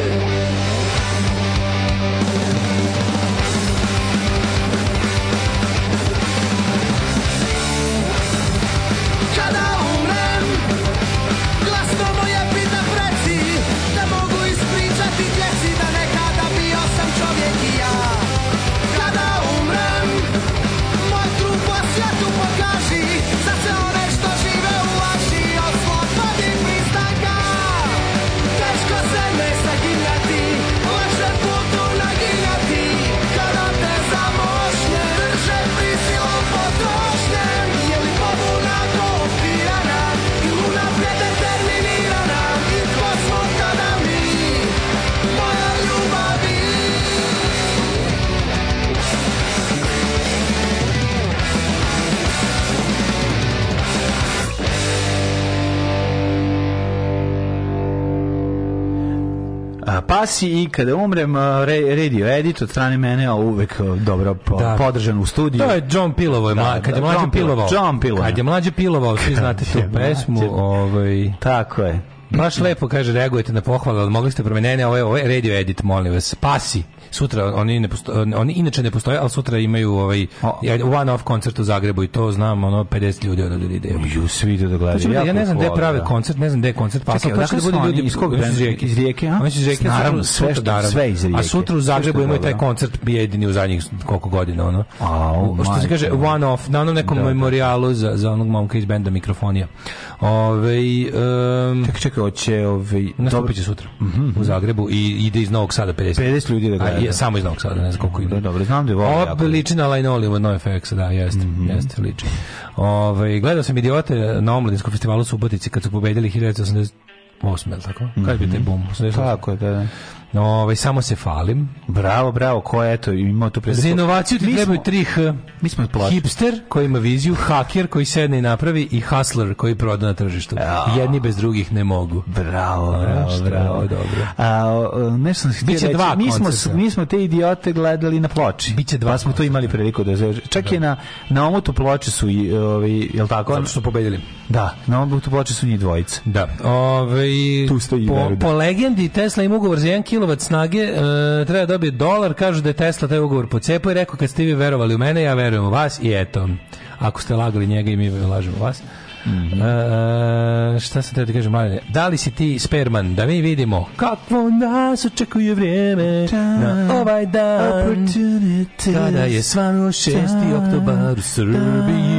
gasi i kada umrem, a, re, radio edit od strane mene, a uvek a, dobro po, Da. podržan u studiju. To je John Pilovo, je mla- kad je mlađe John pilovao. John Pilovao. Kad je mlađe pilovao, svi znate tu je mlađe- pesmu. Ovaj, Tako je. baš lepo, kaže, reagujete na pohvale, ali mogli ste promenjene, ovo je, ovo je radio edit, molim vas, spasi. Sutra oni ne posto- oni inače ne postoje, ali sutra imaju ovaj one off koncert u Zagrebu i to znam, ono 50 ljudi od ide. Ju, svi idu da gledaju. Hoćemo da- ja Jako ne znam gde hvala, prave da. koncert, ne znam gde je koncert Čekaj, pasao. odakle su oni? Iz kog Oni su iz benda? Rijeke. Iz Rijeke, a? Oni su iz Rijeke, Naravno, sutra- sve sutra što- Daram. sve iz A Rijeke. sutra u Sve što Zagrebu je imaju taj dobro. koncert bio jedini u zadnjih koliko godina, ono. Au, što se majko kaže, moja. one off, na onom nekom Da, da. memorialu za, za onog momka iz benda mikrofonija. Ove, um, Čekaj, čekaj, hoće... Mhm, Ovaj, Nastupit će sutra u Zagrebu i ide iz Novog Sada 50. 50 ljudi da A, gleda. je, samo iz Novog Sada, ne znam koliko Dobro, ide. dobro, znam da Mhm, je voli Ovo jako. liči na Line Olive od NoFX, da, jeste, jeste, liči. Ove, gledao sam Idiote na Omladinskom festivalu u Subotici kad su pobedili 1988, je li tako? Kad bi taj bum? 88? Mhm. Tako je, da, da. Ove, samo se falim. Bravo, bravo, ko je to imao tu priliku? Za inovaciju ti Mi trebaju smo- tri H. Mi smo plaćali. Hipster koji ima viziju, haker koji sedne i napravi i hustler koji proda na tržištu. Jedni bez drugih ne mogu. Bravo, A, bravo, šta, bravo, dobro. A, o, nešto sam htio Biće reći. dva mi smo, koncerta. mi smo te idiote gledali na ploči. Biće dva Pa smo to imali priliku da zove. Čak i na, na omotu ploče su, i, ovi, jel tako? Zato što su pobedili. Da, na omotu ploče su njih dvojica. Da. Ove, Tu stoji po, Veruda. po legendi Tesla ima ugovor za 1 kilovat snage, e, treba dobije dolar, kažu da je Tesla taj ugovor pocepao i rekao kad ste vi verovali u mene, ja verujem u vas i eto. Ako ste lagali njega i mi lažemo vas. E, šta sam teo ti kažem, mladine? Da li si ti sperman? Da mi vidimo kakvo nas očekuje vrijeme na ovaj dan kada je svanuo 6. oktobar u Srbiji.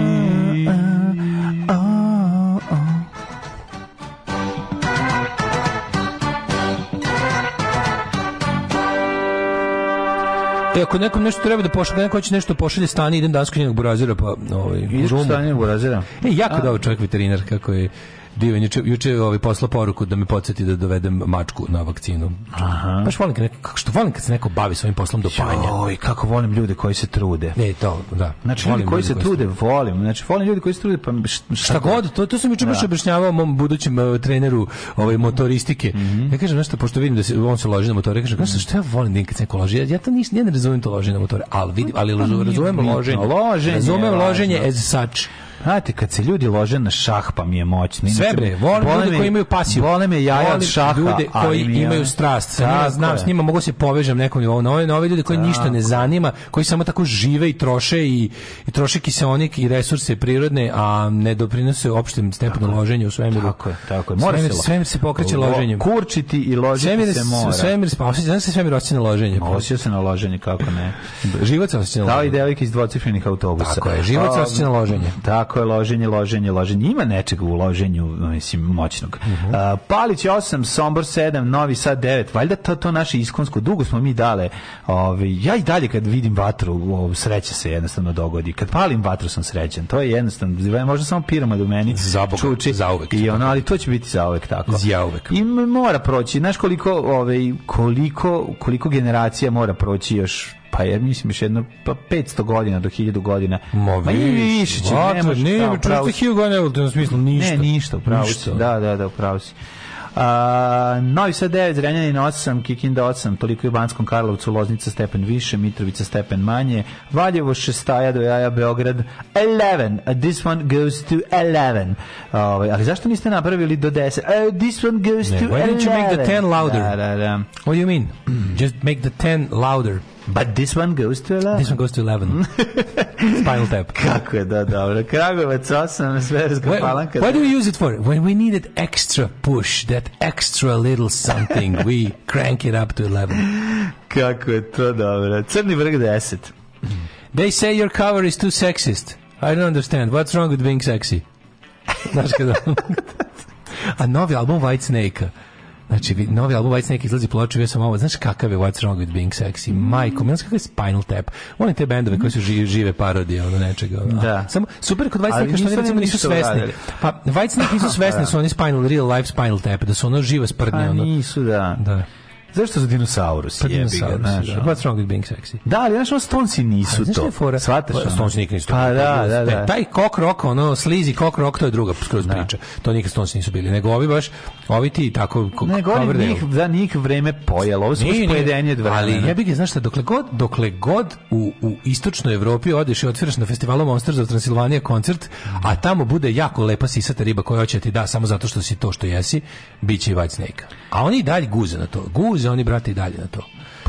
E, ako nekom nešto treba da pošalje, neko hoće nešto pošalje stani, idem danas kod njenog burazira, pa ovaj, Ideš žumu. u stanje burazira? E, jako dobar čovjek veterinar, kako je divan. Juče, juče je ovaj poslao poruku da me podsjeti da dovedem mačku na vakcinu. Aha. Baš volim kad, neko, kako što volim kad se neko bavi svojim poslom do panja. Oj, kako volim ljude koji se trude. Ne, to, da. Znači, Volim ljudi koji se trude, volim. Znači, volim ljudi koji se trude, pa šta, Šta god, to, to sam juče baš objašnjavao mom budućem e, treneru ovaj, motoristike. Mhm. Ja kažem nešto, pošto vidim da se, on se loži na motore, ja kažem, kažem, što ja volim da im kad se neko loži? Ja, ja to nis, ja ne razumijem to loženje na motore, ali, vidim, ali razum- razumem Pa bitno. loženje. Loženje je Razumem važno. loženje as such. Znate, kad se ljudi lože na šah, pa mi je moćno. Inače, Sve bre, volim bole ljude me- koji imaju pasiju. Bole me jaja od Volim šaha. Ljude ali koji mi je- imaju strast. Sa njima Tako znam, je. s njima mogu se povežem nekom nivou. Na ove, na ove ljude koji ništa ne zanima, koji samo tako žive i troše i, i troše kiseonik i resurse prirodne, a ne doprinose opštem stepenu loženja u svemiru. Tako je, tako je. Mora svemir, se lo- svemir se pokreće lo- loženjem. Kurčiti i ložiti Svemir, se mora. svemir, pa osjeća, znaš se svemir osjeća na loženje. Osjeća se na loženje, kako ne. Život se osjeća na Da li loženje. devojke iz dvocifrenih autobusa? Tako je, život se Um, osjeća na loženje. Tako je, loženje, loženje, loženje. Ima nečeg u loženju, mislim, moćnog. A, Palić je 8, Sombor 7, Novi Sad 9. Valjda to, to naše iskonsko. Dugo smo mi dale. Ove, ja i dalje kad vidim vatru, o, sreća se jednostavno dogodi. Kad palim vatru sam srećan. To je jednostavno, možda samo piramad u meni. Za Boga, čuči. zauvek. I ono, ali to će biti zauvek tako. Zauvek. I m- mora proći. Znaš koliko, ovaj, koliko, koliko generacija mora proći još pa ja mislim još jedno pa 500 godina do 1000 godina. Ma i više će, ne Vatr, može. nije, da, u pravu čušte si. hilgo ne u tom smislu, ništa. Ne, ništa, u pravu si. Da, da, da, u pravu si. A, Novi Sad 9, Zrenjanin 8, Kikinda 8, toliko je u Banskom Karlovcu, Loznica stepen više, Mitrovica stepen manje, Valjevo šestaja do jaja, Beograd 11, a this one goes to 11. Ovaj, ali zašto niste napravili do 10? A, this one goes Ne, to 11. why didn't you make the 10 louder? Da, da, da. What do you mean? Just make the 10 louder. But this one goes to 11. This one goes to 11. Spinal tap. Kako je, da, dobro. Kragovac 8, Zverzga Why, palanka. why do we use it for? When we need that extra push, that extra little something, we crank it up to 11. Kako je to dobro. Crni vrh 10. They say your cover is too sexist. I don't understand. What's wrong with being sexy? Znaš kada... A novi album White Snake-a. Znači, vi- novi album White Snake izlazi ploču, ja sam ovo, znaš kakav je What's Wrong With Being Sexy, Mm. majko, mi znaš kakav je Spinal Tap, oni te bendove koji su ži- žive parodije, ono nečega. Ono. Da. Samo, super kod White Ali Snake, što oni nisu recimo oni nisu ništa svesni. uradili. Pa, White Snake nisu svesni, da su oni Spinal, real life Spinal Tap, da su ono žive sprdnje, Pa ono. nisu, da. Da. Zašto su dinosaurusi? Pa jebi ga, dinosaurus. znaš, ono. What's wrong with being sexy? Da, ali znaš, ono stonci nisu A, znaš šta to. je fora? Shvataš, ono? Stonci nikad nisu to. Pa da, da, da. E, taj kok rock, ono, slizi kok rock, to je druga skroz priča. To nikad stonci nisu bili. Nego ovi baš, ovi ti tako... ko- Ne, govorim, Coverdale. njih, da, njih vreme pojelo. Ovo su baš Nije, nije. pojedenje dva. Ali ja bih ga, znaš šta, dokle god, dokle god u, u istočnoj Evropi odeš i otviraš na festivalu Monsters of Transilvanija koncert, a tamo bude jako lepa sisata riba koja hoće da ti da samo zato što si to što jesi, bit će i White Snake. A oni i dalje guze na to. Guze oni, brate, i dalje na to.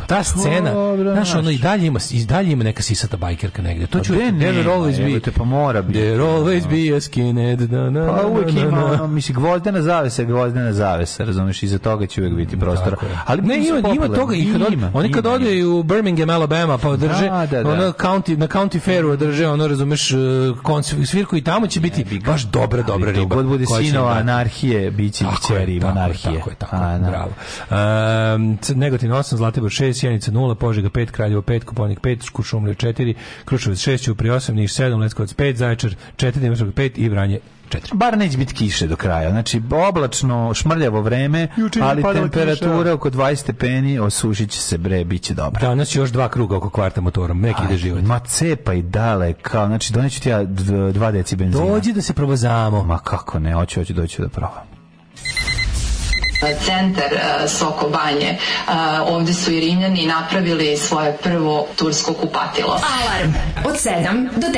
Ta scena, Pa dobro, znaš, ono znaš. i dalje ima, i dalje ima neka sisata bajkerka negde. To Pa ću gde there will nema, always jebote, be. pa mora biti. There will always be a skinhead. na, na, Pa na, uvijek na, ima, na. ono, misli, gvozdena zavesa, je gvozdena zavesa, razumiješ, iza toga će uvijek biti prostora. Ali ne, nisu ima, ima popularni. toga i kad od, Ima, oni kad ima, ode u Birmingham, Alabama, pa drže Da, da, da. ono county, na county fairu drže, ono razumeš, eh, koncert svirku i tamo će biti baš dobra, dobra Ali dok riba. god bude koja će im sinova dati. anarhije, bit će i Tako je, kćeri tako je, monarhije. Tako je, tako A, je, da. bravo. Um, C- Negotin 8, Zlatibor 6, Sjenica 0, Požega 5, Kraljevo 5, Koponik 5, Kuršumlija 4, Kruševac 6, Ćuprije 8, Niš 7, Leskovac 5, Zaječar 4, Dimitrovgrad 5 i Vranje 4. Bar neće biti kiše do kraja. Znači, oblačno, šmrljavo vreme, Juče je ali padala temperatura kiša. oko 20 stepeni, osušit će se bre, bit će dobro. Danas još dva kruga oko kvarta motorom, neki ide život. Ma cepa i dale, kao, znači doneću ti ja d- dva deci benzina. Dođi da se provozamo. Ma kako ne, hoću, hoću, doću da probam. centar e, Soko Banje. E, Ovde su i Rimljani napravili svoje prvo tursko kupatilo. Alarm od 7 Od 7 do 10. do 10.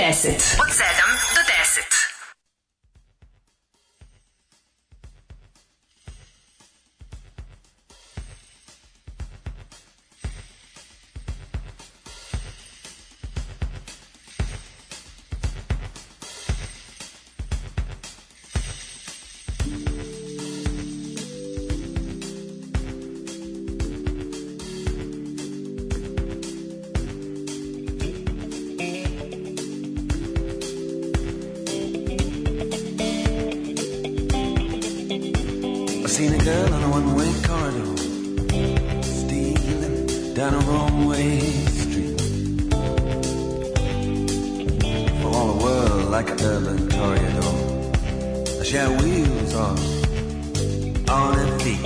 I seen a girl on a one-way corridor Stealing down a wrong-way street For all the world like an urban corridor She had wheels on, on her feet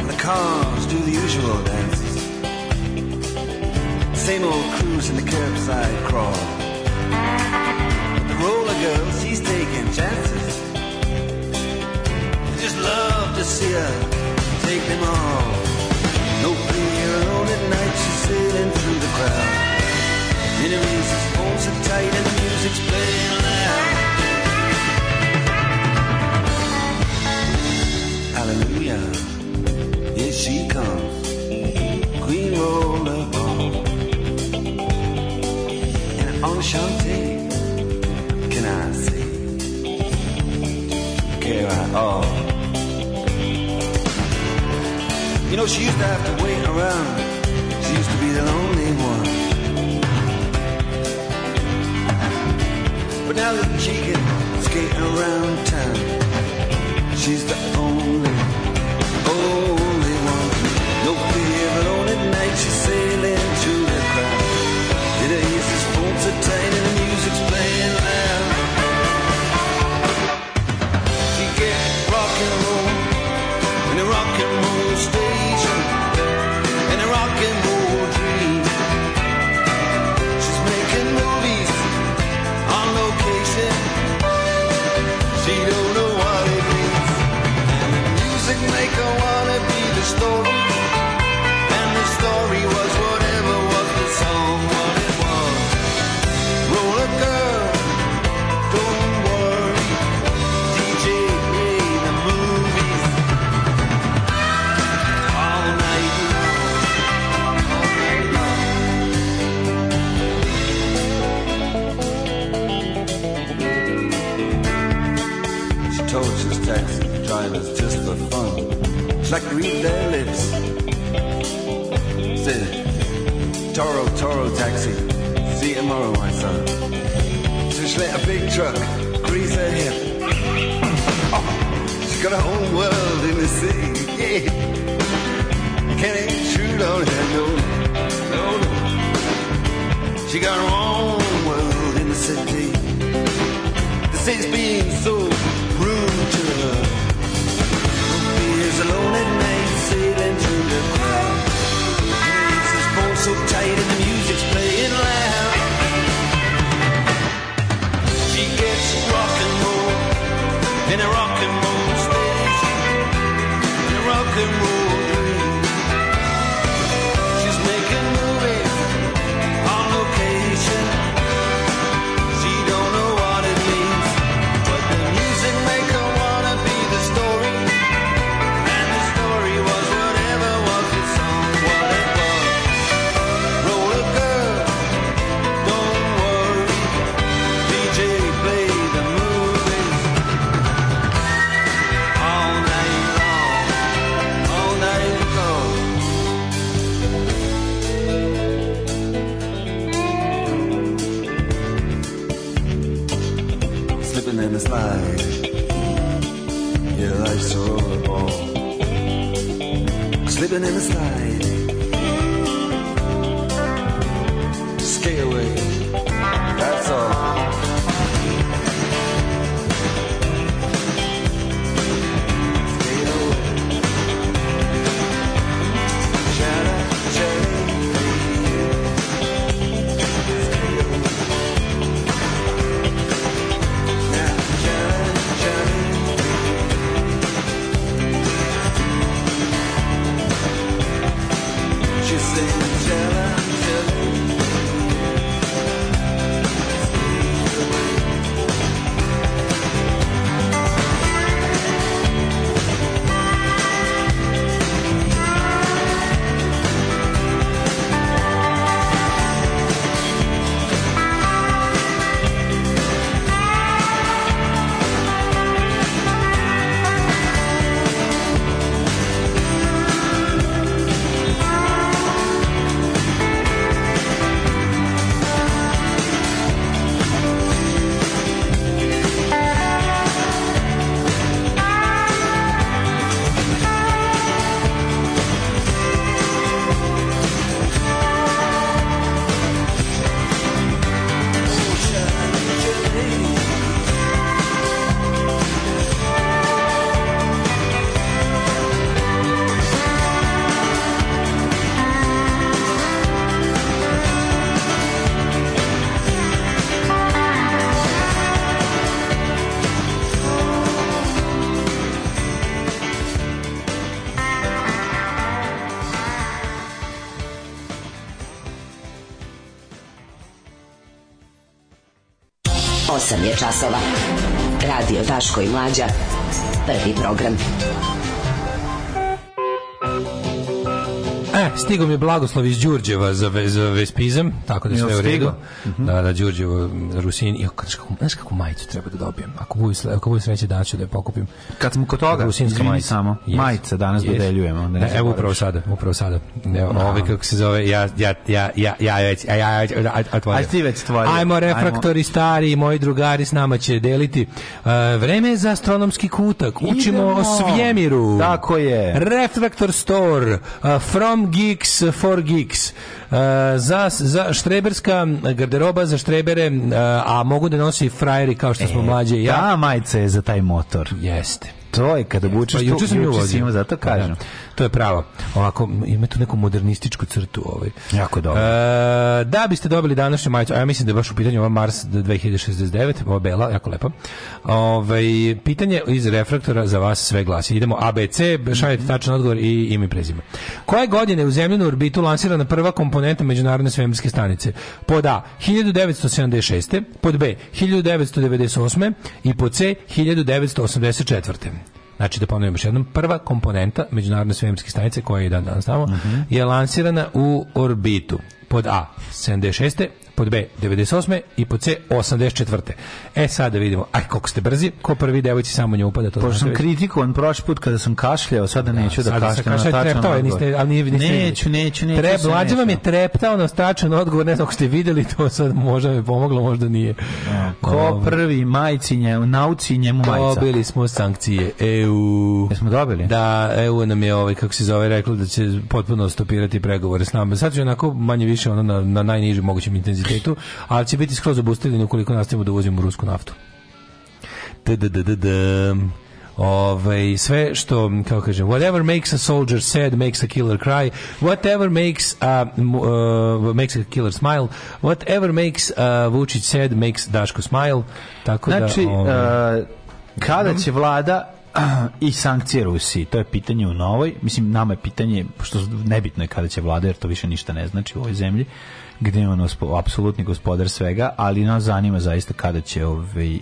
And the cars do the usual dances Same old cruise in the curbside crawl But the roller girl, she's taking chances just love to see her take them all. No fear, alone at night, she's sailing through the crowd. Enemies, his phones are tight, and the music's playing loud. Hallelujah, here she comes, Queen Rollerball. And Enchanté, can I say? care at all. You know, she used to have to wait around. She used to be the lonely one. But now that she can skate around town, she's the only, only one. No fear, alone at night, she's sailing to the crowd. It is his phones are tight and the music's playing loud. She gets rock and roll in a rock and roll station in a rock and roll dream. She's making movies on location. She don't know what it means. And the music make her wanna be the story. And the story was whatever was the song, what it was. Roller girl, don't worry. DJ play the movies all night long, all night long. She told his taxi drivers just for fun. She liked to read their lips. Said, Toro, Toro taxi, see you tomorrow, my son. So she let a big truck grease her hip. Oh, She's got her own world in the city. Yeah. Can't intrude on her, no, no, no. She got her own world in the city. The city's being so rude to her. She is alone at night, sailing to and a slide. Yeah, life's a rollerball. Slipping and a slide. Scaleway. That's all. She sings Jella, Jella. Osam je časova. Radio Daško i Mlađa. Prvi program. E, stigo mi je blagoslov iz Đurđeva za, ve- za Vespizam, tako da je Jel sve u redu. Mhm. stigao? Da, da, Đurđevo, Rusin, jo, znaš kako, znaš kakvu majicu treba da dobijem? Ako budu, sle- ako budu sreće, daću da je pokupim. Kad smo kod toga, Rusinska izvini majica. samo, majica danas dodeljujemo, da ne ne, evo zaboraviš. upravo sada, upravo sada. Evo, ovaj kako se zove, ja, ja, ja, ja, ja već, ja, ja već, a- a- otvorio. Aj ti već stvorio. Ajmo, Ajmo. refraktori stari, moji drugari s nama će deliti. E, vreme je za astronomski kutak. Učimo o Idemo. svemiru. Tako je. Refractor Store, uh, From Geeks for Geeks, uh, za, za štreberska garderoba za štrebere, uh, a mogu da nosi frajeri kao što E, smo mlađe i ja. Ta majica je za taj motor. Jeste. To je kada bučeš Pa tu, juče sam ju juče si vozio. imao, zato Pa da, kažem. to je pravo. Ovako, ima tu neku modernističku crtu. Ovaj. Jako dobro. E, da biste dobili današnju majicu, a ja mislim da je baš u pitanju ova Mars 2069, ova bela, jako lepa. Ovaj, pitanje iz refraktora za vas sve glasi. Idemo ABC, šaljete tačan odgovor i ime i prezime. Koje godine je u zemljenu orbitu lansirana prva komponenta Međunarodne svemirske stanice? Pod A, 1976. Pod B, 1998. I pod C, 1984. Znači, da ponovim još jednom, prva komponenta Međunarodne svemirske stanice, koja je i dan danas tamo, je lansirana u orbitu. Pod A, 76. Pod B, 98. I pod C, 84. E, sad da vidimo, aj, koliko ste brzi, ko prvi devojci samo nje upada, to Pošto sam znate već. kritikovan prošli put kada sam kašljao, sada neću da, znači- Sada se kašljam kaže, na tačan treptao je, odgovor. niste, ali nije, niste vidjeli. neću, neću, neću. Trep, se mlađe vam je neću. treptao na tačan odgovor, ne znam ako ste videli to sad, možda mi je pomoglo, možda nije. Ko prvi majci njemu, nauci njemu majica. Dobili smo sankcije EU. Jesmo dobili? Da, EU nam je ovaj, kako se zove, reklo da će potpuno stopirati pregovore s nama. Sad će onako manje više ono na, na najnižem mogućem intenzitetu, ali će biti skroz obustavljeni ukoliko nastavimo da uvozimo rusku naftu. Da-da-da-da-dam. Ovaj, sve što, kako kažem, whatever makes a soldier sad makes a killer cry, whatever makes a, m- uh, makes a killer smile, whatever makes a Vučić sad makes Daško smile, tako Znači, da... ovaj, eh, kada će vlada i sankcije Rusiji, to je pitanje u novoj, mislim nama je pitanje, pošto nebitno je kada će vlada, jer to više ništa ne znači u ovoj zemlji, gde je on ospo- apsolutni gospodar svega, ali nas zanima zaista kada će ovaj,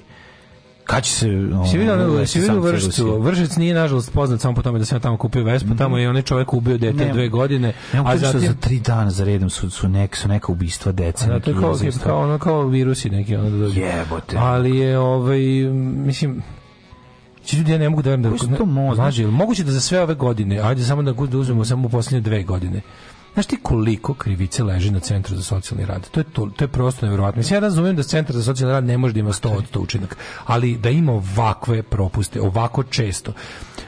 kada će se ono, Si vidio, ono, uvesti si vidio sankcije vršicu? Rusiji? Vršec nije, nažalost, poznat samo po tome da sam ja tamo kupio Vespu. Tamo je onaj čovjek ubio dete Nemam. dve godine. Nemam a pojma što zatim... za tri dana za redom su, su, nek, su neka ubistva dece. Da, to neki je kao, ubojstva. kao, ono, kao virusi neki. Ono, da dođu. Jebote. Ali je, ovaj, mislim... Znači, ljudi, ja ne mogu da verujem da... Koji su to mozak? Mlađe, jel moguće da za sve ove godine, ajde samo da, da uzmemo samo u posljednje dve godine, Znaš ti koliko krivice leži na centru za socijalni rad? To je, to, to je prosto nevjerovatno. Mislim, ja razumijem da centar za socijalni rad ne može da ima 100 od 100 učinak, ali da ima ovakve propuste, ovako često.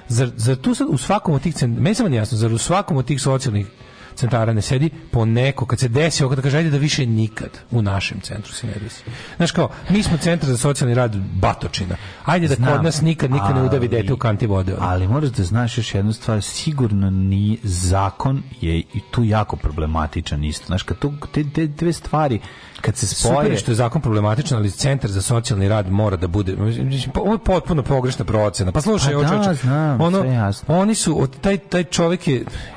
Zar, zar tu sad u svakom od tih centara, meni samo nije jasno, zar u svakom od tih socijalnih centara ne sedi po neko, kad se desi ovo, da kaže, ajde da više nikad u našem centru se ne desi. Znaš kao, mi smo centar za socijalni rad Batočina. Ajde da Znam, kod nas nikad, nikad ne udavi dete u kanti vode. ono. Ali moraš da znaš još jednu stvar, sigurno ni zakon je i tu jako problematičan isto. Znaš, kad to, te, te dve stvari, kad se spoje... Super je što je zakon problematičan, ali centar za socijalni rad mora da bude. mislim, po- Ovo je potpuno pogrešna procena. Pa slušaj, Pa ovo da, čoveče, znam, ono, sve oni su od taj taj čovjek je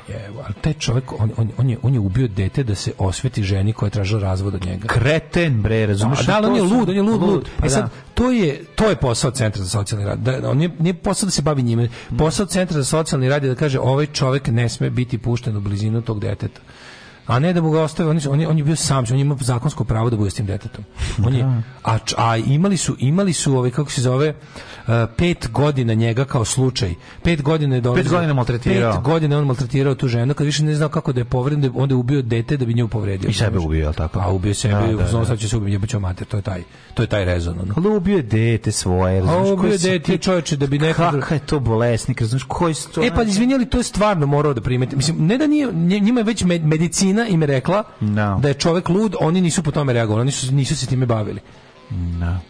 jevo, ali taj čovjek on, on, on je on je ubio dete da se osveti ženi koja je tražila razvod od njega. Kreten bre, razumeš? A da, ali on je To su- lud, on je lud, lud. pa e sad, da. to je, to je posao centra za socijalni rad. Da, on nije, nije posao da se bavi njime. Posao centra za socijalni rad je da kaže ovaj čovjek ne sme biti pušten u blizinu tog deteta. A ne da mu ga ostave, on, je- on, je, on je bio sam, on ima zakonsko pravo da bude s tim detetom. On je, a, č- a imali su, imali su ovaj, kako se zove, uh, pet godina njega kao slučaj. Pet godina je dolazio- godina maltretirao. Pet godina je on maltretirao tu ženu, kad više ne znao kako da je povredim, onda je ubio dete da bi nju povredio. I sebe ubio, ali tako? Pa ubio sebe, Da, da, da. sad će se ubiti, jebaću mater, to je taj, to je taj rezon. ono. Ali ubio je dete svoje, razumeš? A ubio koji je si dete, ti- čoveče, da bi neko dru- Kakav je to bolesnik, razumeš? Koji su to... E pa izvini, ali to je stvarno morao da primeti. Mislim, ne da nije, nje- njima je već med- medicina im je rekla da je čovek lud, oni nisu po tome reagovali, oni su, nisu se time bavili.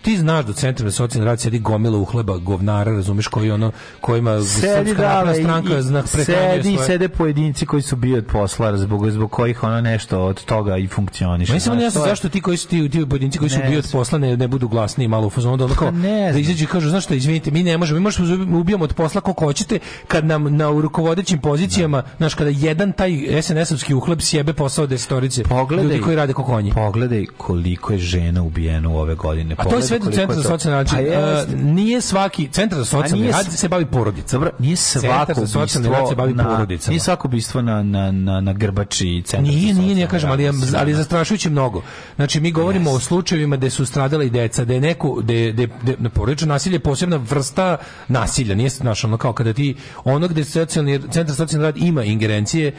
Ti znaš da u centru za socijalni rad sedi gomila uhleba, govnara, razumeš, koji ono, kojima Sedi srpska napredna dale, stranka i- zna prehranjuje sedi, svoje- sede pojedinci koji su bio od posla, zbog, zbog kojih ono nešto od toga i funkcioniše. Meni samo Znaš, ne jasno to je- zašto ti koji su ti, ti pojedinci koji su Ne bio od znam. Pa posla ne, ne budu glasni i malo u fazonu da ono kao, da izađu i kažu, znaš šta, izvinite, mi ne možemo, mi možemo da ubi- ubijamo od posla koliko hoćete, kad nam na rukovodećim pozicijama, znaš, kada jedan taj SNS-ovski uhleb sjebe posao desetorice ljudi koji rade ko konji. Pogledaj koliko je žena ubijeno u ove godine. A to je sve Pogledaj centar koliko za je to. socijalni rad. Pa jeste. E, nije svaki centar za A socijalni nije rad s- se bavi porodicom. Dobro, nije Centar svako za socijalni rad se ubistvo bavi na, porodicama. nije svako ubistvo na, na, na, na grbači centra. Nije, nije, ne kažem, ali je, ali je zastrašujuće mnogo. Znači, mi govorimo o slučajevima gde su stradala i deca, da je neko, da je, da je- da je- na porodično nasilje je posebna vrsta nasilja, nije znaš, ono kao kada ti, ono gde socijalni, centar za socijalni rad ima ingerencije,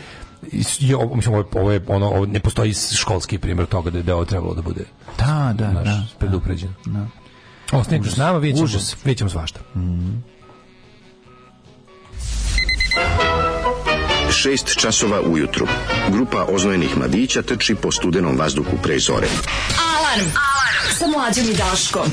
is- je, ovo- mislim, ovo, je- ovo je, ono, ovo ne postoji školski primjer toga da, je- da je ovo trebalo da bude Da, da, naš, da. predupređeno. Ostanite s nama, vidjet ćemo, vidjet ćemo svašta. 6 časova ujutru. Grupa oznojenih mladića trči po studenom vazduhu pre zore. Alarm! Alarm! Sa mlađom i Daškom.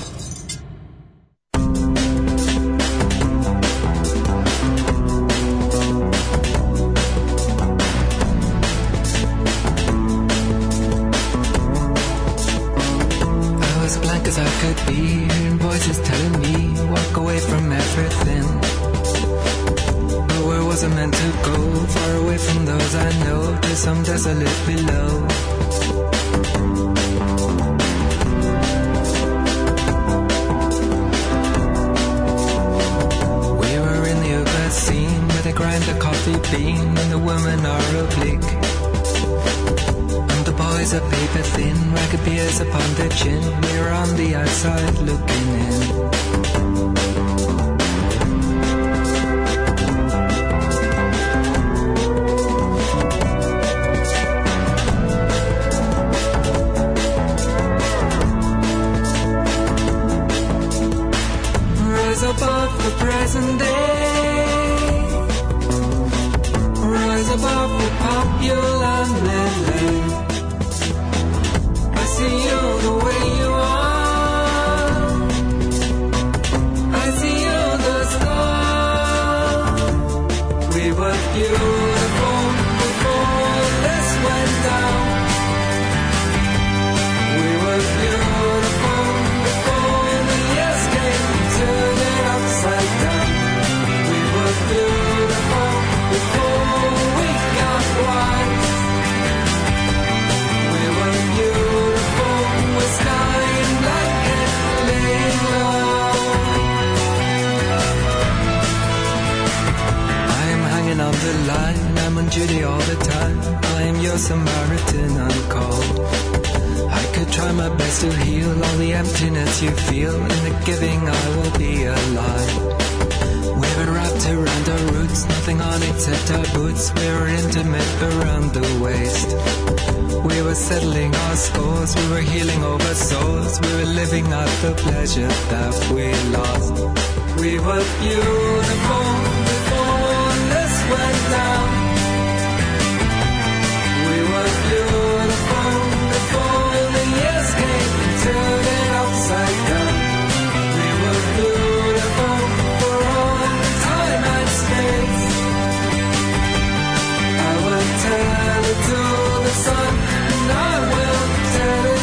I was black as I could be, hearing voices telling me walk away from everything. But where was I meant to go? Far away from those I know, to some desolate below. We were in the yoga scene where they grind the coffee bean and the women are oblique. And the boys are paper thin, ragged beers upon their chin. We're on the outside looking in. Rise above the present day. Rise above the popular melee. I see you the way you are. I see you the star. We were beautiful before this went down. We were beautiful before the years came to turn it upside down. We were beautiful before we got wise. We were beautiful, we're starting black and laying I am hanging on the line, I'm on duty all the time. I am your Samaritan on call. I could try my best to heal all the emptiness you feel. In the giving, I will be alive. We Even wrapped around our roots, nothing on except our boots. We were intimate around the waist. We were settling our scores, we were healing over souls. We were living out the pleasure that we lost. We were beautiful before this went down. We were beautiful before the years came and turned it upside down. We were beautiful for all the time and space. I will tell it to the sun, and I will tell it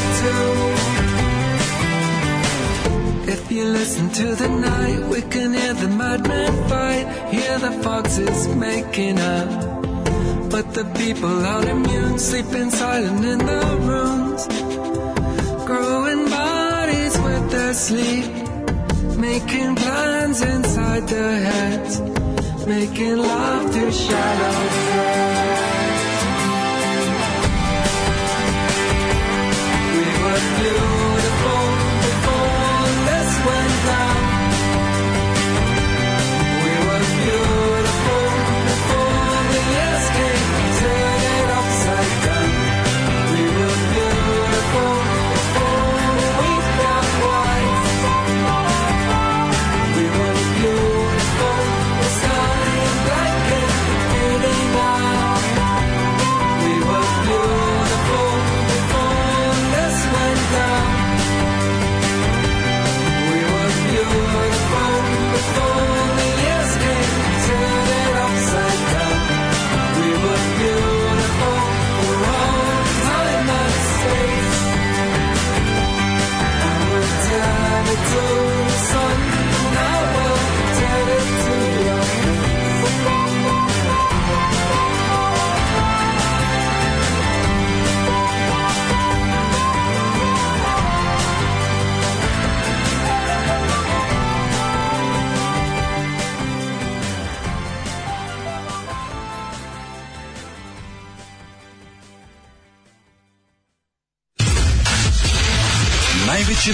to. If you listen to the night, we can hear the madman fight, hear the foxes making up. But the people out immune, sleeping silent in the rooms, growing bodies with their sleep, making plans inside their heads, making love to shadow friends. We were beautiful before this went down. We were beautiful before the years came and turned it upside down. We were beautiful before we got wise. We were beautiful, the sky and black and fading out. We were beautiful before this went down. We were beautiful before the years came and turned it upside down. We were beautiful for all time and space. I will turn it to the sun, and I will turn it to your face. Najveće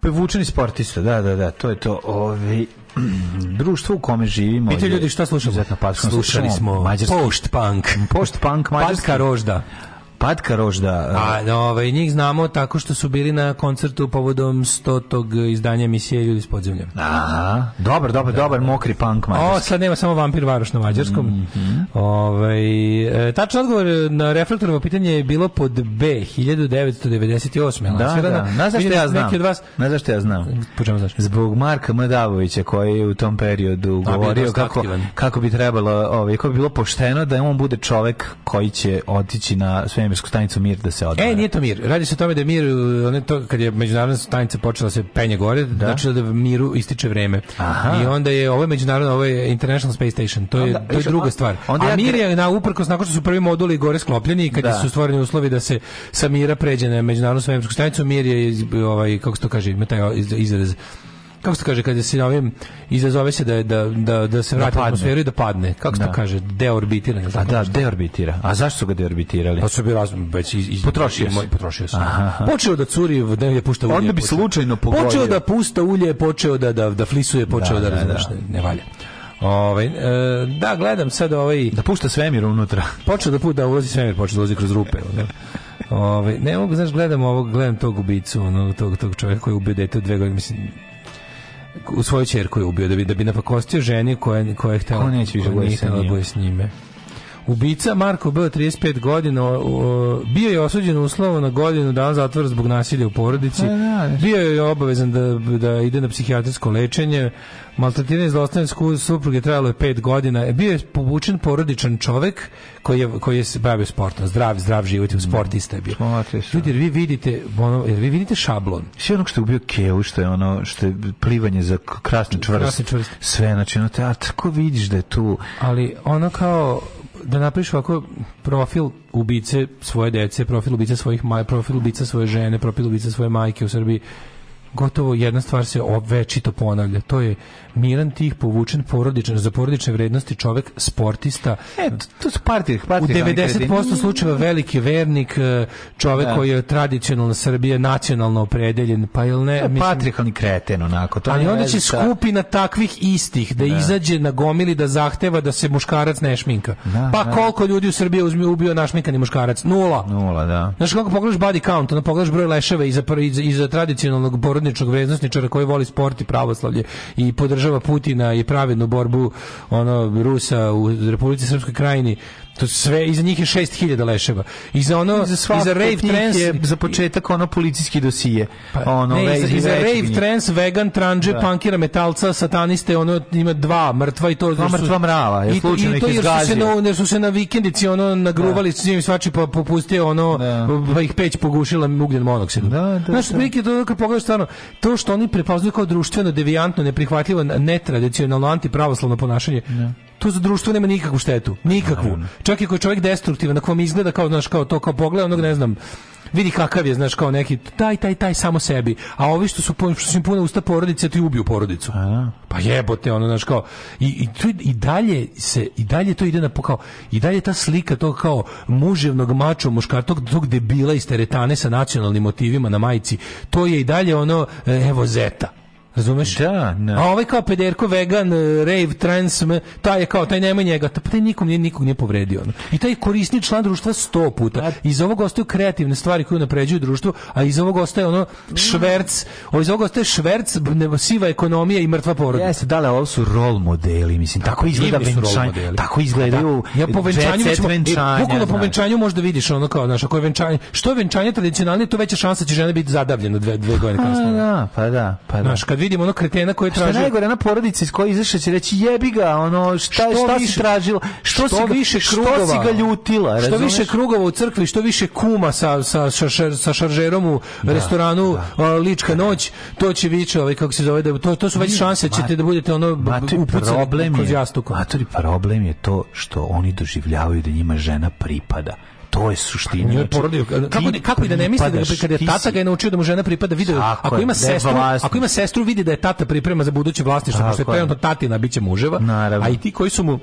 Prevučeni Pa sportista, da, da, da, to je to. Ovi, društvo u kome živimo. Pitaju je ljudi šta slušamo? izuzetno patkonosno. Slušali Slušamo smo mađarski- post-punk. Post-punk mađarski. Patka rožda. Patka rožda. e, A no, ovaj, njih znamo tako što su bili na koncertu povodom 100. izdanja emisije Ljudi s podzemlja. Aha, dobar, dobar, dobar, mokri punk O, mađarski. sad nema samo vampir varoš na mađarskom. Mhm. Ovaj, e, tačan odgovor na reflektorovo pitanje je bilo pod B, 1998. Da, da, lansirana. da. Znaš zašto Vidim ja znam? Neki od vas Znaš zašto ja znam? Zbog Marka Mdavovića koji je u tom periodu A, bio govorio dosta kako, aktivan. kako bi trebalo, ovaj, kako bi bilo pošteno da on bude čovek koji će otići na svemirsku stanicu Mir da se odmah. E, nije to mir. Radi se o tome da je mir, uh, on je to, kad je međunarodna stanica počela se penje gore, znači da miru ističe vreme. I onda je, ovo je međunarodno, ovo je International Space Station, to je, Onda, to je više, druga on- stvar. onda A ja mir gre- je na uprkos, nakon što su prvi moduli gore sklopljeni i kad Da. su stvoreni uslovi da se sa mira pređe na međunarodnu svemirsku stanicu, mir je, iz- ovaj, kako se to kaže, ima taj iz- izraz, kako se to kaže kada se ovim izazove se da je- da da da se Da vrati u padne. atmosferu i da padne kako se to Da. kaže deorbitiranje ili A tako da, nešto? deorbitirao. A zašto su ga deorbitirali? Pa su bi razum već iz, iz Potrošio moj- se. potrošio se. Aha. Počeo da curi, da je pušta ulje. Onda bi počeo- slučajno pogodio. Počeo da pusta ulje, počeo da da da flisuje, počeo da, Da, da, razumeš, da. ne, ne valja. Ovaj e, da gledam sad ovaj Da pušta svemir unutra. počeo da put da ulazi svemir, počeo da ulazi kroz rupe. ono. Ovaj ne mogu znaš gledam ovog, gledam tog ubicu, onog tog tog čovjeka koji je ubio dete od dve godine, mislim u svoju ćerku je ubio da bi da bi napakostio ženi koja koja je htela Ko neće više koja bude nije sa htela da njim? bude s njime. Ubica Marko B. 35 godina o- o, bio je osuđen uslovno na godinu dana zatvora zbog nasilja u porodici. Bio je obavezan da, da ide na psihijatrijsko lečenje. Maltretiranje zlostavljanje sku- supruge trajalo je 5 godina. Bio je povučen porodičan čovek koji je, koji je se bavio sportom. Zdrav, zdrav život, sportista je bio. Ljudi, jer vi vidite, ono, jer vi vidite šablon. Sve onog Znači, ono što je ubio Keu, što je ono, što je plivanje za k- krasni čvrst. Krasni čvrst. Sve, znači, ono, te, a tako vidiš da je tu... ali ono kao da napišu ovako profil ubice svoje dece, profil ubice svojih maj, profil ubica svoje žene, profil ubica svoje majke u Srbiji. Gotovo jedna stvar se o- večito ponavlja. To je miran tih, povučen, porodičan, za porodične vrednosti čovek, sportista. E, to, to su partir, U partir. 90% slučajeva veliki vernik, e, čovek Da. koji je tradicionalno Srbije, nacionalno opredeljen, pa ili ne? mislim- Patrihalni E, kreten, onako. To ali nema Pa onda će veze sa- skupina takvih istih da, Da. izađe na gomili da zahteva da se muškarac ne šminka. Da, pa da. koliko ljudi u Srbiji uzme ubio našminkani muškarac? Nula. Nula, da. Znaš kako pogledaš body count, onda pogledaš broj leševa iza, pr- iza, iza tradicionalnog porodničnog vrednostničara koji voli sport i pravoslavlje i podržava Putina i pravednu borbu ono Rusa u Republici Srpskoj krajini. To sve, iza njih je 6000 leševa. Iza ono, za iza, svakog rave od njih trans... je za početak ono policijski dosije. ono, Pa, ne, iza, vezi- iza veći rave gnjih. trance, vegan, tranđe, Da. punkira, metalca, sataniste, ono ima dva mrtva i to... Dva jer su- mrtva mrava, jer i to- slučajno i to ih jer su se izgazio. na, jer su se na vikendici ono nagruvali, s njim svači pa popustio ono, pa ih peć pogušila ugljen monoksid. Da, da, Znaš, prilike to kad pogledaš stvarno, to što oni prepoznaju kao društveno, devijantno, neprihvatljivo, netradicionalno, antipravoslavno ponašanje, to za društvo nema nikakvu štetu, nikakvu. Čak i ako je čovjek destruktivan, ako vam izgleda kao, znaš, kao to, kao pogled, onog ne znam, vidi kakav je, znaš, kao neki taj, taj, taj, samo sebi. A ovi što su, pun- što su im puna usta porodice, ti ubiju porodicu. Pa jebote, ono, znaš, kao, i, i, tu i dalje se, i dalje to ide na, po- kao, i dalje ta slika tog kao muževnog mačo, muškar, tog, tog debila iz teretane sa nacionalnim motivima na majici, to je i dalje ono, e, evo zeta. Razumeš? Da, ne. A ovaj kao pederko vegan, e, rave, trans, m, taj je kao, taj nema njega, ta- pa taj nikom nije, nikog nije povredio. ono. I taj korisni član društva sto puta. Pa- Iz ovog ostaju kreativne stvari koje unapređuju društvo, a iz ovog ostaje ono šverc, o, iz ovog ostaje šverc, b- ne, siva ekonomija i mrtva porodica. Jeste, da, ali ovo su rol modeli, mislim, tako izgleda Divni su role venčanje, modeli. Pa tako izgledaju Ja po venčanju jet set ćemo, venčanja, e, bukvalno po znaš. venčanju možda vidiš ono kao, znaš, ako je venčanje, što je venčanje tradicionalnije, to veća šansa da će žena biti zadavljena dve, dve godine Pa kasnije. da, pa da, pa da. Znaš, kad vidimo ono kretena koji Što je traži... najgore, ona porodica iz koje izašla će reći jebi ga, ono, šta, Što šta si više- tražila, što, si, ga, više krugova, što si ga ljutila, što razumeš? više krugova u crkvi, što više kuma sa, sa, šašer- sa šaržerom u restoranu a, Lička noć, to će vići, ovaj, kako se zove, da, to, to su već šanse, ćete da budete ono b- Matori, upucani problem kroz je, jastukom. matori, problem je to što oni doživljavaju da njima žena pripada. To je suština. Njoj znači, porodio, Pa kako, ti kako i da ne misli da ga, pripadaš, kad je ti tata si- ga je naučio da mu žena pripada, video, Tako ako je, ima da je sestru, vlasnik. ako ima sestru vidi da je tata priprema za buduće vlasništvo, Tako pošto je je. trenutno tatina, bit će muževa, Naravno. a i ti koji su mu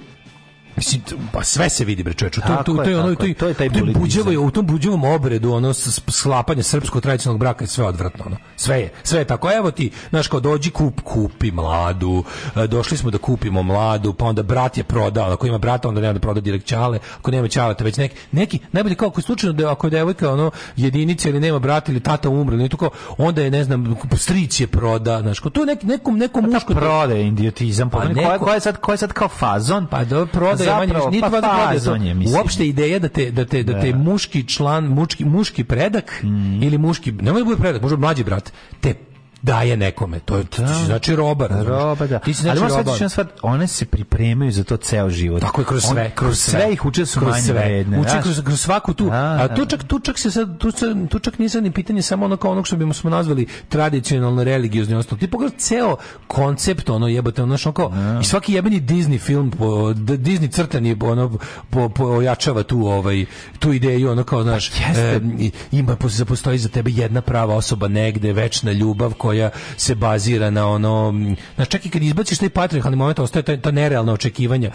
Mislim, t- pa sve se vidi bre čoveče. To Tako to je, to je ono tako to je. To je taj buđevo- bulitizam. u tom buđevom obredu ono s- sklapanje srpskog tradicionalnog braka je sve odvratno ono. Sve je, sve je tako. Evo ti, znaš kao dođi kup kupi mladu. e, Došli smo da kupimo mladu, pa onda brat je prodao, ako ima brata onda nema da proda direkt ćale, ako nema ćale te već neki neki najbolje kao ako je slučajno da ako je devojka ono jedinica ili nema brata ili tata umre, ili to kao onda je ne znam stric je proda, znaš, kao to je neki- nekom nekom muško prodaje idiotizam, pa koja koja je sad koja je sad kao fazon? Pa do prodaje manje Zapravo, više, nije pa valjda prodaje to. fazon je, mislim. Uopšte ideja da te da te da te Da. Mhm. muški član, muški muški predak ili muški, ne može da bude predak, može mlađi brat. Te daje nekome. To je ti si znači roba, razumeš? Roba, da. Ti si znači Ali možda roba. shvatiš jedna stvar, one se pripremaju za to ceo život. Tako je kroz sve, kroz, sve ih uče da su kroz manje sve. vredne. Uče znaš. kroz, kroz svaku tu. Da, A da. tu čak, tu čak se sad tu, se- tu čak nije sad ni pitanje samo ono kao onog što bismo smo nazvali tradicionalno religiozni osnov. Ti pogledaj ceo koncept ono jebote ono što kao i svaki jebeni Disney film po, d- Disney crtani ono po, po, ojačava tu ovaj tu ideju ono kao znaš Pa jeste. em, i- E, ima pos- za- postoji za tebe jedna prava osoba negde večna ljubav koja se bazira na ono mm, znaš čak i kad izbaciš taj patrijarhalni moment ostaje ta, ta nerealna očekivanja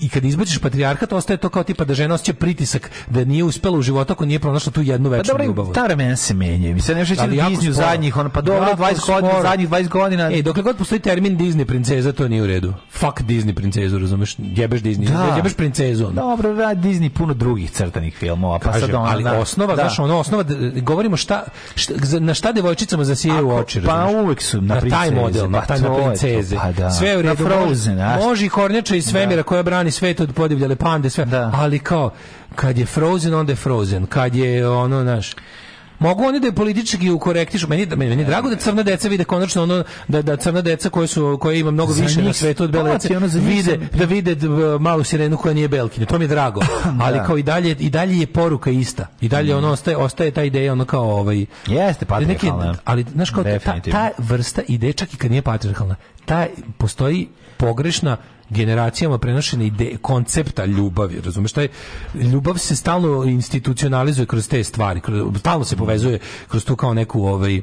i kad izbaciš patrijarhat ostaje to kao tipa da žena osjeća pritisak da nije uspela u životu ako nije pronašla tu jednu Pa večnu dobro, ljubav ta vremena se menjaju. Mislim, ne šeći Ali na jako Disneyu sporo. zadnjih, ono, pa dobro, Jako 20 godina, sporo. E, zadnjih 20 godina. Ej, dokle god postoji termin Disney princeza, to nije u redu. Fuck Disney princezu, razumeš? Jebeš Disney, Da. jebeš princezu. ono. Dobro, radi Disney puno drugih crtanih filmova, pa Kažem, sad ono, ali znaš, osnova, da. znaš, ono osnova, d- govorimo šta, šta- za- na šta devojčicama zasijaju oči, pa razumeš? uvek su na taj princeze, model, na pa taj to na je to, princeze. pa da. Sve je u Na redu. može- Frozen, znaš. Može i Kornjača iz svemira koja brani svet od podivljale pande, sve. Ali kao, kad je Frozen, onda je Frozen. Kad je ono, znaš, Mogu oni da je politički ukorektišu. Meni, meni, meni je drago da crna deca vide konačno ono da da crna deca koje su koje ima mnogo Za više na njih- svetu od bele pa, dece ti ono, za njih vide sam- da vide d- v- malu sirenu koja nije belkinja. To mi je drago. Ali Da. Mm. kao i dalje i dalje je poruka ista. I dalje ono ostaje ostaje ta ideja ono kao ovaj Jeste, pa da neki- ali znaš kao ta, ta- ta vrsta ideje čak i kad nije patrijarhalna, ta postoji pogrešna generacijama prenošena ide koncepta ljubavi, razumeš, taj ljubav se stalno institucionalizuje kroz te stvari, kroz, stalno se povezuje kroz tu kao neku ovaj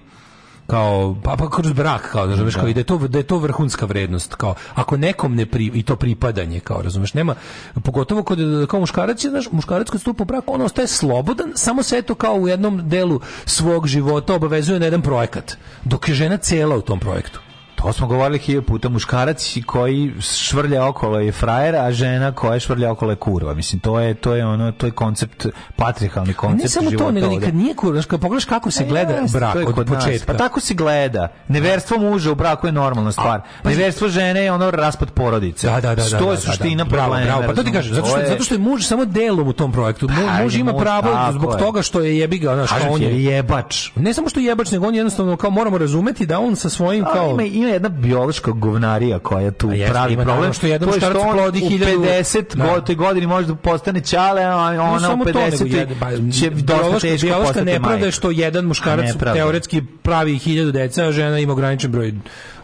kao pa, pa kroz brak kao razumeš kao i da je to da je to vrhunska vrednost kao ako nekom ne pri, i to pripadanje kao razumeš nema pogotovo kod kao muškarac je, znaš muškarac kad stupa u brak on ostaje slobodan samo se eto kao u jednom delu svog života obavezuje na jedan projekat dok je žena cela u tom projektu To smo govorili hiljadu puta, muškarac koji švrlja okolo je frajer, a žena koja švrlja okolo je kurva. Mislim, to je, to je ono, to je koncept, patrihalni A koncept ne samo života to nego ovde. Pa ni kad nije kurva znaš, kad pogledaš kako se gleda Jeste, brak to je od kod nas. početka Pa tako se gleda. Neverstvo muža u braku je normalna stvar. Neverstvo žene je ono raspad porodice. pa Da, da, da, da, To da, je da, suština da, bravo, problema, bravo. Pa to ti razumeš? kažem, zato što, To je- zato što je muž samo delom u tom projektu. Mu- Pa, muž ajde, ima muž, pravo tako zbog je. toga što je jebi ga, znaš, Kažem kao on ti, je jebač. Pa Ne samo što je jebač, nego on jednostavno kao moramo razumeti da on sa svojim A, kao ima, ima jedna biološka govnarija koja tu jeste, pravi ima, problem. naravno, što jedan to je muškarac on plodi u hiljadu- 50 Da. go- toj godini može da postane ćale, a Ne ona u samo to, nego 50 jed- ba, će dosta biološka, teško biološka postati nepravda je majka. što jedan A muškarac nepravda. teoretski pravi hiljadu deca, a žena ima ograničen broj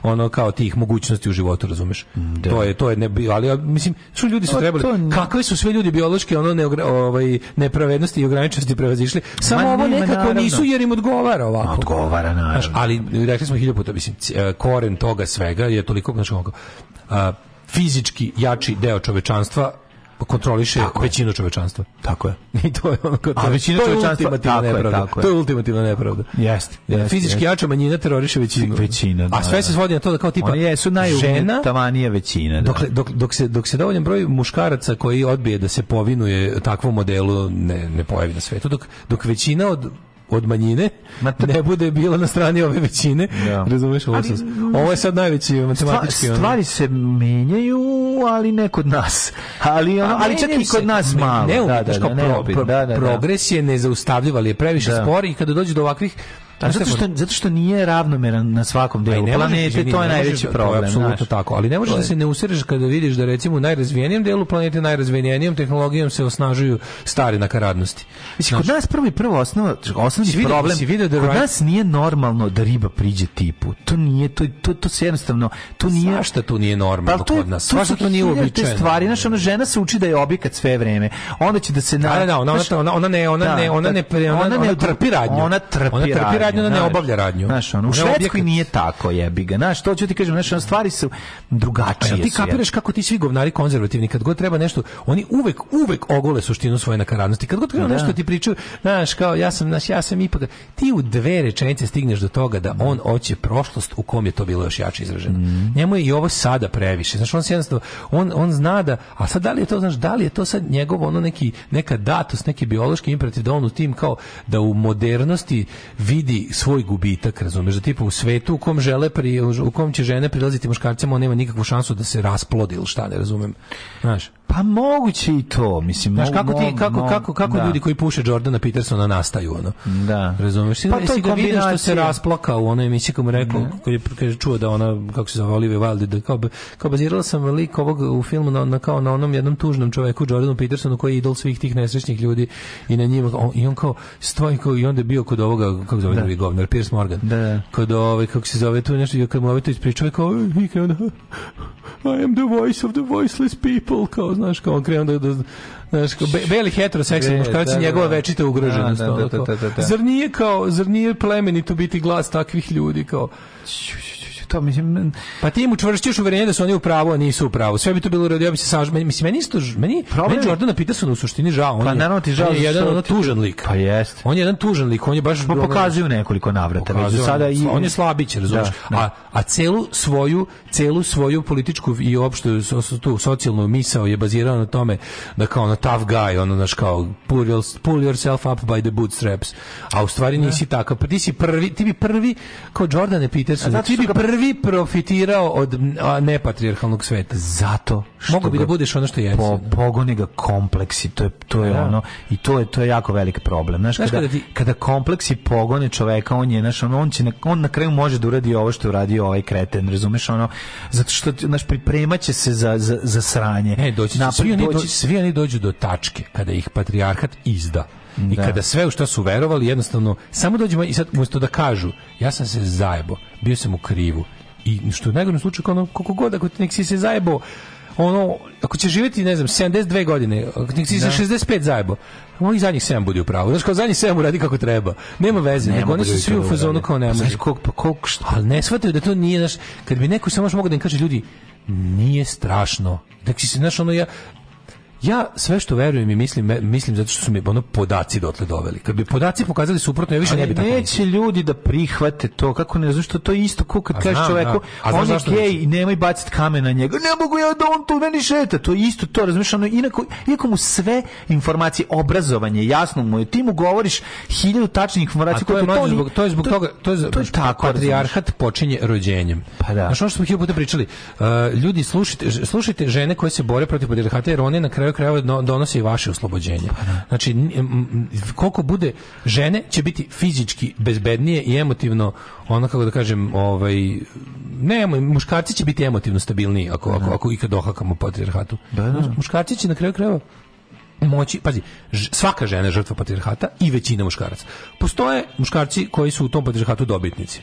ono kao tih mogućnosti u životu, razumeš? To je to je ne bi- ali ja mislim su ljudi su Mm, Pa trebali. to ne- Kakve su sve ljudi biološki ono ne, ovaj nepravednosti i ograničenosti prevazišli? Samo Ma ovo nema, nekako naravno. nisu jer im odgovara ovako. Odgovara, naravno. Znaš, ali e, rekli smo hiljadu puta, mislim, c- e, koren toga svega je toliko, znaš, ono, a, fizički jači deo čovečanstva kontroliše većinu čovečanstva. Tako je. I to je ono kao to, A većina to je čovečanstva- ultimativna tako je, nepravda. tako je. To je ultimativna nepravda. Jeste, jeste, Fizički jeste. jača manjina teroriše većinu. Većina, da, A sve se da. svodi na to da kao tipa Oni jesu žena, najugutavanije većina. Da. Dokle, dok, dok, se, dok se dovoljan broj muškaraca koji odbije da se povinuje takvom modelu ne, ne pojavi na svetu, dok, dok većina od od manjine ne bude bila na strani ove većine razumeš ovo, sam- ovo je sad najveći matematički Stva- ono. stvari se menjaju, ali ne kod nas. Ali, ono, A ali čak menjaju i kod se. nas Pa Ne- malo. Ne, da, da, znaš kao da, ne pro- opet, pro- da, da, da. progres je nezaustavljiv, ali je previše Da. spor i kada dođe do ovakvih A Znaš šta zato je što, fora? zato što nije ravnomeran na svakom delu Pa i ne možeš, planete, izvini, to je ne možeš najveći da- to je problem. apsolutno znaš. tako, ali ne možeš To da je- se ne usireš kada vidiš da recimo u najrazvijenijem delu planete, najrazvijenijom tehnologijom se osnažuju stari nakaradnosti. Mislim, kod nas prvo i prvo osnovno, osnovni Si video- problem, si video The kod Right- nas nije normalno da riba priđe tipu. To nije, to, to, to se jednostavno, to nije... Svašta tu nije Pa normalno ali to, je- kod nas. to Svašta su to nije hiljade uobičajeno. stvari, znaš, ono, žena se uči da je objekat sve vreme. Onda će da se... na- Da, da, da, ona, znaš, ona, ona ne, ona Da, ne, ona da, ne, pre- ona, ona ne ona trpi radnju. Ona trpi ona trpi radnju, radnju, ona ne znaš. obavlja radnju. Znaš, ono, u Ona je Švedskoj objekat. nije tako, jebi ga. Znaš, to ću ti kažem, znaš, ono, stvari su drugačije. Jel ti su, jebi kapiraš kako ti svi govnari konzervativni kad god treba nešto oni uvek uvek ogole suštinu svoje nakaradnosti kad god treba Da. nešto ti pričaju znaš kao ja sam znaš, ja sam ipak ti u dve rečenice stigneš do toga da on hoće prošlost u kom je to bilo još jače izraženo njemu je i ovo sada previše znaš on se jednostavno on, on zna da a sad da li je to znaš da li je to sad njegov ono neki neka datos neki biološki imperativ da on u tim kao da u modernosti vidi svoj gubitak razumeš da tipa u svetu u kom žele pri, u kom će žene prilaziti muškarcima on nema nikakvu šansu da se rasplodi ili šta ne razumem znaš Pa moguće i to, mislim. Znaš mo- kako ti mo- kako mo- kako kako da. ljudi koji puše Jordana Petersona nastaju ono. Da. Razumeš? Pa Pa to je to ga vidio što kombinacija. Mhm. se rasplakao u onoj emisiji kako mu rekao, kad je kad je čuo da ona kako se zove Olivia Wilde da kao b- kao bazirala sam lik ovog u filmu na, na kao na onom jednom tužnom čoveku Jordanu Petersonu koji je idol svih tih nesrećnih ljudi i na njima on- i on kao stoji kao i onda je bio kod ovoga kako se zove Da. drugi govnar Piers Morgan. Da. Kod ovaj kako se zove tu nešto i kad mu ovaj to ispričao kao "E, kao ono, I am the voice of the voiceless people, kao, znaš, kao on krenu da, da znaš, kao, be, beli Bre, heteroseksualni muškarac da, je da, njegova da. večita ugroženost. Da, da, ono, da, kao, da, da, da. Zar nije kao, zar nije plemenito biti glas takvih ljudi, kao, to mislim pa ti im učvršćuješ uverenje da su oni u pravu, a nisu u pravu. Sve bi to bilo radi, ja bi se saž... Meni, mislim, meni isto, ž- meni, Problem meni je- Jordana Petersona u suštini žao. On Pa je, naravno ti žao on je zato jedan što ono ti- tužan lik. Pa jest. On je jedan tužan lik, on je baš... Pa ono- pokazuju nekoliko navrata. Već do Pokazuje sada on, i... on je slabić, razumeš? Da, da. A a celu svoju celu svoju političku i opštu so- so- tu socijalnu misao je bazirao na tome da kao na tough guy, ono znaš kao pull, your- pull yourself up by the bootstraps. A u stvari nisi takav. Pa ti si prvi, ti bi prvi kao Jordane Peterson, A zato ti su bi ga- prvi profitirao od a, nepatrijarhalnog sveta. Zato što Mogu bi ga da budeš ono što jesi. Po, pogoni ga kompleksi, to je, to je Da. ono, i to je, to je jako velik problem. Znaš, Znaš kada, kada ti- kada kompleksi pogone čoveka, on je, znaš, ono, on, će na, on na kraju može da uradi ovo što je uradio ovaj kreten, razumeš, ono, zato što, znaš, pripremaće se za, za, za sranje. Ne, E, doći će, Napolje svi, oni doći dođu, svi oni dođu do tačke kada ih patrijarhat izda. I Da. kada sve u što su verovali, jednostavno, samo dođemo i sad, umjesto da kažu, ja sam se zajebo, bio sam u krivu. I što je u najgorem slučaju, kao ono, koliko god, ako ti nek si se zajebo, ono, ako će živjeti, ne znam, 72 godine, ako nek si se Da. 65 zajebo, ovih zadnjih 7 budi u pravu. Znaš, kao zadnjih 7 uradi kako treba. Nema veze, Ne nego oni mogu su ljudi svi to u da fazonu urade. kao ne Pa može. znaš koliko- pa koliko šta- Ali ne shvataju da to nije, znaš, kad bi neko samo još mogao da im kaže, ljudi, nije strašno. Dakle, si se, znaš, ono, ja, ja sve što verujem i mislim, me- mislim zato što su mi ono podaci dotle doveli. Kad bi podaci pokazali suprotno, ja više Ali ne bi tako E, neće ljudi da prihvate to, kako ne znam što to je isto ko kad A kažeš znam, čoveku, da. A znaš on je zašto gej neće? i nemoj baciti kamen na njega, ne mogu ja da on tu meni šeta, to je isto to, razumiješ, ono, inako, iako mu sve informacije, obrazovanje, jasno mu je, ti mu govoriš hiljadu tačnih A informacija, to je, koje mlađe ni- zbog, to je zbog toga, to je, to je tako, razumeš. patrijarhat počinje rođenjem. Pa da. Znaš ono što smo hiljadu puta pričali, uh, ljudi slušajte, ž- slušajte žene koje se bore protiv patrijarhata jer one na kraju krajeva no- donose i vaše oslobođenje. Znači, n- m- m- koliko bude žene će biti fizički bezbednije i emotivno, ono kako da kažem, ovaj, ne, emo- muškarci će biti emotivno stabilniji ako, ako, ako ikad dohakamo patrijarhatu. Muškarci će na kraju krajeva moći, pazi, ž- svaka žena je žrtva patrijarhata i većina muškaraca. Postoje muškarci koji su u tom patrijarhatu dobitnici.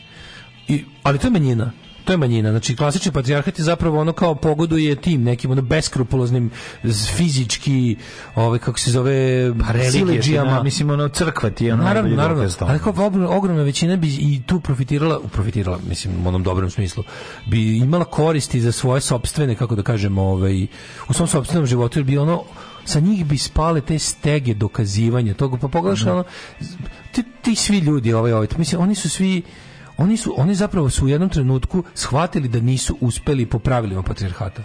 I, ali to je manjina. To je manjina. Znači, klasični patrijarhat je zapravo ono kao pogoduje tim nekim ono beskrupuloznim z- fizički, ovaj, kako se zove, Pa religije, ti, siledžijama. na, mislim, ono, crkva ti je ono Naravno, najbolji naravno. dokaz tome. Ali kao ogrom- ogromna većina bi i tu profitirala, profitirala, mislim, u onom dobrom smislu, bi imala koristi za svoje sopstvene, kako da kažem, ovaj, u svom sopstvenom životu, jer bi ono, sa njih bi spale te stege dokazivanja toga, pa pogledaš, ono, ti, ti svi ljudi, ovaj, ovaj, mislim, oni su svi, oni su oni zapravo su u jednom trenutku shvatili da nisu uspeli po pravilima patrijarhata.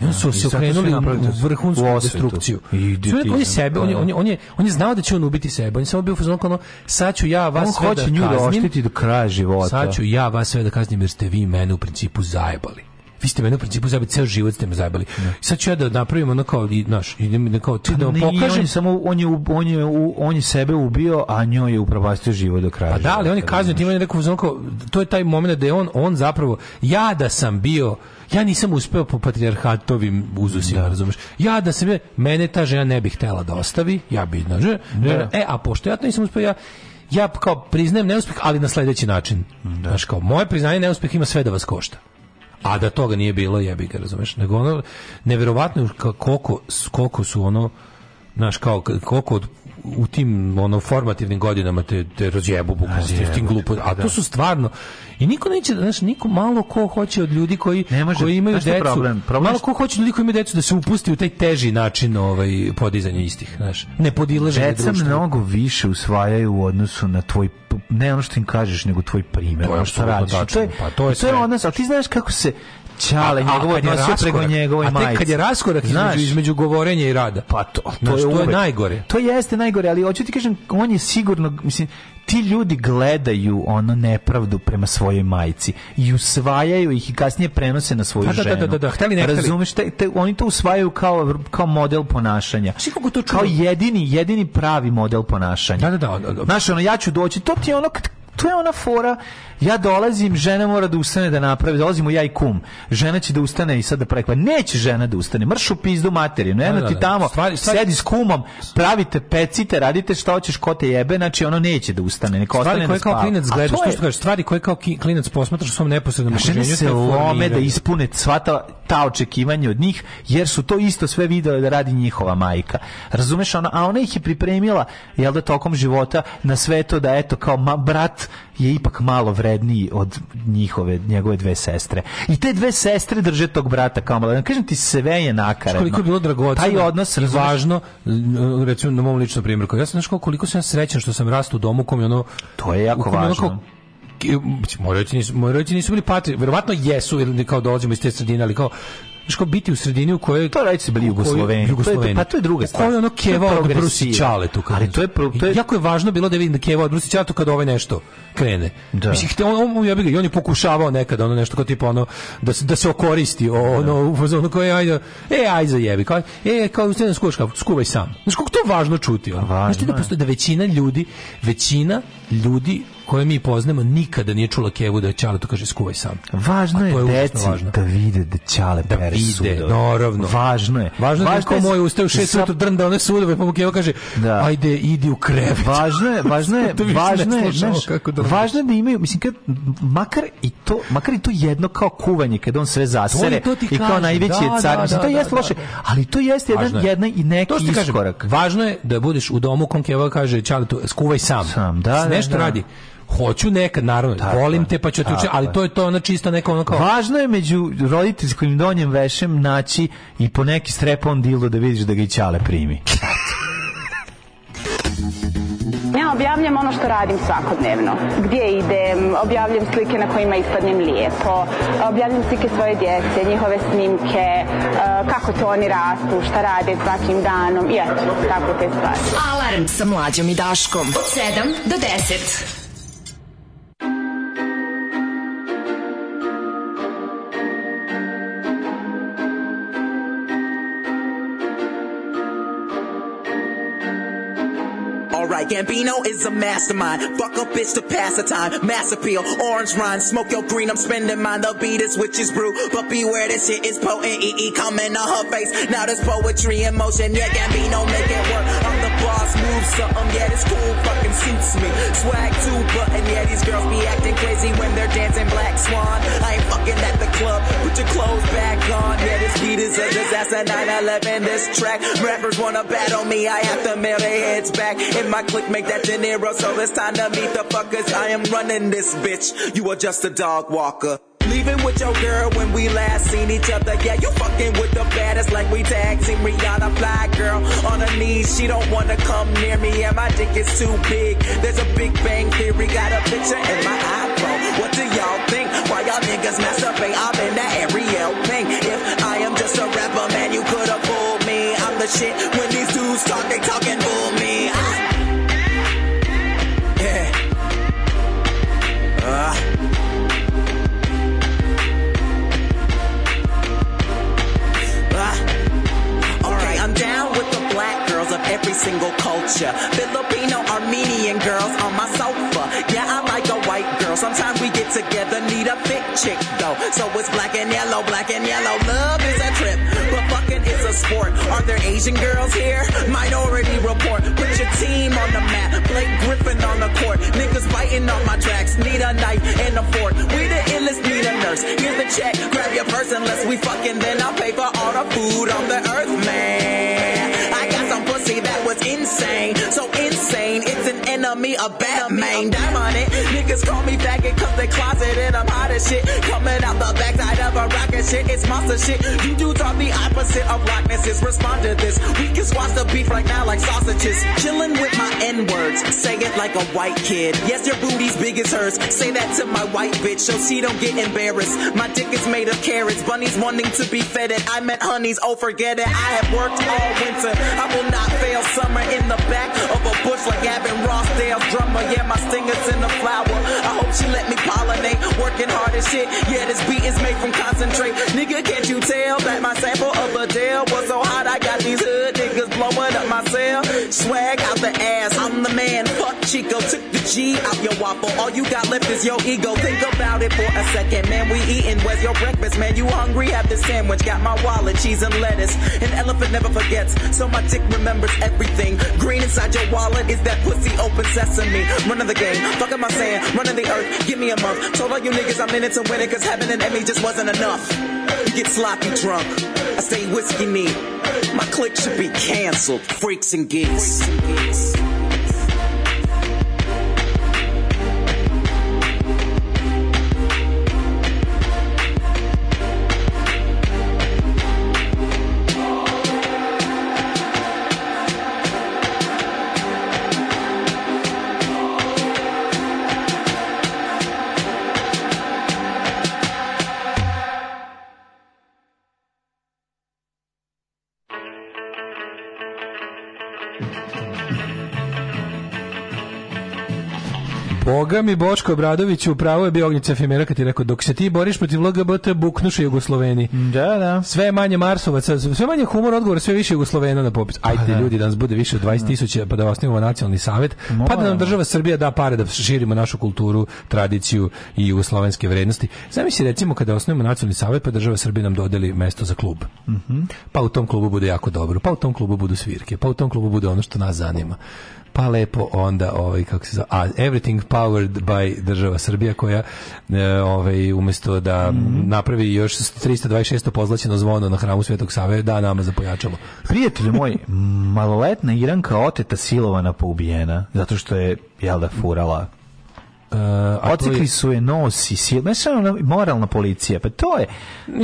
I onda su Pa, i se sad su okrenuli svi u napravili u vrhunsku u osvetu. destrukciju. I Čovjek, on je idiotizam, sebe, on je, da. on je, on je, on je znao da će on ubiti sebe. On je samo bio u fazonu kao ono, sad ću ja vas on sve hoće nju da da kaznim. oštiti do kraja života. sad ću ja vas sve da kaznim jer ste vi mene u principu zajebali. Vi ste mene u principu zajebali, ceo život ste me zajebali. Sad ću ja da napravim ono kao, i, znaš, idem da kao, ti da vam Ne, Pa on pokažem. je samo on je u- on je u- on je sebe ubio, a njoj je upropastio život do kraja. Pa da, ali on je života, kaznio, time je rekao, u fazonu kao, to je taj moment da je on, on zapravo, ja da sam bio, ja nisam uspeo po patrijarhatovim uzusima, razumeš? Ja da sam, bio- mene ta žena ne bi htela da ostavi, ja bi, znaš, e, a pošto ja to nisam uspeo, ja, ja kao priznajem neuspeh, ali na sledeći način. Znaš, kao, moje priznanje neuspeh ima sve da vas košta. A da toga nije bilo, jebi ga, razumeš? Nego ono, neverovatno je ka- koliko, s- koliko su ono, znaš, kao, k- koliko od u tim ono formativnim godinama te te razjebu bukvalno s tim- s tim glupo a to su stvarno i niko neće znaš niko malo ko hoće od ljudi koji koji imaju znaš šta je decu problem? Problem malo što- ko hoće od ljudi koji imaju decu da se upusti u taj teži način ovaj podizanja istih znaš ne podilaženje Deca društvu. mnogo više usvajaju u odnosu na tvoj p- ne ono što im kažeš nego tvoj primjer To je ono što apsolutno radiš I to je tačno, pa to je to je, sve. odnos ali ti znaš kako se Čale, A- a njegovo kad je odnosio preko raskorak- njegove A majice. tek kad je raskorak Znaš, između, između govorenja i rada. Pa to, to Znaš, je to je uvek. najgore. To jeste najgore, ali hoću ti kažem, on je sigurno, mislim, ti ljudi gledaju ono nepravdu prema svojoj majici i usvajaju ih i kasnije prenose na svoju Da, da, da, ženu. da, da, da, hteli, ne hteli. Razumeš, te, te- oni to usvajaju kao, kao model ponašanja. Kao jedini, jedini pravi model ponašanja. Da, da, da, da. Znaš, ono, ja ću doći, to ti je ono, kad- to je ona fora, ja dolazim, žena mora da ustane da napravi, dolazimo ja i kum. Žena će da ustane i sad da prekva. Neće žena da ustane, mrš u pizdu materinu, jedno Da, da, ti da. tamo, Stvari- stvari- sedi s kumom, pravite, pecite, radite šta hoćeš, ko te jebe, znači ono neće da ustane, neka Stvari ostane koje da kao spava. klinac A gledaš, to to je- što kažeš, stvari koje kao ki- klinac posmatraš u svom neposrednom a žene okruženju. se te lome da formiraju. ispune sva ta, ta očekivanja od njih, jer su to isto sve videle da radi njihova majka. Razumeš, ona, a ona ih je pripremila, jel da, tokom života na sve to da, eto, kao ma, brat je ipak malo vredniji od njihove, njegove dve sestre. I te dve sestre drže tog brata kao malo. Kažem ti, sve je nakaradno. Koliko je bilo dragoceno Taj odnos, i razumeš, važno, m, recimo na mom ličnom primjeru, ja sam znaš kao koliko sam ja srećan što sam rastao u domu u kom je ono... To je jako u kom ono važno. kao- ki- Moji roditelji nisu, moji roditelji nisu bili patri, verovatno jesu, ili kao dolazimo iz te sredine, ali kao znaš kao biti u sredini u kojoj To radi se bili Jugosloveni. To je- Jugosloveni. pa to je druga U stvar. kojoj ono To je keva od progresiva. Brusi Čale tu. Ali to je pro- to je- Jako je važno bilo da vidim da keva od Brusi Čale tu kad ovaj nešto krene. Da. Mislim, htio- on, on, jebi ga, i on je pokušavao nekada ono nešto kao tipa ono, da se, da se okoristi, o, ono, u fazonu koje, ajde, e, ajde zajebi, kao, e, kao, ustane da skuvaš kafu, skuvaj sam. Znaš, koliko to je važno čuti, ono? Znaš ti da postoji da većina ljudi, većina ljudi koje mi poznajemo nikada nije čula kevu da je Čale to kaže skuvaj sam. Važno A je, to je užasno deci važno. da vide da ćale Da pere vide, sudove. naravno. Važno je. Važno je da kao je moj ustaje u šest sa- ujutru drnda one sudove, pa mu Keva kaže, Da. ajde, idi u krevet. Važno je, važno je, To više ne važno je, slušamo znaš, kako držiš. važno je da imaju, mislim kad makar i to, makar i to jedno kao kuvanje kad on sve zasere To- to ti i kao kažem, najveći da, je da, car, mislim da, to da, jeste da, loše, da. ali to jeste Važno jedan je. jedna i neki To što ti kažem, iskorak. važno je da budeš u domu u kom Keva kaže, čale, tu, skuvaj sam. Sam, da, da, Nešto da. radi. Hoću nekad, naravno, volim te, pa ću te tako učiti, ali je. to je to ono čisto neko ono kao... Važno je među roditeljskim donjem vešem naći i po neki strepon dilu da vidiš da ga i ćale primi. Ja objavljam ono što radim svakodnevno. Gdje idem, objavljam slike na kojima ispadnem lijepo, objavljam slike svoje djece, njihove snimke, e, kako to oni rastu, šta rade svakim danom i eto, tako te stvari. Alarm sa mlađom i Daškom. Od 7 do 10. Alright, Gambino is a mastermind. Fuck a bitch to pass the time. Mass appeal, orange rind, smoke your green. I'm spending mine. The beat is witch's brew. But beware, this shit is potent. EE coming on her face. Now there's poetry in motion. Yeah, Gambino make it work. I'm the boss, move something. Yeah, this cool fucking suits me. Swag too button. Yeah, these girls be acting crazy when they're dancing Black Swan. I ain't fucking at the club. Put your clothes back on. Yeah, this beat is a disaster. 911, this track. Rappers wanna battle me. I have to mail their heads back. In my clique, make that De Niro. So it's time to meet the fuckers. I am running this bitch. You are just a dog walker. Leaving with your girl when we last seen each other. Yeah, you fucking with the baddest like we tag team Rihanna Fly girl on her knees. She don't wanna come near me, and my dick is too big. There's a Big Bang Theory, got a picture in my iPhone. What do y'all think? Why y'all niggas masturbate? I've been that Ariel Pink. If I am just a rapper, man, you could've fooled me. I'm the shit. When these dudes talk, they talking fool me. I- yeah. Uh. Ah. Okay, I'm down with the black girls of every single culture. Filipino, Armenian girls on my sofa. Yeah, I like a white girl. Sometimes we get together, need a thick chick though. So it's black and yellow, black and yellow. Love is a trip, but fucking is a sport. Are there Asian girls here? Minority report. Put your team on the map. Blake Griffin on the court. Niggas biting on my tracks. Need a knife and a fork. We the illest, need a nurse. Here's the check. Grab your purse unless we fucking. Then I'll pay for all the food on the earth, man. I got some pussy that was insane. So me a Batman diamond. it. Niggas call me faggot cause they closet and I'm hot as shit. Coming out the backside of a rocket shit, it's monster shit. You dudes are the opposite of likenesses. Respond to this. We can squash the beef right now like sausages. Chilling with my N words, say it like a white kid. Yes, your booty's big as hers. Say that to my white bitch so she don't get embarrassed. My dick is made of carrots, bunnies wanting to be fed it. I met honeys, oh forget it. I have worked all winter. I will not fail summer in the back of a bush like Gavin Rossdale's drummer. Yeah, my stinger's in the flower. I hope she let me pollinate, working hard as shit. Yeah, this beat is made from concentrate. Nigga, can't you tell that my sample of Adele was so hot? I got these hood niggas blowing up my cell. Swag out the ass, I'm the man. Fuck Chico, took the G out your waffle. All you got left is your ego. Think about it for a second, man. We eating, where's your breakfast, man? You hungry? Have this sandwich. Got my wallet, cheese and lettuce. An elephant never forgets, so my dick remembers everything. Green inside your wallet is that pussy open sesame. Running the game, fuck am I saying? Running the earth, give me a month. Told all you niggas I'm in it to win it, cause having an Emmy just wasn't enough. You get sloppy drunk, I stay whiskey knee. My clique should be canceled, freaks and geeks. Boga mi Boško Obradović u pravu je bio Ognjica Efemera kad ti je rekao dok se ti boriš protiv LGBT buknuše Jugosloveni. Da, da. Sve je manje Marsovaca, sve manje humor odgovor, sve više Jugoslovena na popis. Ajde da. ljudi da nas bude više od 20 tisuća pa da osnivamo nacionalni savjet, pa da nam Moramo. država Srbija da pare da širimo našu kulturu, tradiciju i jugoslovenske vrednosti. Zamisli recimo kada osnujemo nacionalni savjet pa država Srbija nam dodeli mesto za klub. Pa u tom klubu bude jako dobro, pa u tom klubu budu svirke, pa u tom klubu bude ono što nas zanima. Pa lepo onda ovaj kako se zove, a everything powered by država Srbija koja e, ovaj umesto da napravi još 326 pozlaćeno zvono na hramu Svetog Save da nama E, za pojačalo. Prijatelju moj, maloletna Iranka oteta silovana pa ubijena, zato što je, jel da, furala. to je- Ocikli su je nos i sil, ne samo ona moralna policija, pa to je,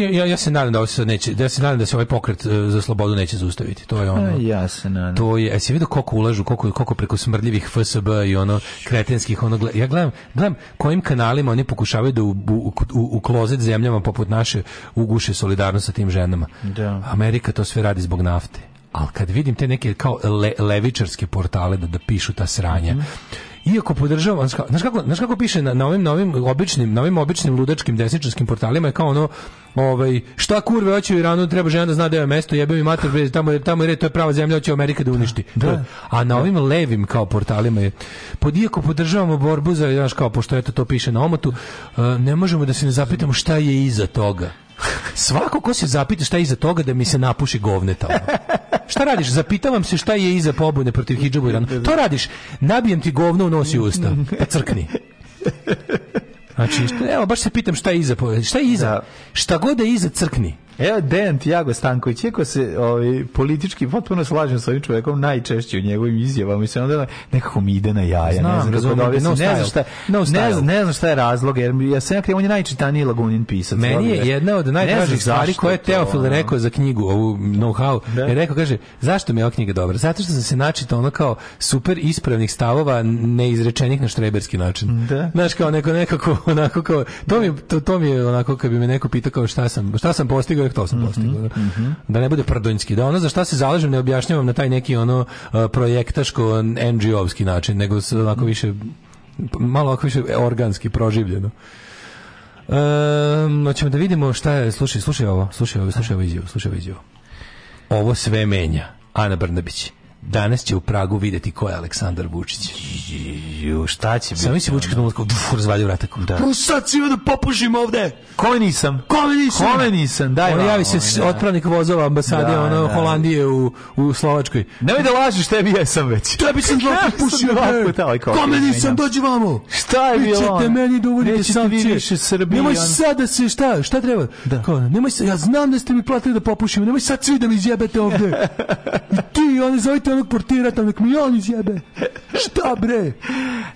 Ja, ja, ja se nadam da ovo se neće, da ja se nadam da se ovaj pokret e, za slobodu neće zaustaviti. To je ono. A, ja se nadam. To je, a si vidio koliko ulažu, koliko, koliko preko smrdljivih FSB i ono kretenskih, ono, gle- ja gledam, gledam kojim kanalima oni pokušavaju da u, u, u, u klozet zemljama poput naše uguše solidarnost sa tim ženama. Da. Amerika to sve radi zbog nafte. Ali kad vidim te neke kao le, levičarske portale da, da pišu ta sranja, Iako podržavam, znaš kako- znaš kako, znaš kako piše na, na ovim novim običnim, na ovim običnim ludačkim desničarskim portalima je kao ono ovaj šta kurve hoće u Iranu, treba žena da zna da je mesto, jebe mi mater bre, tamo je tamo je red, to je prava zemlja, hoće Amerika da uništi. To je- A na ovim levim kao portalima je pod iako podržavamo borbu za, znaš kao pošto eto to piše na omotu, e, ne možemo da se ne zapitamo šta je iza toga. Svako ko se zapita šta je iza toga da mi se napuši govneta. ono. Šta radiš? Zapitavam se šta je iza pobune protiv hidžabu i Iranu. To radiš. Nabijem ti govno u nos i usta. Pa crkni. Znači, šta- evo, baš se pitam šta je iza. po- Šta je iza? Šta god je iza, crkni. Evo Dejan Tiago Stanković, iako se ovaj, politički potpuno slažem s ovim čovjekom, najčešće u njegovim izjavama i se onda nekako mi ide na jaja. Znam, ne znam, razumem, kako da objasnim, no ne znam style. šta, No ne, style. znam- ne znam šta je razlog, jer ja sam ja krivo, on je najčitaniji lagunin pisac. Meni je Odgovor. jedna od Ne znam najdražih stvari zašto koje je to, Teofil ono. rekao za knjigu, ovu know-how, je rekao, kaže, zašto mi je ova knjiga dobra? Zato što sam se načitao ono kao super ispravnih stavova neizrečenih na štreberski način. Da. Znaš, kao neko nekako, onako kao, to mi, je- to, to mi je onako, kad bi me neko pitao kao šta sam, šta sam postigao, rekao, to sam postigao. Da ne bude prdonjski, da ono za šta se zalažem ne objašnjavam na taj neki ono uh, projektaško NGO-ovski način, nego s- onako više, malo ovako više organski proživljeno. Ehm, hoćemo da vidimo šta je, slušaj, slušaj ovo, slušaj ovo, slušaj ovo izjavu, slušaj ovo izjavu. Ovo sve menja. Ana Brnabić. Danas će u Pragu videti ko je Aleksandar Vučić. Ju, šta će biti? Samo mi se Vučić krenuo tako, duf, razvalio vrata. Da. Prusaci, da popušim ovde! Kome nisam? Kome nisam? Kome nisam? Daj On vamo, javi se da. otpravnik vozova ambasade Da, ono, da. Holandije u, u Slovačkoj. Nemoj da lažiš, tebi jesam već. Tebi sam dva Ja puta sam pušio, dva bre. puta, ovaj kao, Kome izvinjam. nisam, dođi vamo. Šta je Vi bilo ćete ono? meni da uvodite Nećete vi sankcije. više Srbiji, Nemoj ono. sad da se, šta, šta treba? Kao, nemoj se, ja znam da ste mi platili da popušim, nemoj sad svi da mi izjebete ovde. I ti, oni zovite onog portira tamo, nek mi on izjebe. Šta bre?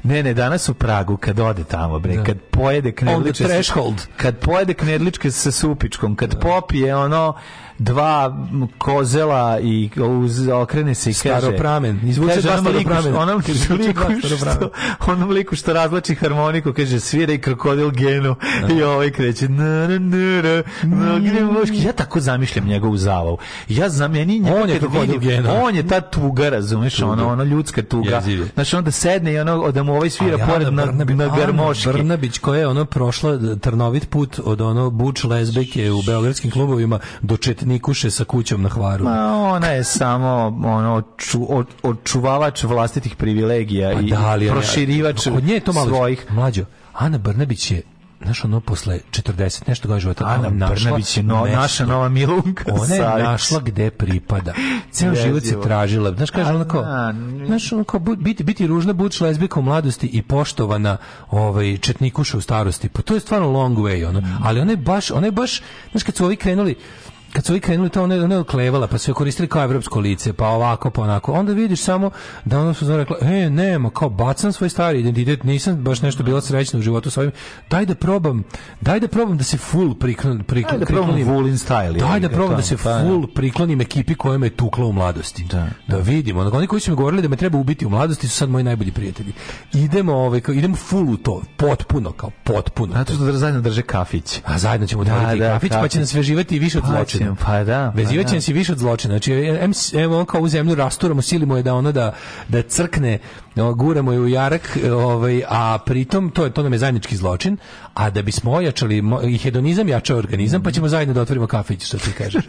Ne, ne, danas u Pragu, kad ode tamo, bre, kad pojede knedličke... sa- threshold. Kad pojede knedličke sa supičkom, kad popije ono dva m, kozela i uz, okrene se i kaže... Staropramen. Izvuče Kaže dva onom liku- staropramena. Onom Izvuče dva liku što, staropramena. onom liku što razlači harmoniku, kaže, svira i krokodil genu. I ovaj kreće... Na, na, na, na, na, gdje možeš- Ja tako zamišljam njegovu zavavu. Ja znam, meni njega On je kad krokodil vidim- Gena. On je ta tuga, razumeš, ono, ono ljudska tuga. Jeziv je. Znači, onda sedne i ono, da mu ovaj svira pored na, na garmoški. Brnabić koja je ono prošla trnovit put od ono buč lezbeke u beogradskim klubovima do četnikuše sa kućom na Hvaru. Ma ona je samo ono ču, o- očuvavač vlastitih privilegija i Pa ali ona- proširivač kod nje je to malo svojih. Mlađo, Ana Brnabić je znaš ono posle 40 nešto godina života Ana ona našla Brnabić je no, mesto. naša nova Milunka ona je Savić. našla gde pripada. Ceo Jezivo. život se tražila. Znaš, kaže ona kao, znaš, ono kao, bu- biti, biti ružna buč lezbika u mladosti i poštovana ovaj, četnikuša u starosti. Pa to je stvarno long way, ono. Ali ona je baš, ona je baš, znaš, kad su ovi krenuli, kad su ovi krenuli to ona je, ona je oklevala pa su je koristili kao evropsko lice pa ovako pa onako onda vidiš samo da ona su zna rekla e nema kao bacam svoj stari identitet nisam baš nešto bila srećna u životu s ovim daj da probam daj da probam da se full priklonim prikl, Ajde, probam priklonim- Vulin style. Daj jebi da ga, probam da tamo, se pa, da. full priklonim ekipi koja me je tukla u mladosti. Da, vidim. Ono, oni koji su mi govorili da me treba ubiti u mladosti su sad moji najbolji prijatelji. Idemo, ovaj, kao, idemo full u to. Potpuno, kao potpuno. Zato što zajedno drže kafić. A zajedno ćemo Da, otvoriti da, kafić, pa kafić. će nas veživati više od Pa zločina. ćemo, pa da, pa Vezivaće da. nas i više od zločina. Znači, em, em, on kao u zemlju rasturamo, silimo je da ono da, da crkne, o, guramo je u jarak, e, ovaj, a pritom to, je, to nam je zajednički zločin, a da bismo ojačali, mo- i hedonizam jača organizam, pa ćemo zajedno da otvorimo kafić, što ti kažeš.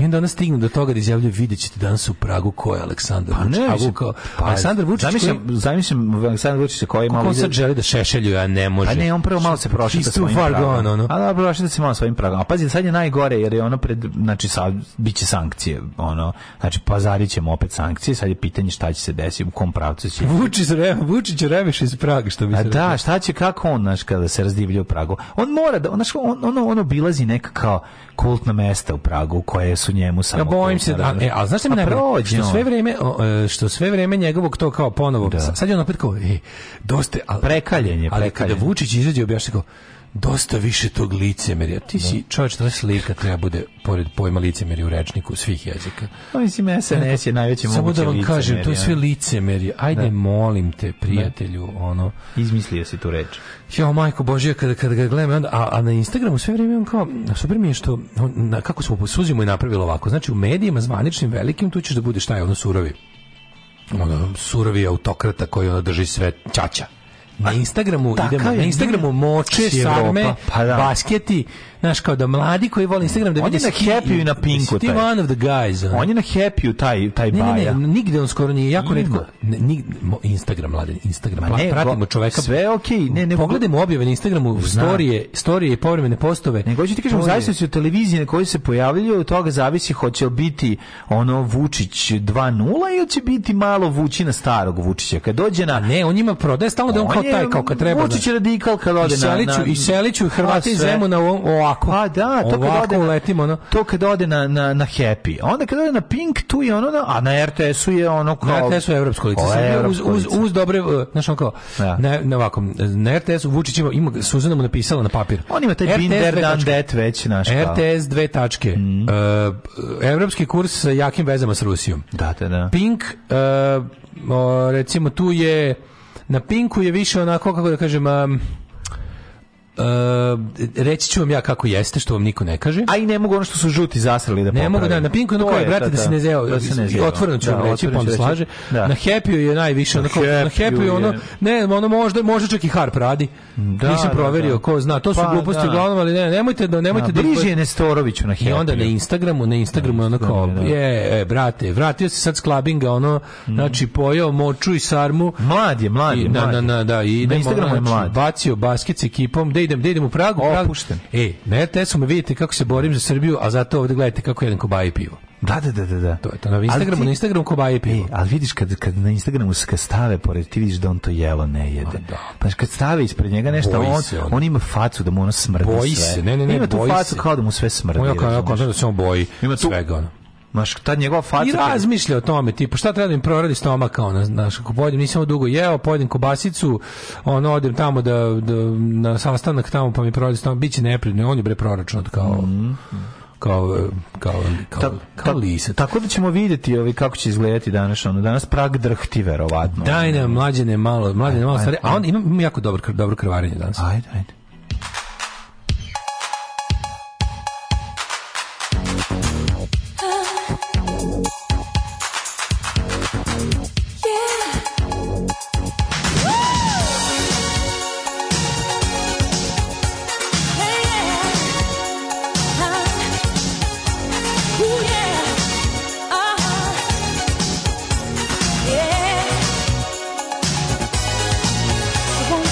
I onda ona stigne do toga da izjavljuje, vidjet ćete danas u Pragu ko je Aleksandar Pa ne, Vučić. A mislim, Vuko- pa, Aleksandar Vučić Zamišljam, koji- zamišljam Aleksandar Vučića koji Kako malo... on ide- sad želi da šešelju, a ne može. A Pa ne, on prvo malo se prošeta He's too svojim far pragom. gone, ono. A da, prošeta se malo svojim pragom. A pazi, sad je najgore, jer je ono pred, znači, sad biće sankcije, ono, znači, pazarit ćemo opet sankcije, sad je pitanje šta će se desiti, u kom pravcu će... Vučić, re- Vučić remeš iz Praga, što bi A se reklo. da, šta će, kako on, znaš, kada se razdivlja u Pragu? On mora da, znaš, on, ono, ono bilazi neka kao kultna mesta u Pragu, koje su njemu samo... Ja bojim se da, kultna, e, a znaš šta mi Pa najbolje? prođe Što on. sve vrijeme o, e, što sve vrijeme njegovog to kao ponovo. Sad je on opet kao, e, dosta, je, ali Prekaljen je, ali prekaljen. kada Vučić izađe objašnjava kao dosta više tog licemerja. Ti si čovjek što slika treba bude pored pojma licemerja u rečniku svih jezika. Pa mislim, SNS je najveće Samo moguće da vam kažem, licemerje, to je sve ono. licemerje. Ajde, Da. molim te, prijatelju, ono. Izmislio si tu reč. Jo, majko Božija, kada, kada ga gledam, onda, a, a na Instagramu sve vrijeme on kao, super mi je što, on, na, kako smo posuzimo i napravili ovako, znači u medijima zvaničnim velikim tu ćeš da budeš taj ono surovi, ono, surovi autokrata koji ono drži sve ćaća. Na Instagramu Takav idemo, je, na Instagramu ne? moče, Si Evropa, sarme, pa da. basketi, znaš, kao da mladi koji vole Instagram, da On vide je na si ti- Happyu i na Pinku si Ti taj. one of the guys. ono. On je na happy taj, taj Ne, ne, baja. ne, nigde on skoro nije, jako Ima. redko. Ne, ni- mo- Instagram, mladen, Instagram. Ma ne, Pa pratimo go- čoveka. sve je okej, ne, ne, E, Pogledajmo objave na Instagramu, Znam. storije, storije i povremene postove. Nego ću ti kažem, To u je- zavisnosti od televizije na kojoj se pojavljaju, od toga zavisi hoće li biti ono Vučić 2.0 ili će biti malo Vučina starog Vučića. Kad dođe na... Ne, on njima prodaje stalno da je on kao je taj, kao kad treba. Vučić je znaš. radikal kad ode I na... Seliću, na- i Seliću, i Pa Hrvati iz sve. Zemuna o- ovako. Pa da, to kad ovako ode na- uletimo, ono. to kad ode na, na, na Happy. A Onda kad ode na Pink, tu je ono, na- a na RTS-u je ono kao... Na RTS-u je evropsko lice. Ovo je Sad, uz, evropsko uz, lice. uz dobre, uh, znaš on kao, Da. na, na ovakvom, na RTS-u Vučić ima, ima Suzana mu napisala na papir. On ima taj RTS Binder dve Dan tačke. Det već naš kao. Mhm. RTS dve tačke. Uh, evropski kurs sa jakim vezama s Rusijom. Da, da, da. Pink, uh, o, recimo tu je, na Pinku je više onako, kako da kažem, um, uh, reći ću vam ja kako jeste, što vam niko ne kaže. A i ne mogu ono što su žuti zasrali da Ne mogu da poprave. na Pinku ono To koje je, brate da se ne zeo, da se ne zeo. otvoreno ću vam Da, reći, pa otvoreno onda ću slaže. reći. Da. Na Happy je najviše Na onako na Happy Happyu ono je. ne, ono možda možda čak i Harp radi. Da, Nisam da, proverio da. ko zna, to su Pa, gluposti da. uglavnom, ali ne, nemojte da nemojte da Da, bliže je Nestoroviću na Happy. i onda na Instagramu, na Instagramu je ono kao, Instagramu, da. je, e, brate, vratio se sad s klabinga, ono, znači, pojao moču i sarmu. Mlad je, mlad je, I, na, mlad na, je. na, da, i idemo, Instagramu je znači, mlad. Bacio basket s ekipom, da idem, da idem u Pragu. Pragu. Opušten. E, na RTS-u me vidite kako se borim za Srbiju, a zato ovdje gledajte kako jedan kobaji pivo. Da, da, da, da, da. To je to, na Instagramu, ti- na Instagramu kobaji pivo. E, ali vidiš kad, kad na Instagramu se kad stave pored, ti vidiš da on to jelo ne jede. da. Znaš, kad stave ispred njega nešto, Boji on, se on. on. ima facu da mu ono smrdi Boji sve. se, ne, ne, ne, Ima tu boji facu se. kao da mu sve smrdi. Moja kao, ja razumeš? kontam da se on boji Ima tu- svega, ono. Maš, ta njegova faca... I razmišlja o tome, tipa, šta treba da im proradi stomak, ono, znaš, ako pojedem, nisam dugo jeo, pojedem kobasicu, ono, odem tamo da, da na sastanak tamo, pa mi proradi stomak, bit će neprijatno, on je bre proračunat kao... Kao, kao, kao, Ta- kao ta- lisa. Tako da ćemo vidjeti ovi kako će izgledati danas, ono, danas prag drhti, verovatno. Daj nam mlađene malo, mlađene malo Ajde, stvari. A ajde. on imam, imam jako dobro, kr- dobro krvarenje danas. Ajde, ajde. Yeah. Oh,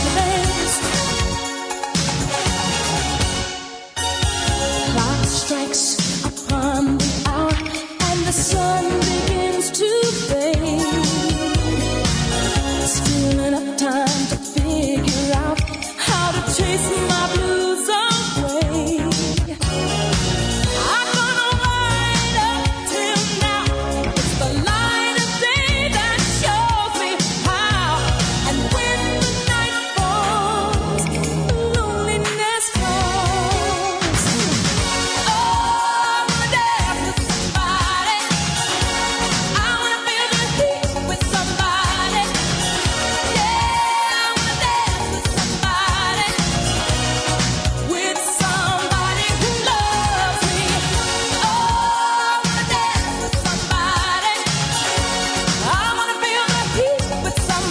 Oh,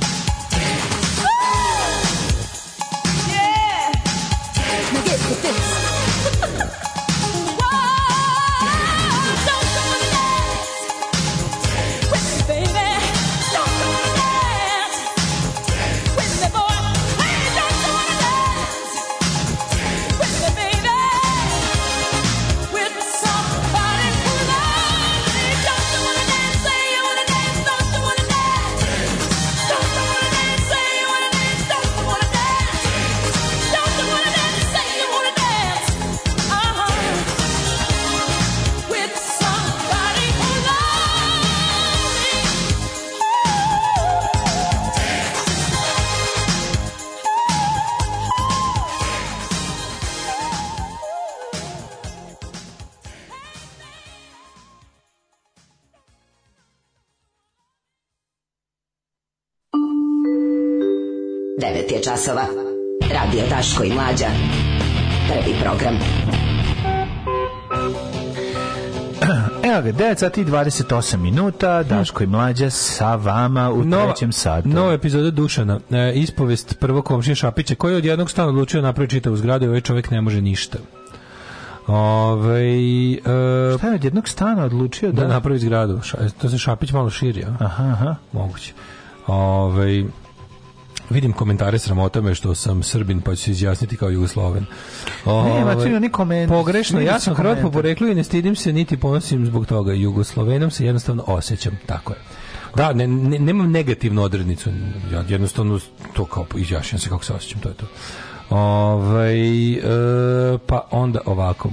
Oh, Oh, Uh-huh. 9 je časova. Radio Daško i Mlađa. Prvi program. Evo ga, 9 sati i 28 minuta, Daško i Mlađa sa vama u trećem satu. Nova epizoda Dušana, e, ispovest prvog komšije Šapića, koji je od jednog stana odlučio napraviti čitavu zgradu i ovaj čovjek ne može ništa. Ove, e, Šta je od jednog stana odlučio da... napravi zgradu? Ša- To se Šapić malo širi, a? Aha, aha. Moguće. Ove, vidim komentare sramota me što sam Srbin, pa ću se izjasniti kao Jugosloven. Ne, ma Ovaj, tu ni koment. Pogrešno, Nema ja sam Hrvat po komentar. poreklu i ne stidim se niti ponosim zbog toga. Jugoslovenom se jednostavno osjećam, tako je. Da, ne, ne- nemam negativnu odrednicu. Ja jednostavno to kao izjašnjam se kako se osjećam, to je to. Ovaj, e, pa onda ovako. E,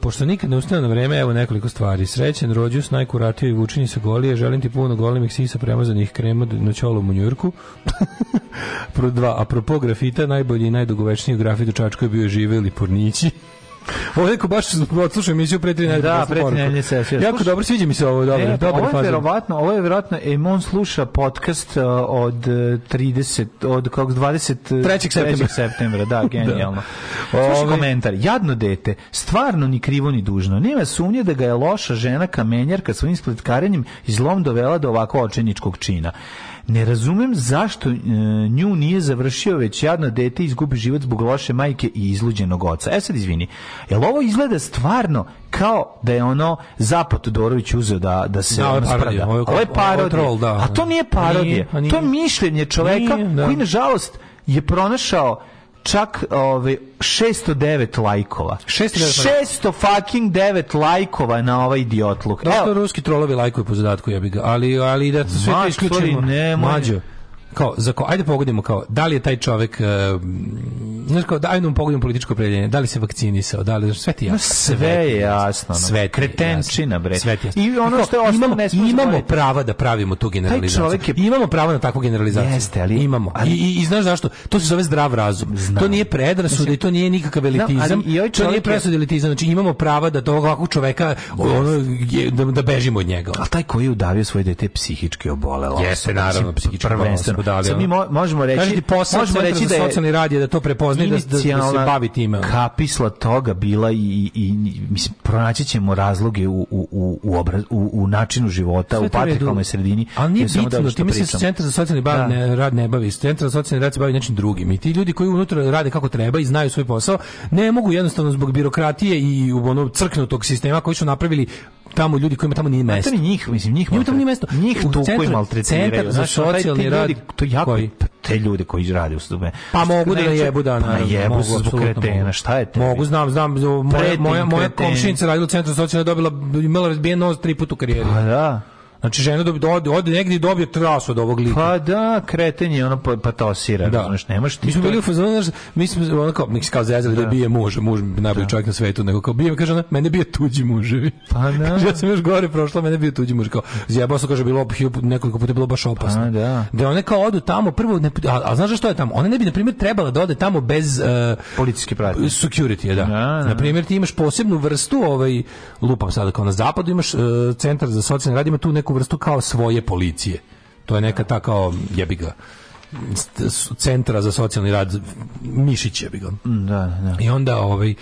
pošto nikad ne ustane na vreme, evo nekoliko stvari. Srećen, rođus, najkuratio i vučenje sa golije. Želim ti puno golemih sisa premazanih krema na čolom u Njurku. Pro dva, apropo grafita, najbolji i najdugovečniji grafit u Čačku je bio žive ili pornići. Ovo je neko baš odslušao emisiju pre tri nedelje. Da, posle pre tri poruku. nedelje se ja sjećam. Jako Slušaj. dobro, sviđa mi se ovo, dobro, E, pa dobar ovo je fazon. verovatno, ovo je verovatno Emon sluša podcast uh, od uh, 30 od kako 20 Trećeg septembra. septembra, da, genijalno. Da. Slušaj Ove- komentar. Jadno dete, stvarno ni krivo ni dužno. Nema sumnje da ga je loša žena kamenjarka svojim spletkarenjem i zlom dovela do ovako očeničkog čina. Ne razumem zašto e, nju nije završio već jadno dete izgubi život zbog loše majke i izluđenog oca. E sad izvini, jel ovo izgleda stvarno kao da je ono Zapad Todorović uzeo da, da se Da, ovo je ono parodija, spravda? ovo je kao- Ovo je ovo je parodija. troll, da. A to nije parodija. Nije, pa nije. To je mišljenje čoveka Nije, da. koji nažalost je pronašao čak ove 609 lajkova. 609 600 fucking 9 lajkova na ovaj idiotluk. Da što ruski trolovi lajkuju po zadatku, ja bih ga. Ali, ali da sve to Matori, isključimo. nemoj. Mlađo. Kao, za ko, ajde pogodimo kao, da li je taj čovek, uh, znaš kao, da, ajde mu pogodimo političko opredjeljenje, da li se vakcinisao, da li, znaš, sve ti je Ma, jasno. sve je jasno. ono. Sve ti je Kretenčina, jasno. bre. Sve ti je jasno. I ono što je ostalo imamo, ne smijemo imamo zaboraviti. prava da pravimo tu generalizaciju. čovek je- Imamo pravo na takvu generalizaciju. Jeste, ali- imamo. I, i, i znaš zašto? To se zove zdrav razum. To nije predrasud i to nije nikakav elitizam. ali i ovaj to čovek nije je- predrasud i elitizam. Znači imamo prava da tog ovakvog čoveka ono, je- da, da bežimo od njega. A taj koji je udavio svoje dete je psihički obolelo. Jeste, naravno, psihički prvenstveno. obolelo, Sad mi mo- možemo reći, Kaži ti posao možemo Centra reći za da je socijalni rad je da to prepoznaje, da, da, da se inicijalna bavi time. ono. Kapisla toga bila i, i, i mislim, pronaći ćemo razloge u, u, u, u, obraz, u, u načinu života, Sve u to u redu. patrikalnoj sredini. Ali nije Ja samo da bitno, što ti misliš da pričam. se centar za socijalni bav, Da. ne, rad ne bavi, centar za socijalni rad se bavi nečim drugim i ti ljudi koji unutra rade kako treba i znaju svoj posao, ne mogu jednostavno zbog birokratije i onog crknutog sistema koji su napravili tamo ljudi kojima tamo nije mesto. Materi njih, mislim, njih, Njima tamo nije maltre- mesto. Njih U tu koji centar- maltretiraju. centar za Znaš, ono, taj- ti socijalni rad ljudi, to jako, koji- te ljude koji rade u stupe. Pa mogu da Najveće- najebu, da, pa naravno. najebu mogu, se zbog apsolutno mogu. kretena, šta je te? Mogu, znam, znam, moja, Pretim moja, moja kreten. komšinica radila u centru za socijalne dobila, imala razbijen nos tri puta u karijeri. Pa da. Znači žena dobi, ode, ode negdje i dobije trasu od ovog lika. Pa da, kreten je ono pa- patosira, Da. razumeš, nemaš ti Mi smo to- bili u fazonu, znaš, mi smo ono kao, nek se kao zezali da, bije muž, muž najbolji čovjek na svetu, nego kao bije, kaže ona, mene bije tuđi muževi. Pa da. Kaže, ja sam još gore prošla, mene bije tuđi muž, kao, zjebao sam, kaže, bilo op- hiljup- nekoliko puta je bilo baš opasno. Pa da. Da one kao odu tamo, prvo, ne, a, a znaš što je tamo? Ona ne bi, na primjer, trebala da ode tamo bez e, Policijski pratnje. security, da. da. Na primjer, ti imaš posebnu vrstu, ovaj, lupam sada, kao na zapadu imaš e, centar za socijalni rad, ima tu neku vrstu kao svoje policije. To je neka ta kao, jebi ga, st- s- centra za socijalni rad Mišić jebi ga. Da, da. I onda ovaj,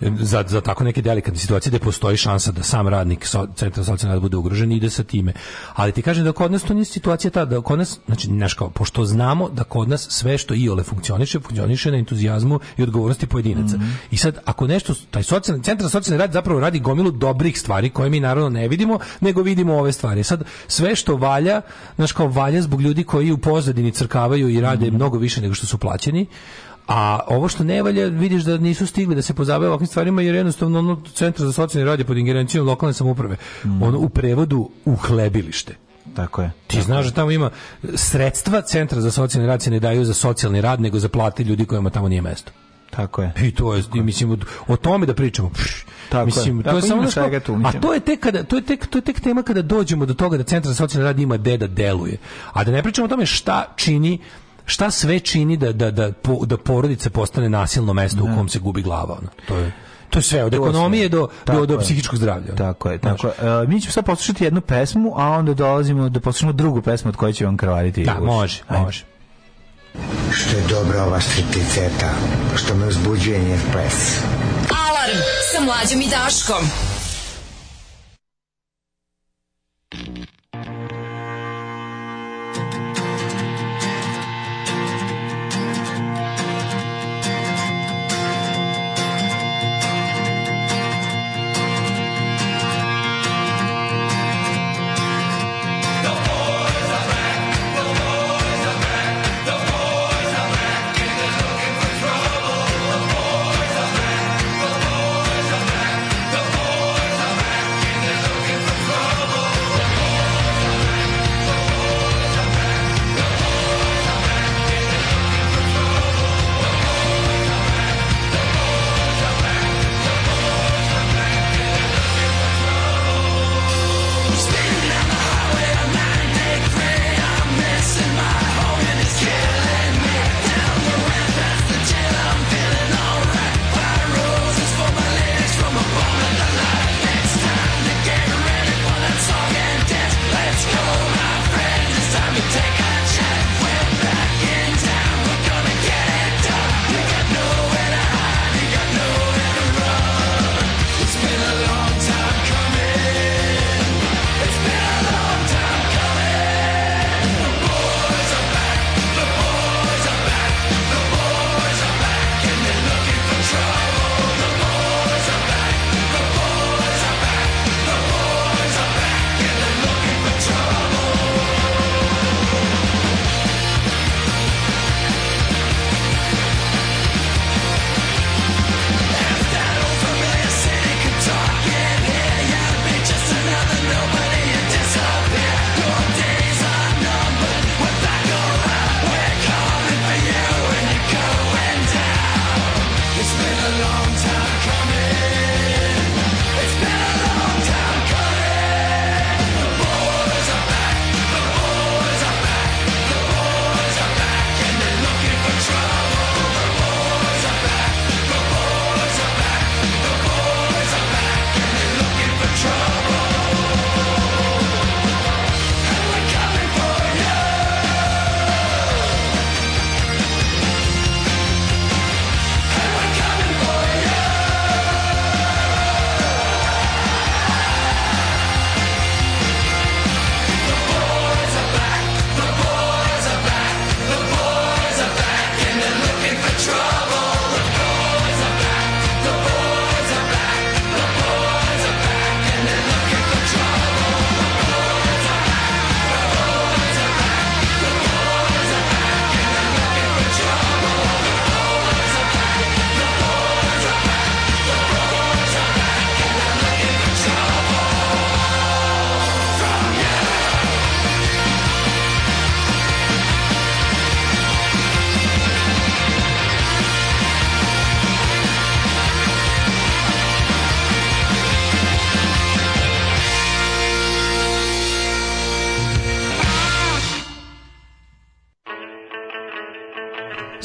za, za tako neke delikatne situacije gde postoji šansa da sam radnik so, centra za socijalni rad bude ugrožen i ide sa time. Ali ti kažem da kod nas to nije situacija ta, da kod nas, znači, znaš kao, pošto znamo da kod nas sve što iole funkcioniše, funkcioniše na entuzijazmu i odgovornosti pojedinaca. Mhm. I sad, ako nešto, taj socijalni, centar za socijalni rad zapravo radi gomilu dobrih stvari koje mi naravno ne vidimo, nego vidimo ove stvari. Sad, sve što valja, znaš kao, valja zbog ljudi koji u pozadini crkavaju i rade Mhm. mnogo više nego što su plaćeni, a ovo što ne valja, vidiš da nisu stigli da se pozabave ovakvim stvarima, jer jednostavno ono centar za socijalni rad je pod ingerencijom lokalne samuprave. Ono u prevodu uhlebilište. Mm. Tako je. Ti znaš da tamo ima sredstva centra za socijalni rad se ne daju za socijalni rad, nego za plate ljudi kojima tamo nije mesto. Tako je. I E, to je, i mislim, o- o tome da pričamo. pš, Tako mislim, je. to Tako je samo ima znaš kao- svega tu, mislim. A to je tek kada to je tek to je tek tema kada dođemo do toga da centar za socijalni rad ima gde da deluje. A da ne pričamo o tome šta čini šta sve čini da da da po- da porodica postane nasilno mesto u kom se gubi glava, ono. To je to je sve od ekonomije do do, Tako do je. psihičkog zdravlja. ono. Tako je, tako je. E, mi ćemo sad poslušati jednu pesmu, a onda dolazimo da poslušamo drugu pesmu od koje će vam krvariti. Da, uši. može, Ajde. može. Što je dobra ova stripticeta, što me uzbuđuje njen ples. Alarm sa mlađom i Daškom.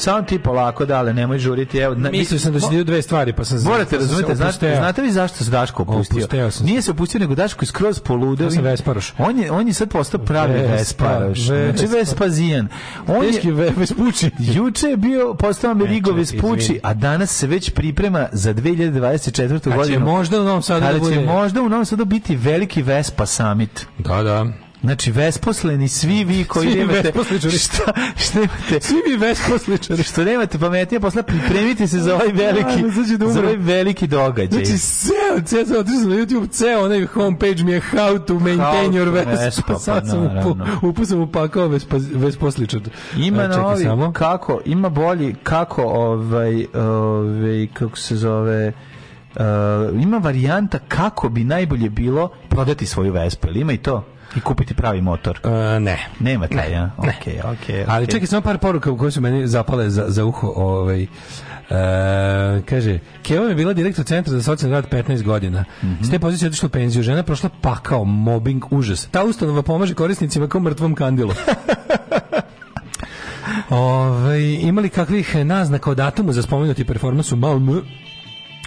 Samo ti polako, dale, nemoj žuriti. Evo, na- Mislio sam da se Mo- idu dve stvari, pa sam Morate razumete, znate, znate vi zašto se Daško opustio? Opusteo sam se. Nije se opustio, nego Daško je skroz poludeo. Ja sam Vesparoš. On je, on je sad postao pravi Vespa- Vesparoš. Vespa- Znači Vespazijan. On Teški je, Vespuči. Juče je bio, postao Amerigo Eto, Vespuči, izvini. a danas se već priprema za 2024. Kad će godinu. možda u Novom Sadu Kada da bude- će možda u Novom Sadu biti veliki Vespa summit. Da, da. Znači, vesposleni, svi vi koji Svi vi nemate... vesposličari. Šta, šta nemate? Svi vi vesposličari. Što nemate pametnije posla, pripremite se za ovaj veliki, Da, znači da za umrem. ovaj veliki događaj. Znači, ceo, ceo, ceo, otišao sam na YouTube, ceo onaj homepage mi je how to How maintain your to Vespa. Vespa, pa Sad sam upu, naravno. upu sam upakao Vespa, Vesposličar. Ima E, čekaj novi, samo. kako, ima bolji, kako, ovaj, ovaj, kako se zove, eh, ima varijanta kako bi najbolje bilo prodati svoju Vespu, ili ima i to? I kupiti pravi motor? E, ne. Nema taj, ja? Okej, okej, Ali okej. čekaj, samo par poruka koje su meni zapale za, za uho. Ovaj, e, kaže, Keva mi je bila direktor centra za socijalni rad 15 godina. Mhm. S te pozicije je otišla u penziju. Žena je prošla pakao, mobbing, užas. Ta ustanova pomaže korisnicima kao mrtvom kandilu. Ovaj, Ove, imali kakvih naznaka o datumu za spomenuti performans u Malmö?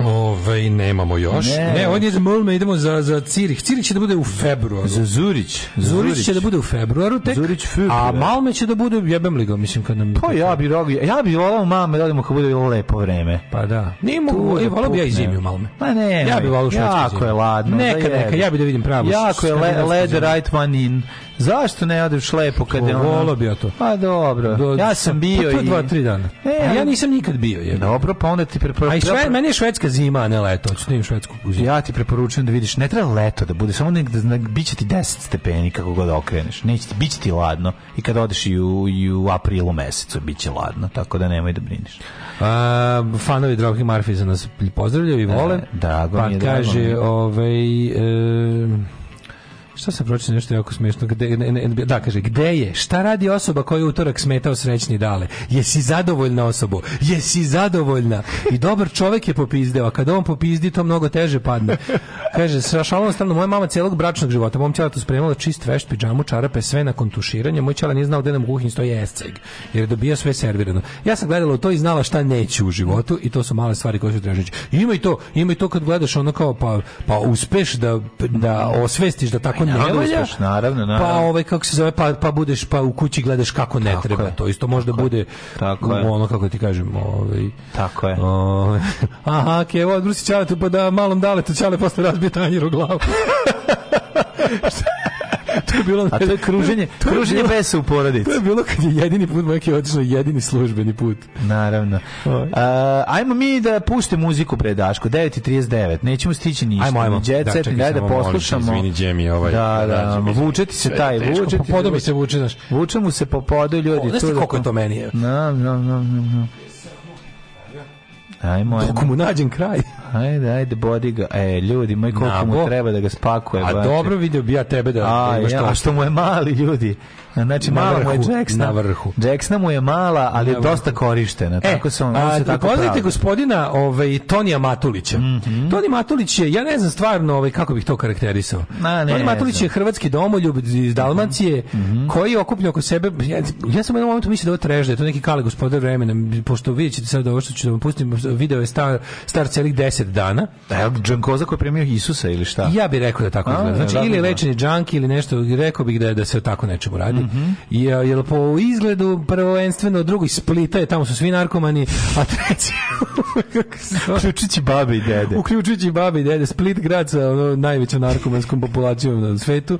Ove, nemamo još. Ne. Ne, ne on je za Mulme, idemo za, za Cirih. Cirih će da bude u februaru. Za Zurić. Zurić će da bude u februaru tek. Zurić A februar. Malme će da bude, jebem li ga, mislim, kad nam... Pa ja bi rogi, ja bi volao mame da odemo kad bude lepo vreme. Pa da. Nije mogu, Tu e, volao bi ja i pukne. zimi u Malme. Pa ne, Ja bi volao u švedskoj Jako zimi. je ladno. Neka, da neka, jebi. ja bi da vidim pravu Jako je le, skandinavsku led zimu. right one in. Zašto ne odeš lepo kad je ono... Volao bi ja to. Pa dobro. Do- ja sam bio pa to je i... dva, tri dana. Ne, A ja ali- nisam nikad bio, je. Dobro, pa onda ti preporučujem... A i šve, meni je švedska zima, a ne leto. Hoću im švedsku zimu. Ja ti preporučujem da vidiš, ne treba leto da bude, samo negde, zna- bit će ti 10 stepeni kako god okreneš, neće ti, bit će ti ladno i kad odeš i u, i u aprilu mesecu bit će ladno, tako da nemoj da brineš. A, fanovi Drogi Marfiza nas pozdravljaju i vole. E, drago pa mi je, drago mi kaže, je. ovaj... E, šta sam pročitao nešto jako smiješno? Gde, ne, ne, da, kaže, gde je? Šta radi osoba koja je utorak smetao srećni dale? Jesi zadovoljna osobo? Jesi zadovoljna? I dobar čovek je popizdeo, a kad on popizdi, to mnogo teže padne. Kaže, sa šalom stalno, moja mama celog bračnog života, mom ćela tu spremala čist vešt, pidžamu, čarape, sve nakon tuširanja, moj ćela nije znao gde nam u kuhinji stoji esceg, jer je dobija sve servirano. Ja sam gledala u to i znala šta neću u životu i to su male stvari koje su trežeći. Ima i to, ima i to kad gledaš ono kao, pa, pa uspeš da, da osvestiš da tako Pa ne Naravno da valja, uspeš, naravno, pa naravno. ovaj kako se zove pa pa budeš pa u kući gledaš kako ne Tako treba je. to isto možda bude Tako je. ono kako ti kažem ovaj Tako je. ovaj, aha ke evo drusi ćale tu pa da malom dale tu ćale posle razbije tanjir u glavu to je bilo A to je kruženje, to je kruženje bilo- besa u porodici. to je bilo kad je jedini put majke otišla jedini službeni put Naravno. A, ajmo mi da pustimo muziku pre Daško, 9.39, nećemo stići ništa. Ajmo, ajmo. Ni Jet Da, set, čekaj, ni daj da samo molim te, poslušamo. izvini, Džemi, ovaj, Da, da, da, Džemi, vuče ti se sve je taj, teško, vuče po ti podu mi Pa se vuče, znaš. Vuče mu se po podu ljudi. Znaš ti da- koliko je to meni, je? Da, da, da, da. Ajmo, ajmo. kako mu nađem kraj Ajde, ajde, bodi ga. E, ljudi, moj koliko mu Nabo. treba da ga spakuje. a brate. dobro video bi ja tebe da, da A, imaš ja, to. a što mu je mali, ljudi. Znači, Na mala mu je vrhu, Jacksona. na vrhu. Jacksona mu je mala, ali je Na vrhu. dosta korištena. E, tako se on, on a, se tako upoznajte pravi. Mhm. gospodina ovaj, Tonija Matulića. Toni Matulić je, ja ne znam stvarno ovaj, kako bih to karakterisao. Ma, ne Toni Matulić znam. Mhm. je hrvatski domoljub iz Dalmacije koji je okupljen oko sebe, ja, ja sam u jednom momentu mislio da je ovo trežda, da je to neki kale gospodar vremena, pošto vidjet ćete sad ovo što ću da vam pustim, video je star, star celih 10 dana. Da je Džankoza koji je premio Isusa ili šta? Ja bih rekao da tako A, izgleda. Znači, da, ili je da. lečeni džanki ili nešto, rekao bih da, je- da se o tako nečemu radi. Mhm. I, a, jer po izgledu prvenstveno drugo iz Splita je, tamo su svi narkomani, a treći... kako se zove? Uključujući babe i dede. uključujući babi i dede, Split grad sa ono, najvećom narkomanskom populacijom na svetu.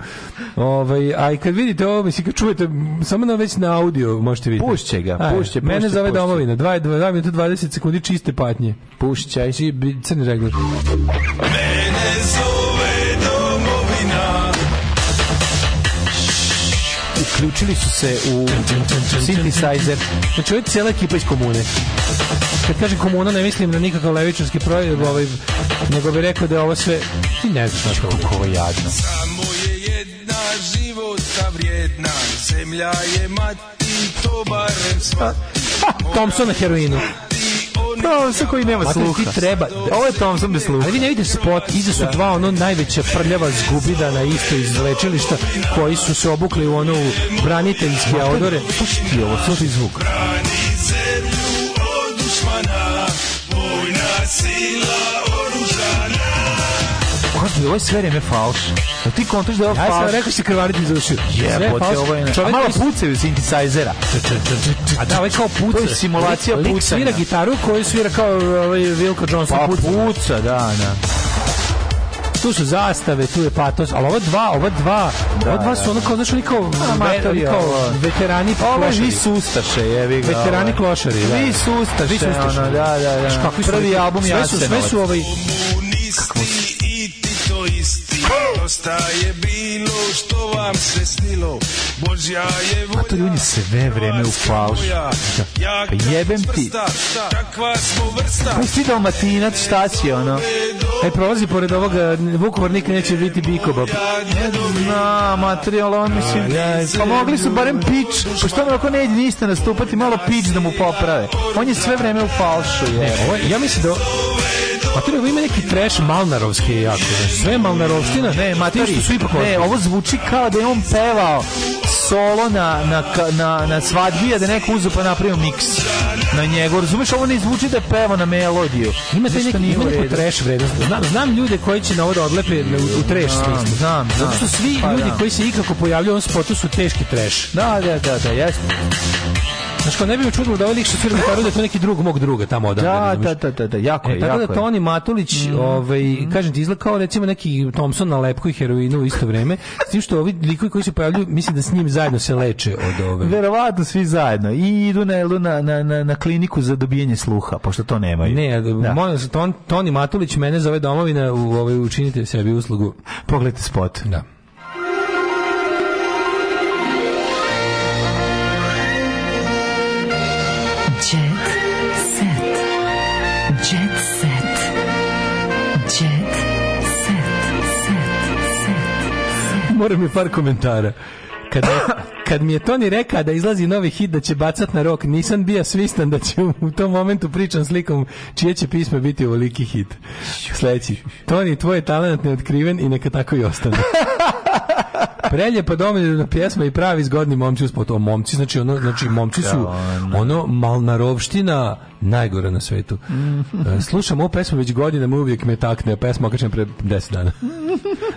Ovaj, a i kad vidite ovo, mislim, kad čujete, m, samo na, već na audio možete vidjeti. Pušće ga, Ajde, pušće, Mene pušće, zove pušće. domovina, 2, 2 minuta 20 sekundi čiste patnje. Pušćaj. Či- bi- Crni regler. Mene zove domovina Uključili su se u synthesizer. Znači, ovo je cijela ekipa iz komune. Kad kažem komuna, ne mislim na nikakav levičarski projekt, ovaj, nego bih rekao da je ovo sve... Ti ne znaš kako Ovo je jadno. Samo je jedna života vrijedna Zemlja je mati, to barem svati Thompson na heroinu. Thompson koji nema Znate, sluha. ti treba- Ovo je Thompson bez sluha. Ali vi ne vidite spot, iza su dva ono najveća prljava zgubida na isto iz lečilišta koji su se obukli u ono braniteljske odore. Pušti ovo, slušaj zvuk. Brani zemlju od dušmana Vojna sila oružana Kosti, ovo je sve vreme falš. Jel ti kontaš da je ovo Ja sam falš? vam rekao se krvariti iz ušiju. Jebote, ovo je... A Čovjek malo koji su- pucaju synthesizera. A da, ovaj kao puca. To je simulacija Lik- Lik pucanja. svira gitaru koju svira kao ovaj, Wilco Johnson Pa puca. puca, da, da. tu su zastave, tu je patos, ali ova dva, ova dva, ova dva su ono kao, znaš, oni kao, ve, Amatori, oni kao ovo. veterani Ovo je klošari. vi su ustaše, jevi ga. Veterani ovo. klošari, da. Vi su Vi su ustaše, ustaše. ono, da, da, Znaš da. kakvi su Prvi neki- album sve su, sve Jasenovac. su ovaj, Komunisti i titoisti Dosta je bilo što vam se snilo Božja je volja to ljudi sve vreme u falš. Ja Pa jebem ti. Takva smo vrsta Pa si dalmatinac, šta si ono? e, prolazi pored ovoga, Vukovar nikad neće biti bikoba. Na, materijal, on mislim... Pa mogli su barem pić, pošto on ako ne ide ništa nastupati, malo pić da mu poprave. On je sve vreme u falšu, je. Ovo, je- ja mislim da... Matori, ovo ima neki trash malnarovski je jako, znaš, sve je malnarovština. Ne, Ti matori, što su ipak ne, ovo zvuči kao da je on pevao solo na, na, ka- na, na svadbi, a da je neko uzu pa napravio miks na njegov. Razumeš, ovo ne zvuči da je peva na melodiju. Ima taj Zašto neki, nije ima u neku redu? trash vrednost. Znam, znam ljude koji će na ovo da odlepe na- u, u trash Znam, smislu. znam, Zato što znam. svi Pa ljudi da. koji se ikako pojavljaju u ovom spotu su teški trash. Da, da, da, da, jeste. Znaš, kao ne bi me čudilo da ovaj lik što svira gitaru da je to neki drug mog druga tamo odavde. Da, razumeš? da, da, da, da, jako je, E, tako jako da je. Mhm. Toni Matulić, ovaj, kažem ti, izgleda kao recimo neki Thompson na lepku i heroinu u isto vreme, s tim što ovi likovi koji se pojavljuju, mislim da s njim zajedno se leče od ove. Verovatno svi zajedno. I idu na, na, na, na, na kliniku za dobijanje sluha, pošto to nemaju. Ne, Da. molim vas, Ton- Toni Matulić mene zove domovina, u, ovaj, učinite sebi uslugu. Pogledajte spot. Da. Jet set. Jet set. Jet set. Set. Moram mi par komentara. Kad, kad mi je Toni reka da izlazi novi hit da će bacat na rok, nisam bio svistan da će u tom momentu pričam slikom čije će pisme biti ovoliki hit. Sljedeći. Toni, tvoj je talent neotkriven i neka tako i ostane. Preljepa domoljubna pjesma i pravi zgodni momci uspod to momci znači ono znači momci su ono malnarovština najgora na svetu. Mhm. E, Slušam ovu pesmu već godinama uvijek me takne, a pesma okačena pre 10 dana.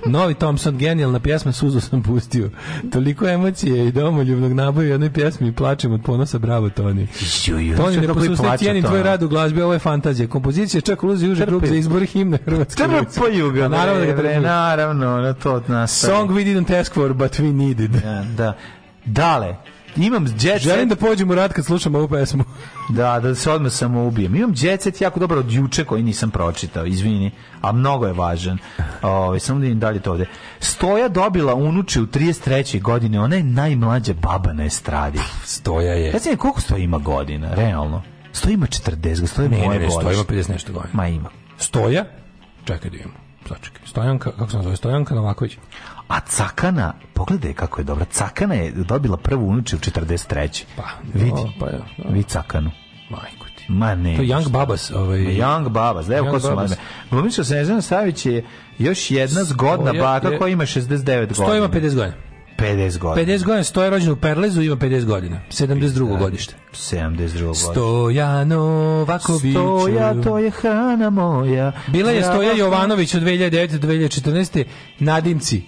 Novi Thompson, genijalna pjesma, suzu sam pustio. Toliko emocije i domoljubnog naboja u jednoj pjesmi i plačem od ponosa, bravo Toni. ju, Toni, znaš ne kako i posustaj, plače cijenim Tona. tvoj rad u glazbi, ovo je fantazija. Kompozicija čak ulazi u uži grup za izbor himne Hrvatske. ulice. Trpaju ga, Pa Naravno da ga bre, trpaju. Naravno, na to od nas. Song we didn't ask for, but we needed. Da, da. Dale, imam jet set. Želim da pođem u rad kad slušam ovu pesmu. Da, da se odmah samo ubijem. Imam jet set jako dobro od juče koji nisam pročitao, izvini, a mnogo je važan. Ovaj samo da im dalje to ovde. Stoja dobila unuče u 33. godine, ona je najmlađa baba na estradi. Stoja je. Ja znam koliko stoja ima godina, realno. Stoja ima 40, stoja Ne, moje ne, ne, godište. Stoja ima 50 nešto godina. Ma ima. Stoja? Čekaj da imamo. Sačekaj. Stojanka, kako se zove? Stojanka Novaković. A Cakana, pogledaj kako je dobra. Cakana je dobila prvu unuče u 43. Pa, vidi. o, pa ja, da. Vidi Cakanu. Majko ti. Ma ne. To je Young Babas. Ovaj, Young Babas, da evo Young ko su Babas. mlade. Glumica Snežana Savić je još jedna zgodna Stoja baka je- koja ima 69 Stoja godina. ima 50 godina. 50 godina. 50 godina, Stoja je rođena u Perlezu, ima 50 godina. 72. godište. 72 godina. Stoja Novaković. Stoja, to je hrana moja. Bila je Stoja Zdrava- Jovanović od 2009. do 2014. Nadimci.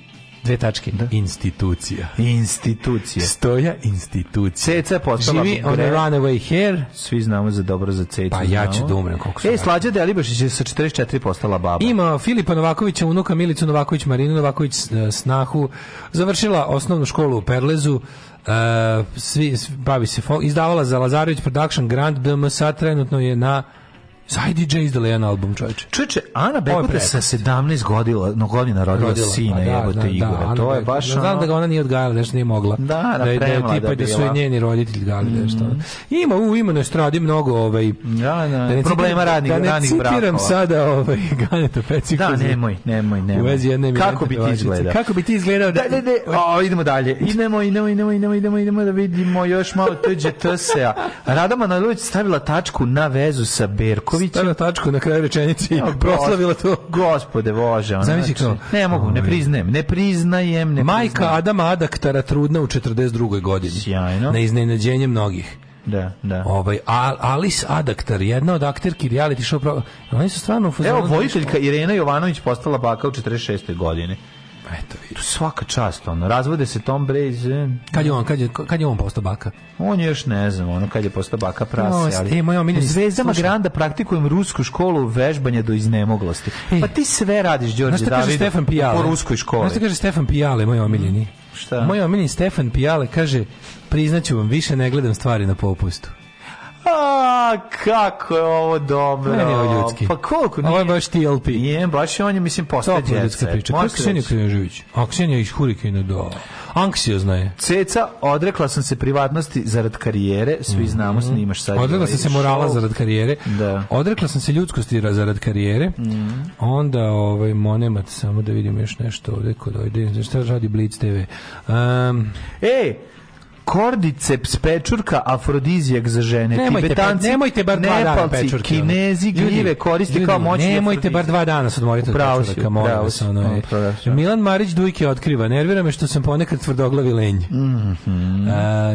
Dve tačke. Institucija. Institucije. Stoja institucija. Ceca je postala Živi on gre- a runaway hair. Svi znamo za dobro za cecu. Pa ja ću znamo. da umrem koliko sam E, Slađa Delibašić je sa 44 postala baba. Ima Filipa Novakovića, unuka Milicu Novaković, Marinu Novaković, eh, snahu. Završila osnovnu školu u Perlezu. eh, svi, svi- bavi se folk- izdavala za Lazarević Production Grand DM sad trenutno je na Zaj DJ izdala jedan album čovječe Čuče, Znači, Ana Ovo Bekuta je sa 17 godina, no godina rodila, sina, Pa jebote Igora. Ana to je Bebek. baš Znam ono- da ga ona nije odgajala, da što nije mogla. Da, da, je- da, je premlada tipa da su bila. je njeni roditelji dali nešto. Ima u ima na estradi mnogo ovaj Mhm. Da, da, ne problema citiram- radnih- da ne ranih brakova. citiram sada ovaj Ganeta Peciku. Da, nemoj, nemoj, nemoj. U vezi jedne Kako eminentne bi ti pevačice. izgledao? Kako bi ti izgledao Da, da... da, da, o, idemo dalje. Idemo, idemo, idemo, idemo, idemo, idemo da vidimo još malo tuđe TSE-a. Rada Manojlović stavila tačku na vezu sa Berkovićem. Stavila tačku na kraju rečenice i O, gos- proslavila to. Gospode Bože. ono, Zamisli znači, kao- Ne mogu, ne Oj. priznajem, ne priznajem, ne Majka priznajem. Adama Adaktara trudna u 42. godini. Sjajno. Na iznenađenje mnogih. Da, da. Ovaj, Al- Alice Adaktar, jedna od akterki reality show pro... Oni su stvarno u fazonu- Evo, vojiteljka Irena Jovanović postala baka u 46. godine. Eto, vidi. Svaka čast, ono, razvode se Tom Braze, Kad je on, kad je, kad je on postao baka? On je još ne znam, ono kad je postao baka prase, No, ali... e, moj omiljeni- U Zvezdama slušaj. Granda praktikujem rusku školu vežbanja do iznemoglosti. Pa ti sve radiš, E. Znaš Đorđe šta kaže David, Stefan Pijale? po ruskoj školi. Znaš šta kaže Stefan Pijale, moj omiljeni? Šta? Moj omiljeni Stefan Pijale kaže, priznaću vam, više ne gledam stvari na popustu. A, kako je ovo dobro. Meni je ovo ljudski. Pa koliko nije? Ovo je baš TLP. Nije, baš je on je, mislim, postao Topla ljudska priča. Kako je Ksenija Krinožević? A Ksenija iz Hurikina do... Anksiozna je. Ceca, odrekla sam se privatnosti zarad karijere, svi znamo, snimaš sad. Mhm. Odrekla sam ovaj se morala show. zarad karijere. Da. Mhm. Odrekla sam se ljudskosti ra- zarad karijere. Onda ovaj monemat samo da vidim još nešto ovde kod ovde. Šta radi Blitz TV? Um, E, kordiceps pečurka afrodizijak za žene. Nemojte, Tibetanci, pa- nemojte bar dva dana Nepalci, pečurke, ono. Kinezi Ljudi, gljive koriste ljudi, kao moćni Nemojte bar dva dana se odmoriti od Upravo si, pečuraka, molim upravo vas, si, ono je. upravo si. Milan Marić Dujke otkriva, nervira me što sam ponekad tvrdoglavi lenj. E,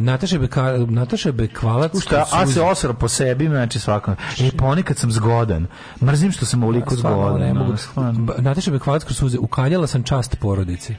Nataša, Beka, Nataša Bekvalac... Šta, a se osra po sebi, znači svakako. E, ponekad sam zgodan. Mrzim što sam ovoliko Pa Stvarno, zgodan. ne ono. mogu. Ba- Nataša Bekvalac kroz suze, ukaljala sam čast porodici.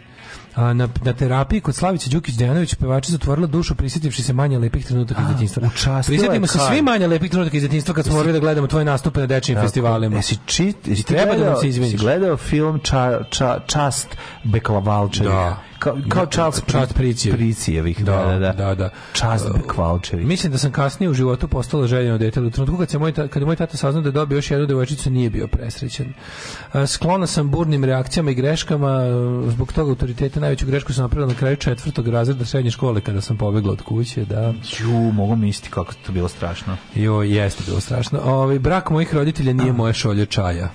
A na, na terapiji kod Slavice Đukić Dejanović pevačica otvorila dušu prisjetivši se manje lepih trenutaka iz detinjstva. Učastila je Prisjetimo se Kar. svi manje lepih trenutaka iz detinjstva kad smo morali da gledamo tvoje nastupe na dečijim Tako. festivalima. Jesi čit, jesi ti Treba da gledao, nam se izviniš. jesi gledao film ča, ča, Čast Beklavalčevih? Da. Kao, kao Charles Čast Pricijev. Pricijevih. Da, da, da. Čast Beklavalčevih. Mislim da sam kasnije u životu postala željeno dete. U trenutku kad, se moj, ta- kad je moj tata saznao da je dobio još jednu devojčicu, nije bio presrećen. A, Sklona sam burnim reakcijama i greškama. a, Zbog toga autoriteta najveću grešku sam napravila na kraju četvrtog razreda srednje škole kada sam pobegla od kuće. Da. Ju, mogu misliti kako je to bilo strašno. Jo, jeste bilo strašno. Ovaj, brak mojih roditelja nije moje šolje čaja.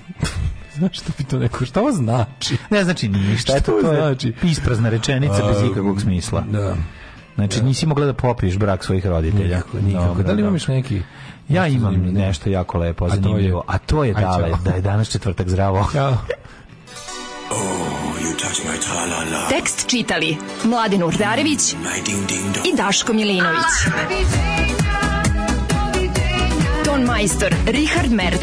Znaš što bi to neko, šta ovo znači? Ne znači ništa, eto, Što to je znači? isprazna rečenica bez ikakvog smisla. Da. Znači, nisi mogla da popiješ brak svojih roditelja. Nikako, nikako. Dobro, da li dobro. imam još neki? Ja imam nešto jako lepo, A to je? zanimljivo. A to je, Aj, čao. dale, da je danas četvrtak zdravo. Ćao. Tekst čitali Mladin Urdarević i Daško Milinović. Ton majstor Richard Merc.